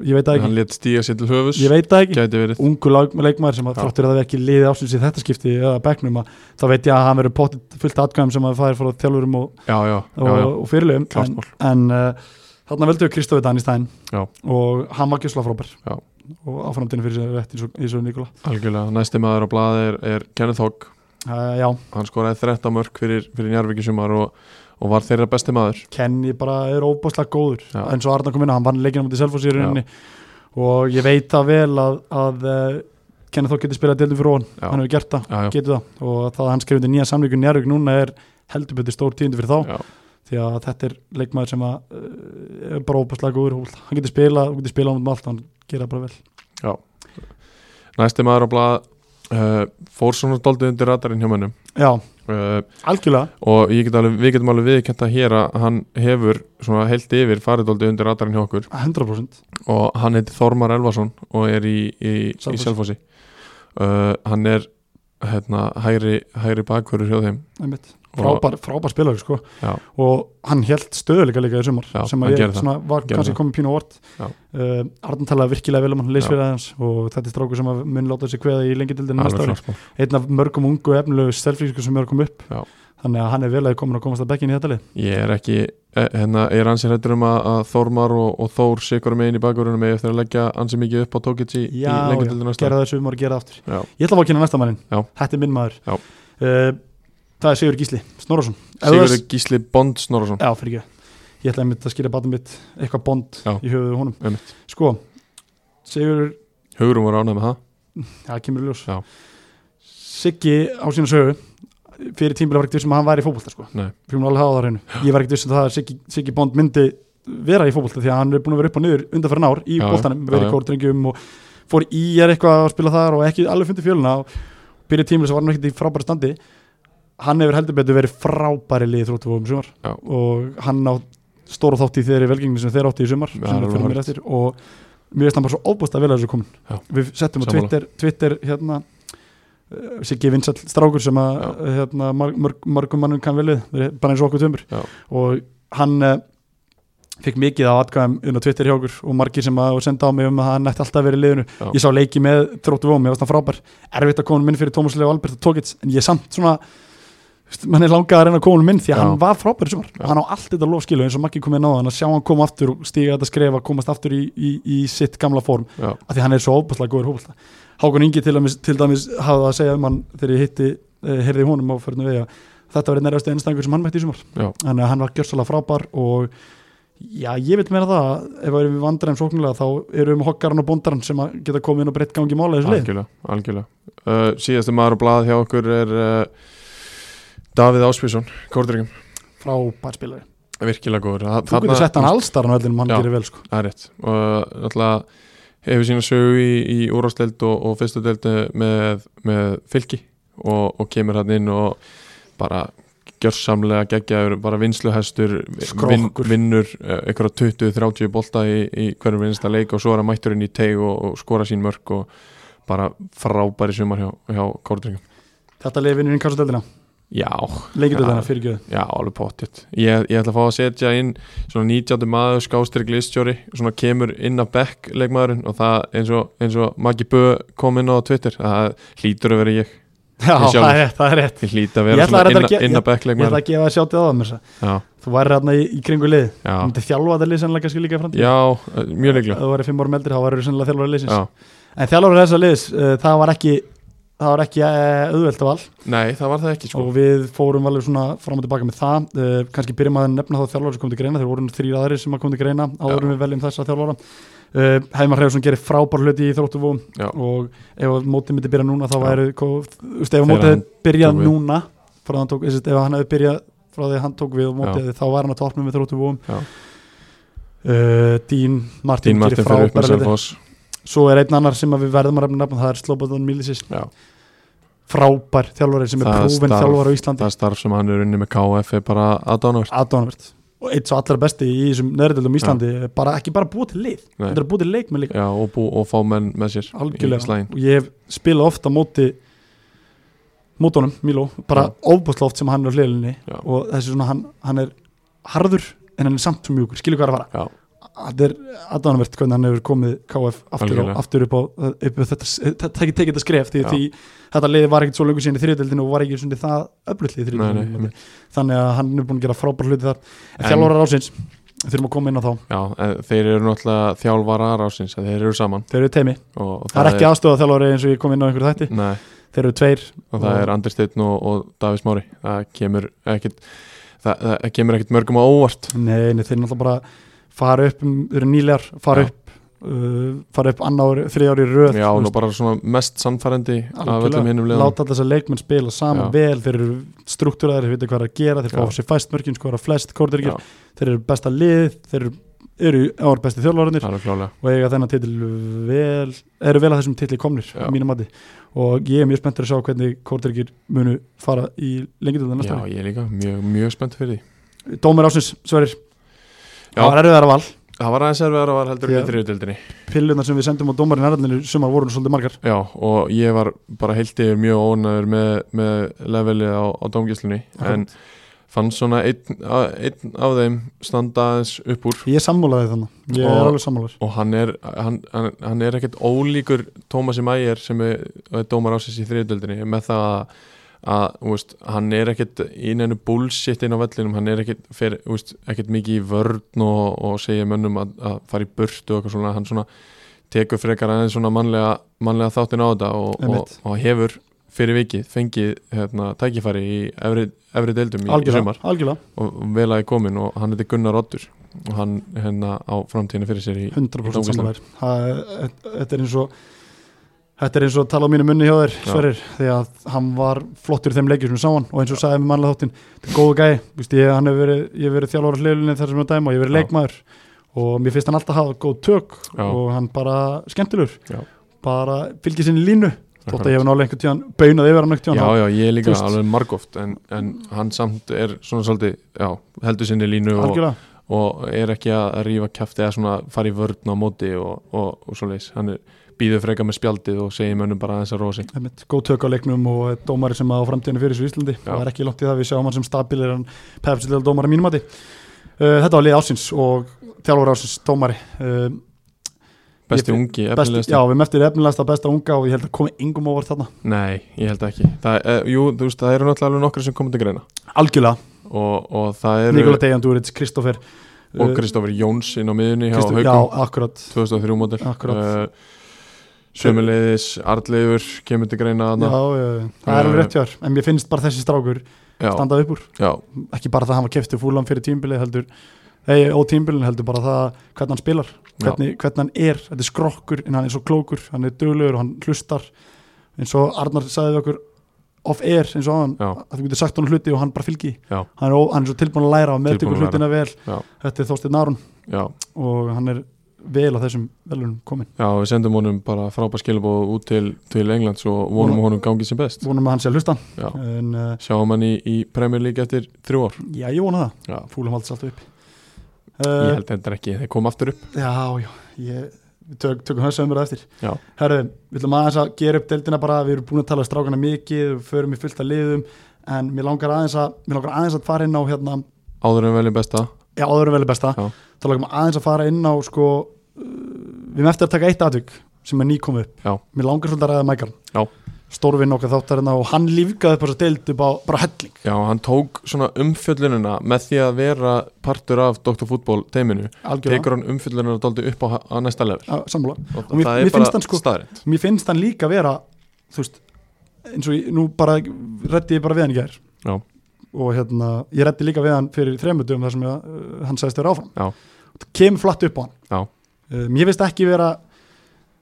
A: Ég veit það
B: hann
A: ekki,
B: let stíga sér til höfus
A: ég veit það ekki
B: gæti verið
A: Ungu lag- leikmaður sem að
B: Já.
A: þráttur að það verið ekki liðið ásins í þetta skipti eða bekknum að þá veit ég að hann verið potið fullt atkvæðum sem að færi frá þjálfurum og,
B: já, já,
A: og,
B: já, já.
A: og fyrirlegum
B: Klárt
A: en, en uh, þarna völdum við Kristofi Dan í stæðin
B: Já.
A: og hann var gjösla frábær
B: Já.
A: og áframtíðin fyrir sér rétt eins og, eins og Nikola
B: algjörlega næsti maður á blaði er, er Kenneth Hogg
A: uh, Já,
B: hann skoraði 13 mörg fyrir, fyrir Njarvík í sumar og, og var þeirra besti maður
A: Kenny bara er óbáslega góður
B: Já.
A: eins og Arna kom inn á, hann vann leikina mútið Selfoss í
B: Já.
A: rauninni og ég veit það vel að, að uh, Kenneth Þók getur spilað deildum fyrir ofan,
B: Já.
A: hann hefur gert það,
B: já, já,
A: getur það og það að hann skrifið nýja samlíku njárvík núna er heldur betur stór tíðindi fyrir þá
B: já,
A: því að þetta er leikmaður sem að, uh, er bara óbáslega góður, í fótbolta. hann getur spilað hann getur spilað á um allt, hann gera bara vel
B: næsti maður á blaði uh, fór svona doldið undir radarinn hjá mönnum
A: Já,
B: uh,
A: algjörlega
B: og ég get alveg, við getum alveg viðkjönda hér að hann hefur svona heilt yfir faridóldi undir radarinn hjá okkur
A: 100%
B: og hann heitir Þormar Elvason og er í, í, í
A: Selfossi.
B: Selfossi uh, hann er hérna, hægri, hægri bakhverju hjá þeim
A: einmitt.
B: Og-
A: frábær, frábær spilaður sko.
B: Já.
A: og hann held stöðuleika líka í sumar
B: Já,
A: sem
B: hann
A: að ég
B: gerði það.
A: svona, var
B: Gerði
A: kannski
B: það.
A: komið pínu á orð
B: Já.
A: uh, Arn talaði virkilega vel um hann leysfyrir aðeins og þetta er strákur sem að mun láta sig kveða í lengi dildinu
B: Alveg
A: næsta ári
B: klárt mál.
A: einn af mörgum ungu efnilegu selflýsku sem er að koma upp
B: Já.
A: þannig að hann er vel að komin að komast að bekkin í þetta lið
B: ég er ekki eh, hérna, ég er ansi hættur um að, að Þormar og, og Þór sikur megin í bakhverjunum eða eftir að leggja ansi mikið upp á Tókits í, í
A: Já,
B: lengi
A: já,
B: til næsta ári.
A: gera það sem við maður að gera það aftur
B: Já.
A: ég ætla að fá að kynna næsta mannin,
B: Já.
A: þetta er minn maður
B: Já.
A: uh, það er Sigur Gísli Snorarsson
B: Sigurður Gísli Bond Snorarsson
A: Já, fyrir ekki Ég ætlaði einmitt að skýra batum mitt eitthvað bond
B: Já.
A: í höfuðu honum
B: Einmitt.
A: Sko, Sigur,
B: Hugurum var ánægð með það
A: já, kemur í ljós
B: Já.
A: Siggi á sína sögu fyrir tímbil var ekkert vissum að hann væri í fótbolta sko.
B: Nei.
A: fyrir hún alveg hafa það á hreinu ég var ekkert vissum það að Siggi, Siggi Bond myndi vera í fótbolta því að hann er búin að vera upp og niður undanferðan ár í
B: Já,
A: boltanum,
B: já,
A: verið
B: já.
A: í kórdrengjum og fór í er eitthvað að spila þar og ekki alveg fundið fjöluna og byrja tímbil sem var hann ekkert í frábæra standi hann hefur heldur betur verið frábæri liði þróttu sumar
B: Já.
A: og hann á stóra þátt í þeirri velgengni sem þeir átti í sumar
B: Já,
A: sem
B: alveg
A: við fyrir mér
B: hárrétt.
A: eftir og mér finnst hann bara svo óbúst að vilja þessu
B: Já.
A: komin við settum á
B: Sammála.
A: Twitter, Twitter hérna uh, Siggi Vinsall strákur sem að
B: Já.
A: uh, hérna, marg, mörg, mörgum mannum kann velið bara eins og okkur tömur
B: Já.
A: og hann uh, fikk mikið á atkvæðum inn á Twitter hjá okkur og margir sem að senda á mig um að hann ætti alltaf verið í liðinu
B: Já.
A: ég sá leiki með þróttu vóm, ég varst hann frábær erfitt að koma honum inn fyrir Tómas Leó Albert og Tókits en ég samt svona veist, mann er langað að reyna að koma honum inn því að
B: Já.
A: hann var frábær í sumar
B: Já.
A: og hann á allt þetta lofskilu eins og Maggi kom inn á hann að sjá hann koma aftur og stíga þetta skref að komast aftur í, í, í sitt gamla form
B: Já.
A: af því hann er svo óbúslega góður hópulta Hákon Ingi til dæmis, til dæmis hafði að segja um hann þegar ég hitti, eh, heyrði í honum á förnum vegi að þetta var einn erfasti einstangur sem hann mætti í sumar
B: Já.
A: þannig að hann var gjörsalega frábær og já, ég vil meina það að ef við erum við vandræðum sóknulega þá erum við hokkaran og bondaran sem að geta komið inn og breytt gangi mála í þessu lið
B: algjörlega, algjörlega. Uh, síðasti maður á blað hjá okkur er uh, Davíð Áspísson Kórdryggum,
A: frábær spilari,
B: virkilega góður Þa-
A: þú
B: þarna-
A: getur sett hann allstar hann öllum hann
B: Já.
A: gerir vel sko
B: það er rétt og náttúrulega hefur sína sögu í, í úrásdeild og, og fyrstu deild með, með fylki og, og kemur hann inn og bara gjörsamlega geggjaður, bara vinsluhestur vin,
A: Skrokkur.
B: vinnur eh, einhverja 20-30 bolta í, í hverjum einsta leik og svo er hann mætturinn í teig og, og skora sín mörg og bara frábæri sumar hjá, hjá Kórdryggum
A: þetta lið vinnur inn kassadeldina,
B: Já,
A: leikindeldina
B: Já.
A: fyrir göðu
B: Já, alveg pottitt ég, ég ætla að fá að setja inn svona 19. maður skástrík listjóri svona kemur inn af bekk leikmaðurinn og það eins og, eins og Maggi Bö kom inn á Twitter það hlýtur að vera ég
A: já,
B: Ég sjálfur.
A: það er rétt, það er rétt
B: ég hlýtur
A: Ég
B: að
A: ætla
B: vera
A: að
B: svona
A: reyndar
B: inn,
A: að ge-
B: inn af bekk
A: ég ætla
B: leikmaðurinn
A: að gefa það sjátið á það mér
B: já,
A: þú væri hérna í, í kringu lið
B: já,
A: Þú myndir þjálfa þetta lið sennilega kannski líka framtíð
B: já, eh, mjög líklega
A: Ef þú væri fimm árum eldri þá væri þú sennilega þjálfari liðsins
B: já.
A: En þjálfari þessa liðs, uh, það var ekki það var ekki uh, auðvelt val
B: Nei, það var það ekki sko
A: og við fórum alveg svona fram og tilbaka með það uh, kannski byrjum að nefna þá þjálfari sem kom til greina þeir voru þrýr aðri sem kom til greina áður en við veljum þessa þjálfara uh, Heimar Hreifsson gerir frábær hluti í þróttuvum
B: Já.
A: og ef að mótið myndi byrja núna þá
B: Já.
A: væri, þú veist, ef að
B: Þegar
A: mótið
B: hann
A: byrjað
B: tók við.
A: núna frá hann tók, þú veist, ef hann hefði byrjað frá því að hann tók við og mótið því þá var hann að topna með þróttu búum
B: Já.
A: uh, Dín Martin,
B: Dín
A: gerir
B: Martin fyrir upp með
A: frábæra hluti.
B: Selfoss
A: svo er einn annar sem að við verðum að refna nafn það er Slobodan Milicis,
B: Já.
A: frábær þjálfari sem er
B: Það er
A: prófin
B: starf-
A: þjálfari á
B: það
A: Íslandi
B: starf sem hann er unni með KF er bara aðdánavert
A: aðdánavert og eitt svo allra besti í þessum nöðrildum Íslandi bara, ekki bara búið til lið,
B: Nei.
A: þetta er búið til leikmenn líka
B: Já, og, bú, og fá menn með sér í
A: algjörlega,
B: slaginn
A: og ég hef spilað oft á móti mótónum, Milo bara
B: Já.
A: ofbúslega oft sem hann er á hlilinni
B: Já.
A: og þessi svona, hann, hann er harður en hann er samt svo mjúkur, skilur hvað er að
B: Já.
A: fara það er aðdánavert hvernig hann hefur komið KF aftur, á,
B: Algjörlega.
A: aftur upp á, upp á þetta, þetta tekið tekið þetta skref því,
B: Já.
A: því þetta liði var ekkert svo löngu síðan í þriðdeldinu og var ekki svona það öflutlið í
B: Nei, nei,
A: þriðdeldinu
B: einmitt.
A: þannig að hann er búin að gera frábær hluti þar en
B: En-
A: þjálfarar ásins, þurfum að koma inn á þá
B: Já, en þeir eru náttúrulega þjálfarar ásins þeir eru saman
A: þeir eru teimi,
B: og, og
A: það er ekki aðstofa eins og ég kom inn á einhverju þætti,
B: Nei,
A: þeir eru tveir
B: og það
A: Og-
B: er Andri Steinn og, og Davís Mári það kemur ekkit það, það kemur ekkit mörgum á óvart
A: Nei, nei, þeir náttúrulega bara fara upp, um, þeir eru nýlegar, fara
B: Já.
A: upp uh, fara upp annar ári, þriðja ári í röð
B: Já,
A: þú
B: og
A: veist,
B: bara svona mest sannfærandi af öllum hinnum
A: algjörlega,
B: liðum
A: láta alltaf þess að leikmenn spila saman
B: Já.
A: vel, þeir eru struktúraðir, þeir vita hvað er að gera, þeir fá
B: Já.
A: sér fæst mörkin skora flest kórdyrkir,
B: Já.
A: þeir eru besta lið þeir eru, eru ára besti þjólvarunir
B: alveg klálega
A: og eiga þennan titil vel eru vel að þessum titli komnir,
B: Já.
A: mínum mati og ég er mjög spenntur að sjá hvernig kórdyrkir munu fara í lengjadöldan
B: Já,
A: næsta ári.
B: ég er líka mjög, mjög spennt fyrir því
A: Dómur ásins, Sverir
B: Já.
A: það var erfiðara val,
B: Það var aðeins erfiðar að var heldur
A: Já.
B: í þriðutildinni
A: pillunar sem við sendum á dómarinn erðlinu sumar voru nú svolítið margar
B: Já, og ég var bara heilt yfir mjög ónæður með, með levelið á, á domgislunni en fann svona einn, að- einn af þeim standa aðeins upp úr
A: Ég er sammálaði þannig, ég er
B: Og-
A: alveg sammálaður
B: og hann er, hann, hann, hann er ekkert ólíkur Tómasi Mæger sem er, er dómar ásins í þriðutöldinni með það að, að þú veist, hann er ekkert í neinu bullshit inn á vellinum hann er ekkert, fer, þú veist, ekkert mikið í vörn og, og segja mönnum að, að fara í burtu og eitthvað svona hann svona tekur frekar aðeins svona mannlega, mannlega þáttin á þetta og, og,
A: Einmitt.
B: og hefur fyrir vikið fengið hérna, tækifæri í efri, efri deildum í, í
A: Algjörlega,
B: sumar
A: algjörlega,
B: og vel að ég komin og hann heitir Gunnar Oddur og hann hérna á framtíðinu fyrir sér í
A: 100%
B: Í
A: sammálaður Það- Þetta er eins og Þetta er eins og að tala á mínu munni hjá þér,
B: Já.
A: Sverrir því að hann var flottur í þeim leikjum sem við sá hann og eins og sagði með mannlega þáttinn, þetta er góðu gæi Vist, ég, hann hefur verið, ég hef verið þjálfur á hliðlunni þar sem hann dæma og ég hef verið
B: Já.
A: leikmaður og mér finnst hann alltaf hafa góð tök
B: Já.
A: og hann bara skemmtilegur
B: Já.
A: bara fylgir sinni línu þótt að ég hef nálega einhvern tíðan baunað yfir hann einhvern tíðan
B: Já, já, ég er líka
A: þú veist-
B: alveg margóft en, en hann samt er svona svolítið já, heldur sinni línu og,
A: algjörlega
B: og er ekki að rífa kæfti eða svona fara í vörn á móti og, og, og svoleiðis, hann er býður freka með spjaldið og segir mönnum bara þess að rosi
A: Einmitt, góð tök á leiknum og er dómari sem á framtíðinu fyrir svo Íslandi
B: Já.
A: það er ekki langt í það við sjáum hann sem stabilir en pepsilega dómari mínum að því uh, þetta var lið ásins og þjálfur ásins dómari uh,
B: Besti
A: Ég-
B: ungi,
A: best,
B: efnilegast
A: já, við meftir efnilegasta besta unga og ég held að komi yngum óvart þarna
B: Nei, ég held ekki það, e, Jú, þú veist, það eru náttúrulega alveg nokkru sem komið til greina
A: algjörlega,
B: og, og það eru
A: Nikola Dejan Duric, Kristoffer
B: og Kristoffer Jóns inn á miðunni hjá
A: Kristof, Já,
B: Haukum
A: akkurat
B: 2003 mótil
A: Akkurat.
B: Eh, Sömuleiðis, Arleifur kemur til
A: Já,
B: greina þarna
A: já, já. það er alveg rétt hjá þér en mér finnst bara þessi strákur
B: já,
A: standað upp úr
B: já,
A: ekki bara það að hann var keftur fúlan fyrir tímbilið heldur ei, ó tímbilin heldur bara það hvernig hann spilar, hvernig, hvernig hann er þetta er skrokkur en hann er svo klókur hann er duglegur og hann hlustar eins og Arnar sagði við okkur off air eins og hann,
B: Já.
A: að þú getur sagt hann hluti og hann bara fylgi,
B: Já.
A: hann er, ó, hann er svo tilbúin að læra og meðtökur
B: Tilbúinn að
A: hlutina vel
B: Já.
A: þetta er Þorsteinn Narun
B: já
A: og hann er vel á þessum velunum komin
B: Já, við sendum honum bara frábær skilabóð út til, til Englands og vonum að honum gangi sem best.
A: vonum að hann sé að hlusta
B: Já.
A: en uh,
B: Sjáum hann í, í Premier League eftir þrjú ár.
A: já, ég vona það,
B: Já.
A: fúlan haldist alltaf upp
B: Ég
A: uh,
B: held þetta ekki, þeir kom aftur upp.
A: Já, já, ég, við tök, tökum þessu umræðu eftir
B: Já.
A: Herðu, við ætlum aðeins að gera upp deildina bara, við erum búin að tala um strákana mikið við förum í fullt að liðum en mér langar aðeins að, mér langar aðeins að fara inn á hérna,
B: Áður en veljum besta.
A: já, áðurum velið besta
B: Já.
A: þá langar mér aðeins að fara inn á sko, uh, við erum eftir að taka eitt atvik sem er nýkomið upp,
B: Já.
A: mér langar svolítið að ræða Michael
B: Já.
A: stórvinn okkar þáttarina og hann lífgaði upp á þessa deild upp á bara helling
B: Já, hann tók svona umfjöllunina með því að vera partur af Dr. Fútból teiminu. Tekur hann umfjöllunina dálítið upp á, á næsta level.
A: Já, sammála
B: Og,
A: Og mér-
B: það
A: mér
B: er bara
A: finnst hann sko-
B: staðrind.
A: mér finnst hann líka vera þú veist, eins og ég, nú bara reddi ég bara við hann í gær
B: Já.
A: og hérna, ég reddi líka við hann fyrir þremutum þar sem ég, uh, hann Uh, sagðist vera áfram
B: Já.
A: Og það kemur flatt upp á hann
B: Já.
A: um, ég finnst ekki vera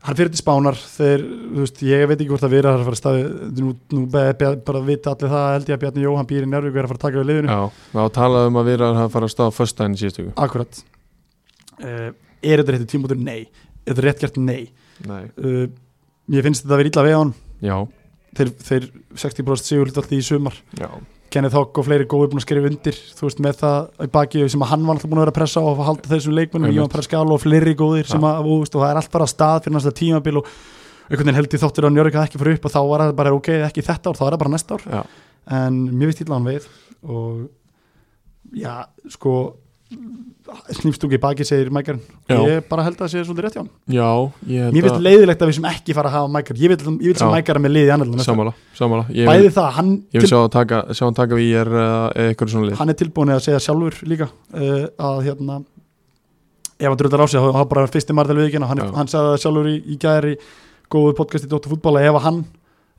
A: hann fyrir til spánar þeir, þú veist, ég veit ekki hvort það vera að fara að staði, nú, nú be, be, bara vita allir það held ég að Bjarni Jóhann býr í Njárvík og er að fara að taka við liðinu,
B: Já, þá talaðum um að vera að fara að staða föstudaginn í síðustu viku.
A: akkurat uh, er þetta rétti tímútur? Nei er þetta rétt gert? Nei
B: Nei.
A: uh, ég finnst þetta að vera illa við hann
B: Já,
A: þeir, þeir 60% sigur alltaf í sumar
B: já,
A: Kenneth Hogg og fleiri góði búin að skrifa undir þú veist með það í baki sem að hann var alltaf búin að vera að pressa og að halda þessum leikmennum
B: Einmitt.
A: Jón Preskal og fleiri góðir sem að þú veist, og það er allt bara á stað fyrir næsta tímabil og einhvern veginn held ég þóttur að Njörg að ekki fyrir upp og þá var það bara ok, ekki þetta ár, þá er það bara næsta ár
B: já.
A: en mér veist illa hann við og já, sko snýmstungi baki segir Mækarn
B: Já.
A: ég bara held að það sé svolítið rétt hjá hann
B: Já, ég
A: mér finnst leiðilegt að við sem ekki fara að hafa Mækarn ég vil, ég vil sem
B: Já.
A: Mækarn með liði annar
B: Samála, samála. Ég vil,
A: bæði það, hann
B: ég vil sjá, að taka, sjá hann taka við ég er eitthvað svona lið.
A: hann er tilbúin að segja sjálfur líka uh, að hérna ef hann dröldar á sig þá þá bara fyrsti marðal viðkynna hann, er-
B: Já.
A: hann sagði það sjálfur í, í gæri góðu podcasti Dóttu fútbola ef að hann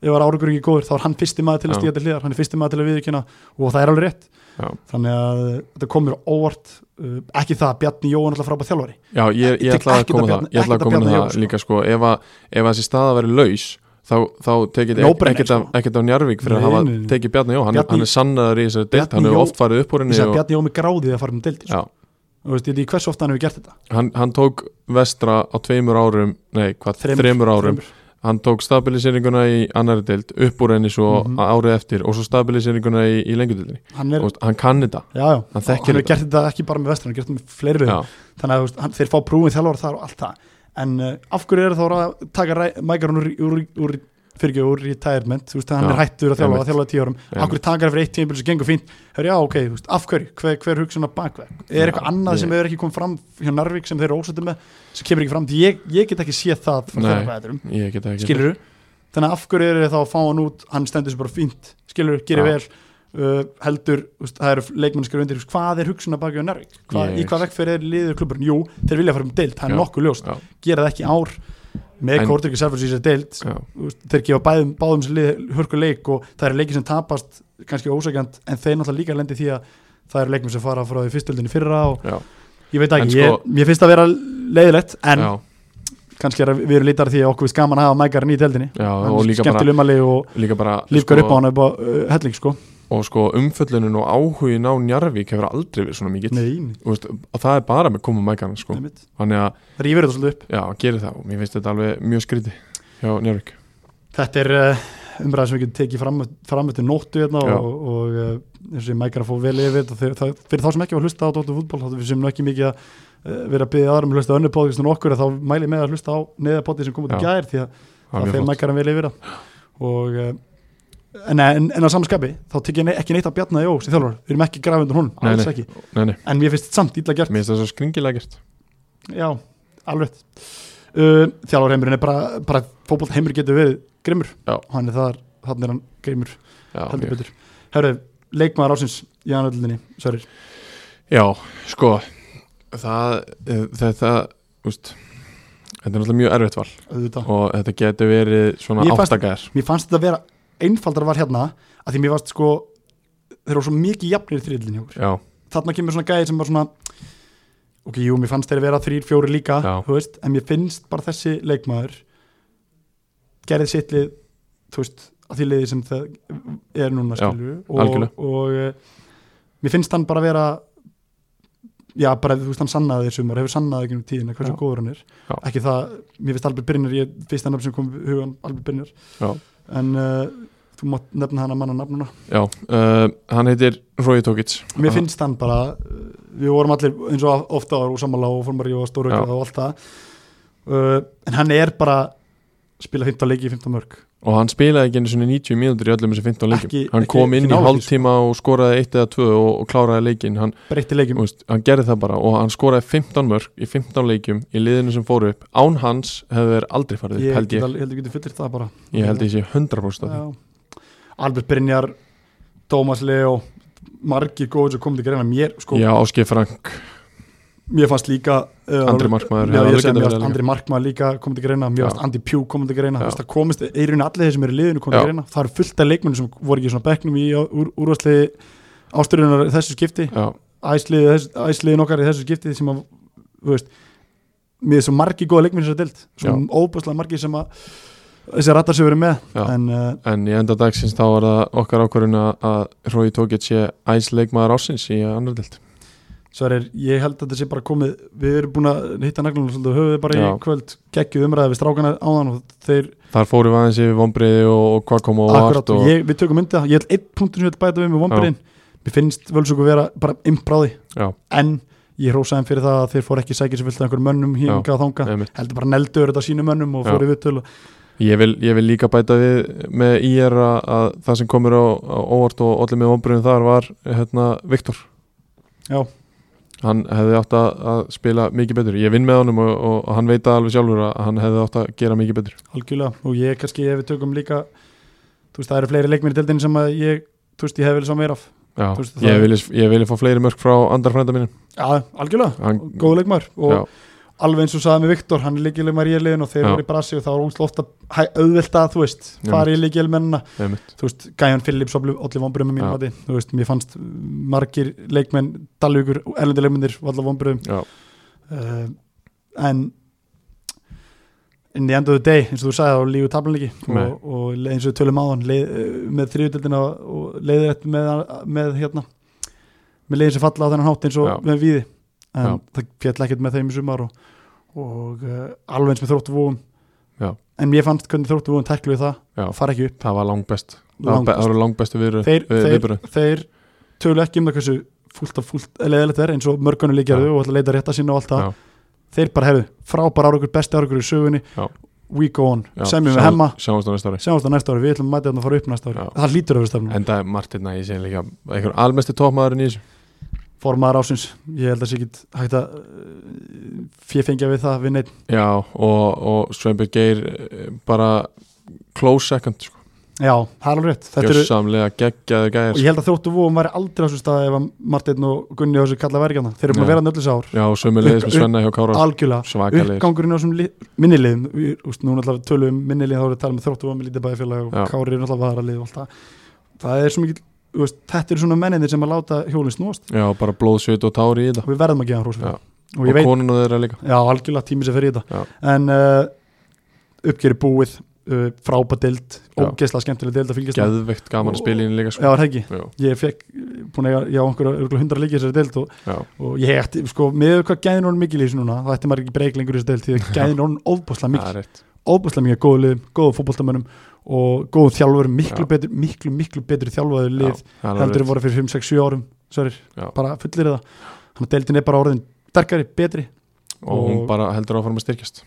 A: ef það er áraugurinn ekki góður þá er hann fyrsti maður til að
B: Já.
A: stíða til hliðar hann er fyrsti maður til að viðkynna og það er alveg rétt
B: Já.
A: þannig að uh, þetta komur óvart uh, ekki það að Bjarni Jóhann alltaf frábæð þjálfari
B: Já, ég,
A: Ég
B: ég
A: tek
B: ætla að
A: ekkert að
B: koma að það,
A: Bjarna-
B: ég
A: ekkert
B: ætla að
A: að
B: koma að
A: Bjarna
B: það
A: Jóhanns, sko.
B: líka sko, ef, að, ef þessi staða verið laus þá, þá tekið
A: No
B: no
A: brainer,
B: ekkert af,
A: sko.
B: ekkert af Njarvík fyrir
A: Nei,
B: að hafa
A: nei, nei.
B: tekið Bjarni Jó, hann,
A: Bjarni-
B: hann er sannaður í þessari deilt,
A: Bjarni
B: hann
A: Jó-
B: hefur oft farið upp úr
A: ég
B: henni
A: sagði að
B: og,
A: Bjarni Jóhann er gráðið að fara um deildi sko.
B: já,
A: og veist, ég lík hversu ofta hann hefur gert þetta
B: hann, hann tók vestra á tveimur árum, nei hvað,
A: Þremur.
B: þremur, árum,
A: Fremur.
B: hann tók stabiliseringuna í annari deilt, upp úr henni svo
A: Mhm.
B: árið eftir og svo stabiliseringuna í, í lengjudeildinni,
A: hann er,
B: Og hann kann þetta
A: já, já,
B: hann
A: hann
B: þekkir
A: hefur
B: þetta
A: gert þetta ekki bara með vestur hann hefur gert þetta með fleiri liðum.
B: já,
A: þannig að þú veist, hann, þeir fá prúfin þjálfur þar og allt það en uh, af hverju er þá ráð að taka mækarun úr, úr, úr, fyrir ekki úr retirement þú veist, hann
B: Já,
A: er hættur að þjálfa,
B: einmitt.
A: að þjálfa í tíu árum
B: Einmitt.
A: af hverju taka hann fyrir eitt tímpil sem gengur fínt hör já, ok, þú veist, af hverju, hver, hver hugsun að bakveg
B: Já,
A: er eitthvað annað sem
B: ég-
A: hefur ekki komið fram hjá Narvik sem þeir eru ósættu með, sem kemur ekki fram því ég, ég get ekki séð það frá
B: Nei.
A: þeirra bæðurum
B: ég geta ekki
A: skilur þannig að af hverju eru þið þá að fá hann út hann stendur sér bara fínt, skilur gerir
B: Já.
A: vel uh, heldur, þú veist, það eru leikmenn skilur undir, þú veist, hvað er hugsun að baka á Narvik hvað,
B: Ég-
A: í hvað vekkferð er liður klubburinn, jú þeir vilja fara um deild, það er
B: Já.
A: nokkuð ljóst
B: Já,
A: gera það ekki í ár með
B: En-
A: Kortrykki Selfoss í sér deild
B: já,
A: þú veist, þeir gefa bæðum, báðum sér lið, hörku leik og það eru leiki sem tapast kannski ósækjand, en þeir náttúrulega líka lendi í því að það eru leikmenn sem fara frá því fyrstöldinni fyrra og
B: já,
A: ég veit
B: En
A: ekki,
B: sko-
A: ég, ég finnst það vera leiðilegt en
B: já,
A: kannski er, að við erum lítar því að okkur við skaman að hafa mækarinn í deildinni
B: já
A: Hann
B: og
A: er
B: líka bara
A: skemmtileg umali og
B: líka bara
A: lífgar
B: sko,
A: upp á hann upp á uh, helling sko
B: og sko umföllunum og áhugin á Njarvík hefur aldrei verið svona mikill
A: Nei,
B: Þú veist, og það er bara með koma mækana sko.
A: nefnitt
B: þannig að,
A: Það rýfur þetta svolítið upp
B: já, hann gerir það og mér finnst þetta alveg mjög skríti hjá Njarvík
A: Þetta er uh, umræða sem við getum tekið fram, fram eftir nóttu hérna
B: Já.
A: og, og uh, eins og ég mækar að fá vel yfir þetta Þegar- það- fyrir þá sem ekki var að hlusta á Dóttu fútból þá sem nú ekki mikið að uh, vera að byggja aðrum að hlusta á önnu podcast en okkur þá mæli ég með að hlusta á neðapotti sem kom út í
B: Já.
A: gær því að
B: Það er
A: það
B: mjög
A: fer
B: flott.
A: mækaran vel yfir það og eh, en, en, en að samskapi þá tek ég ne ekki neitt að bjarna Jó sem þjálfur, við erum ekki grafið undan honum,
B: Nei,
A: alls
B: nei.
A: ekki
B: nei, nei,
A: en mér finnst þetta samt illa gert
B: mér finnst það svo skringilega gert
A: já, alveg uh, þjálfurheimurinn er bara, bara fótbolt heimur getur verið grimmur
B: Já.
A: hann er þar, hann er hann grimmur
B: já,
A: heldur
B: mjög.
A: betur herru, leikmaður ásins í anöldinni, sörri
B: já sko það, eh, þetta úst, þetta er náttúrulega mjög erfitt val
A: auðvitað
B: og þetta getur verið svona
A: Mér fannst-
B: áttakar
A: mér fannst þetta að vera einfaldar var hérna að því mér fannst sko þeir eru svo mikið jafnir í þriðlinni hjá okkur
B: já,
A: þarna kemur svona gæði sem bara svona ok, jú, mér fannst þeir vera þrýr, fjóri líka
B: Já.
A: þú veist, en mér finnst bara þessi leikmaður gerði sitt lið þú veist, að því liði sem það er núna
B: Já,
A: skilur
B: algjörlega.
A: og, og eh, mér finnst hann bara vera já, bara þú veist, hann sannaði þér sumar hefur sannaði ekki um tíðina, hversu
B: Já.
A: góður hann er
B: Já.
A: ekki það, mér finnst Albert Brynjar ég finnst hann sem kom í hugan Albert Brynjar
B: Já.
A: en uh, þú mátt nefna hann að manna nafnuna
B: já uh, hann heitir Rói Tókic
A: Mér finnst hann bara, uh, við vorum allir eins og ofta ára og samanlega og fórum að rífa stóru
B: Já.
A: og allt það uh, en hann er bara spila 15 leiki í 15 mörg
B: og hann spilaði ekki einu sinni 90 mínútur í öllum þessi 15 leikjum
A: Ekki-
B: hann
A: ekki- sko.
B: kom inn
A: ekki
B: í
A: nálægt því,
B: hálftíma og skoraði eitt eða tvö og, og kláraði leikin hann,
A: breytti leikim,
B: úst, hann gerði það bara og hann skoraði 15 mörg í 15 leikjum í liðinu sem fóru upp án hans hefur þeir aldrei farið upp
A: ég held
B: held
A: að
B: ég,
A: þú getur fullir það bara
B: ég held ég sé 100% af því.
A: Já. Albert Brynjar Tómas Leo margir góður sem komið til greina mér, sko,
B: já, Áskei Frank,
A: mér fannst líka uh,
B: Andri Markmaður
A: Já,
B: hefði
A: ég
B: alveg
A: segi, mér
B: getað verið
A: varst
B: líka.
A: Andri Markmaður líka komið til greina, mér
B: Já.
A: varst Andi Pjú komið til greina,
B: Já.
A: þú veist, það komist, er í rauninni allir þeir sem eru í liðinu komið
B: Já.
A: til greina, það eru fullt af leikmennu sem voru ekki í svona bekknum í úr, úrvarsli ástörunar þessu skipti,
B: já,
A: æsliðin okkar í þessu skipti sem að, þú veist, mér er svo margi góða leikmenn sem er dild svo
B: Já.
A: óbúslega margi sem að þessi rattar sem verið með
B: Já.
A: en uh,
B: en í enda dagsins þá var það okkar ákvarðun að- að Rói Tókic sé æs leikmaður ásins í annar dild
A: Sverrir, ég held að þetta sé bara komið við erum búin að hitta naglunum svolítið á höfuðið bara
B: Já.
A: í kvöld, geggjuð umræði við strákana áðan og þeir
B: þar fórum við aðeins yfir vombriði og, og hvað kom á
A: akkurat,
B: vart og,
A: og ég, við tökum myndið það, ég held eitt punktur sem ég vil bæta við með vombriðin, mér finnst völsugu vera bara impráði,
B: Já.
A: en ég hrósaði þeim fyrir það að þeir fóru ekki sækir sem fyllt að einhverjum mönnum hinga og þanga,
B: Einmitt.
A: heldur bara neldur þetta sínu mönnum og
B: Já.
A: fóru við töl
B: Ég vil, ég vil líka bæta við með IR að, að það sem komur á, á óvart og allir með vonbrunum þar var hérna, Viktor
A: Já.
B: Hann hefði átt að, að spila mikið betur Ég vinn með honum og, og, og hann veit það alveg sjálfur að hann hefði átt að gera mikið betur
A: algjörlega og ég kannski ef við tökum líka þú veist það eru fleiri leikminn í deildin sem að ég þú veist ég hef vel sá meira af
B: Já,
A: Þú veist,
B: ég
A: það-
B: vil, ég vil fá fleiri mörg frá andar frænda mínum
A: já, algjörlega,
B: hann,
A: góð leikmar og
B: Já.
A: alveg eins og sagði með Viktor, hann er líkilegmar í liðin og þeir
B: Já.
A: voru í brasi og það var ósla ofta auðvelt að þú veist,
B: Einmitt.
A: fara í líkilegmennina
B: einmitt.
A: þú veist, Gæjan Phillips allir vonbröðum með
B: Já.
A: mínum hætti, þú veist, mér fannst margir leikmenn, dalvíkur erlendi leikmennir, allir vonbröðum
B: Já.
A: uh, en in the end of the day eins og þú sagði þá lígu tablan ekki
B: Nei.
A: og, og le- eins og við tölum á hann leið, eh, með þriðutildina og leiðir eftir með, með hérna með leiðin sem falla á þennan hátt eins og
B: Já.
A: með víði en
B: Já.
A: það fjall ekkert með þeim í sumar og, og uh, alveg eins með þróttu vóum
B: Já.
A: en mér fannst hvernig þróttu vóum tekluði það
B: Já.
A: fara ekki upp
B: Það var langbest Það var be-
A: langbest.
B: það voru langbestu viðbröð
A: þeir,
B: við,
A: þeir,
B: viðbröð.
A: þeir tölu ekki um það hversu fúlt að fúlt leiðilegt er eins og mörgunni
B: Já.
A: líkjarðu og ætla að leita rétta sína og allt það
B: Já.
A: þeir bara hefðu frábær ára okkur, besti ára okkur í sögunni
B: Já.
A: we go on,
B: Já,
A: semjum við
B: sjáumst-
A: hemma
B: Sjáumst á næsta ári
A: sjáumst það næsta ári, við ætlum að mæta þarna að fara upp næsta ári
B: Já.
A: það lítur öfur stefnum,
B: Enda er Martin að ég sé líka einhver almesti tópmaðurinn í þessu
A: formaðar ásins ég held að sé ekki hægt að fjöfengja við það við neitt
B: Já, og, og Sveinbjörn Geir eh, bara close second sko.
A: já, það er alveg rétt, þetta eru
B: Gjörsamlega geggjaður sko.
A: og
B: gæðir
A: ég held að þróttu vóum væri aldrei á þessu stað ef að Martin og Gunni á þessu kalla væri ekki þarna. þeir eru búin að
B: Nei.
A: vera nöllis ár,
B: Já, og sömulegis með
A: Upp-
B: Svenna hjá Kára sko.
A: algjörlega
B: Svakalegir
A: uppgangurinn á þessum li- minniliðum Við- úst, nú náttúrulega tölum við minniliðin þá erum við að tala með þróttu og með lítið bæjarfélag
B: Já.
A: og kári er náttúrulega varalið og allt það það er svo mikið, þú veist, þetta eru svona menninir sem að láta hjólinn snúast
B: Já, bara blóðsveit og tári í þetta
A: og við verðum að gefa hann hrós
B: Já.
A: fyrir það. og
B: Og,
A: ég veit,
B: konun og þeirra líka
A: já algjörlega tími sem fyrir þetta en uh, uppgjöri búið uh, frábadild,
B: Já.
A: ógeðslega skemmtileg dild að fylgjast með.
B: Geðveikt gaman að spila í henni líka
A: já,
B: sko.
A: er það ekki,
B: Já,
A: ég fekk búin að eiga- ég á einhverja örugglega 100 leiki í þessari dild og,
B: já,
A: og ég ætti, sko, með hvað gæðin orðin mikil í þessu núna, það ætti maður ekki breyk lengur í þessari dild því að gæðin orðin ofbúslega mikil
B: það er rétt
A: óbúslega mikið góðu liðum, góðu fótboltamönnum og góðu þjálfur, miklu
B: Já.
A: betur miklu, miklu betur þjálfaðu
B: Já,
A: lið
B: það er
A: heldur
B: alveg
A: en voru fyrir 5-6-7 árum Sverir,
B: Já.
A: bara fullir það þannig að deildin er bara orðin sterkari, betri
B: rétt Og hún
A: og-
B: bara heldur áfram að styrkjast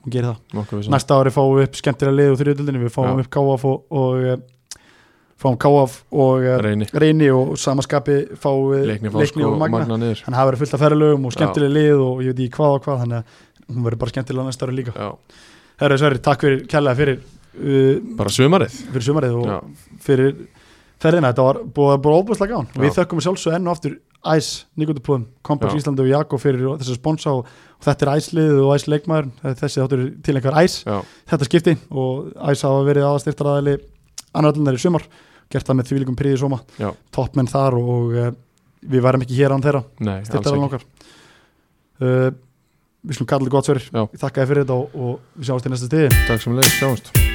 A: og gerir það.
B: Nokkuð við
A: Næsta ári fáum við upp skemmtilega lið og þriðutöldinni, við fáum
B: Já.
A: upp KF og, og eh, fáum KF og eh,
B: Reyni,
A: Reyni og samaskapi fáum við
B: leikni fá sko
A: Eh, og Magna,
B: Magna niður
A: þannig að það verður fullt af ferðalögum og
B: Já.
A: skemmtilega lið og ég veit ekki hvað og hvað þannig að hún verður bara skemmtilega næsta ári líka
B: Já,
A: Herra Sverir, takk fyrir kærlega fyrir uh,
B: bara sumarið
A: fyrir sumarið og
B: Já,
A: fyrir ferðina, þetta var búið að búið óbúðslega gán
B: Já.
A: við þökkum sjálfsög enn og aftur Æs, Nikotupúðum, Kompaks
B: Já.
A: Íslandi og Jakko fyrir þess að sponsa og, og þetta er Æsliðið og Æs leikmaður þessi þáttur er til einhver Æs
B: já,
A: þetta skipti og Æs hafa verið aðastyrtaraðili annaðlunar í sumar gert það með þvílikum príði soma
B: Já.
A: toppmenn þar og, og eh, við værum ekki hér án þeirra
B: nei, alls
A: styrtaraðan
B: ekki
A: okkar uh, við slum kalla þetta gott sverir
B: Já.
A: þakka þér fyrir þetta og, og við sjáumst í næsta stiði
B: Takk sem leið, sjáumst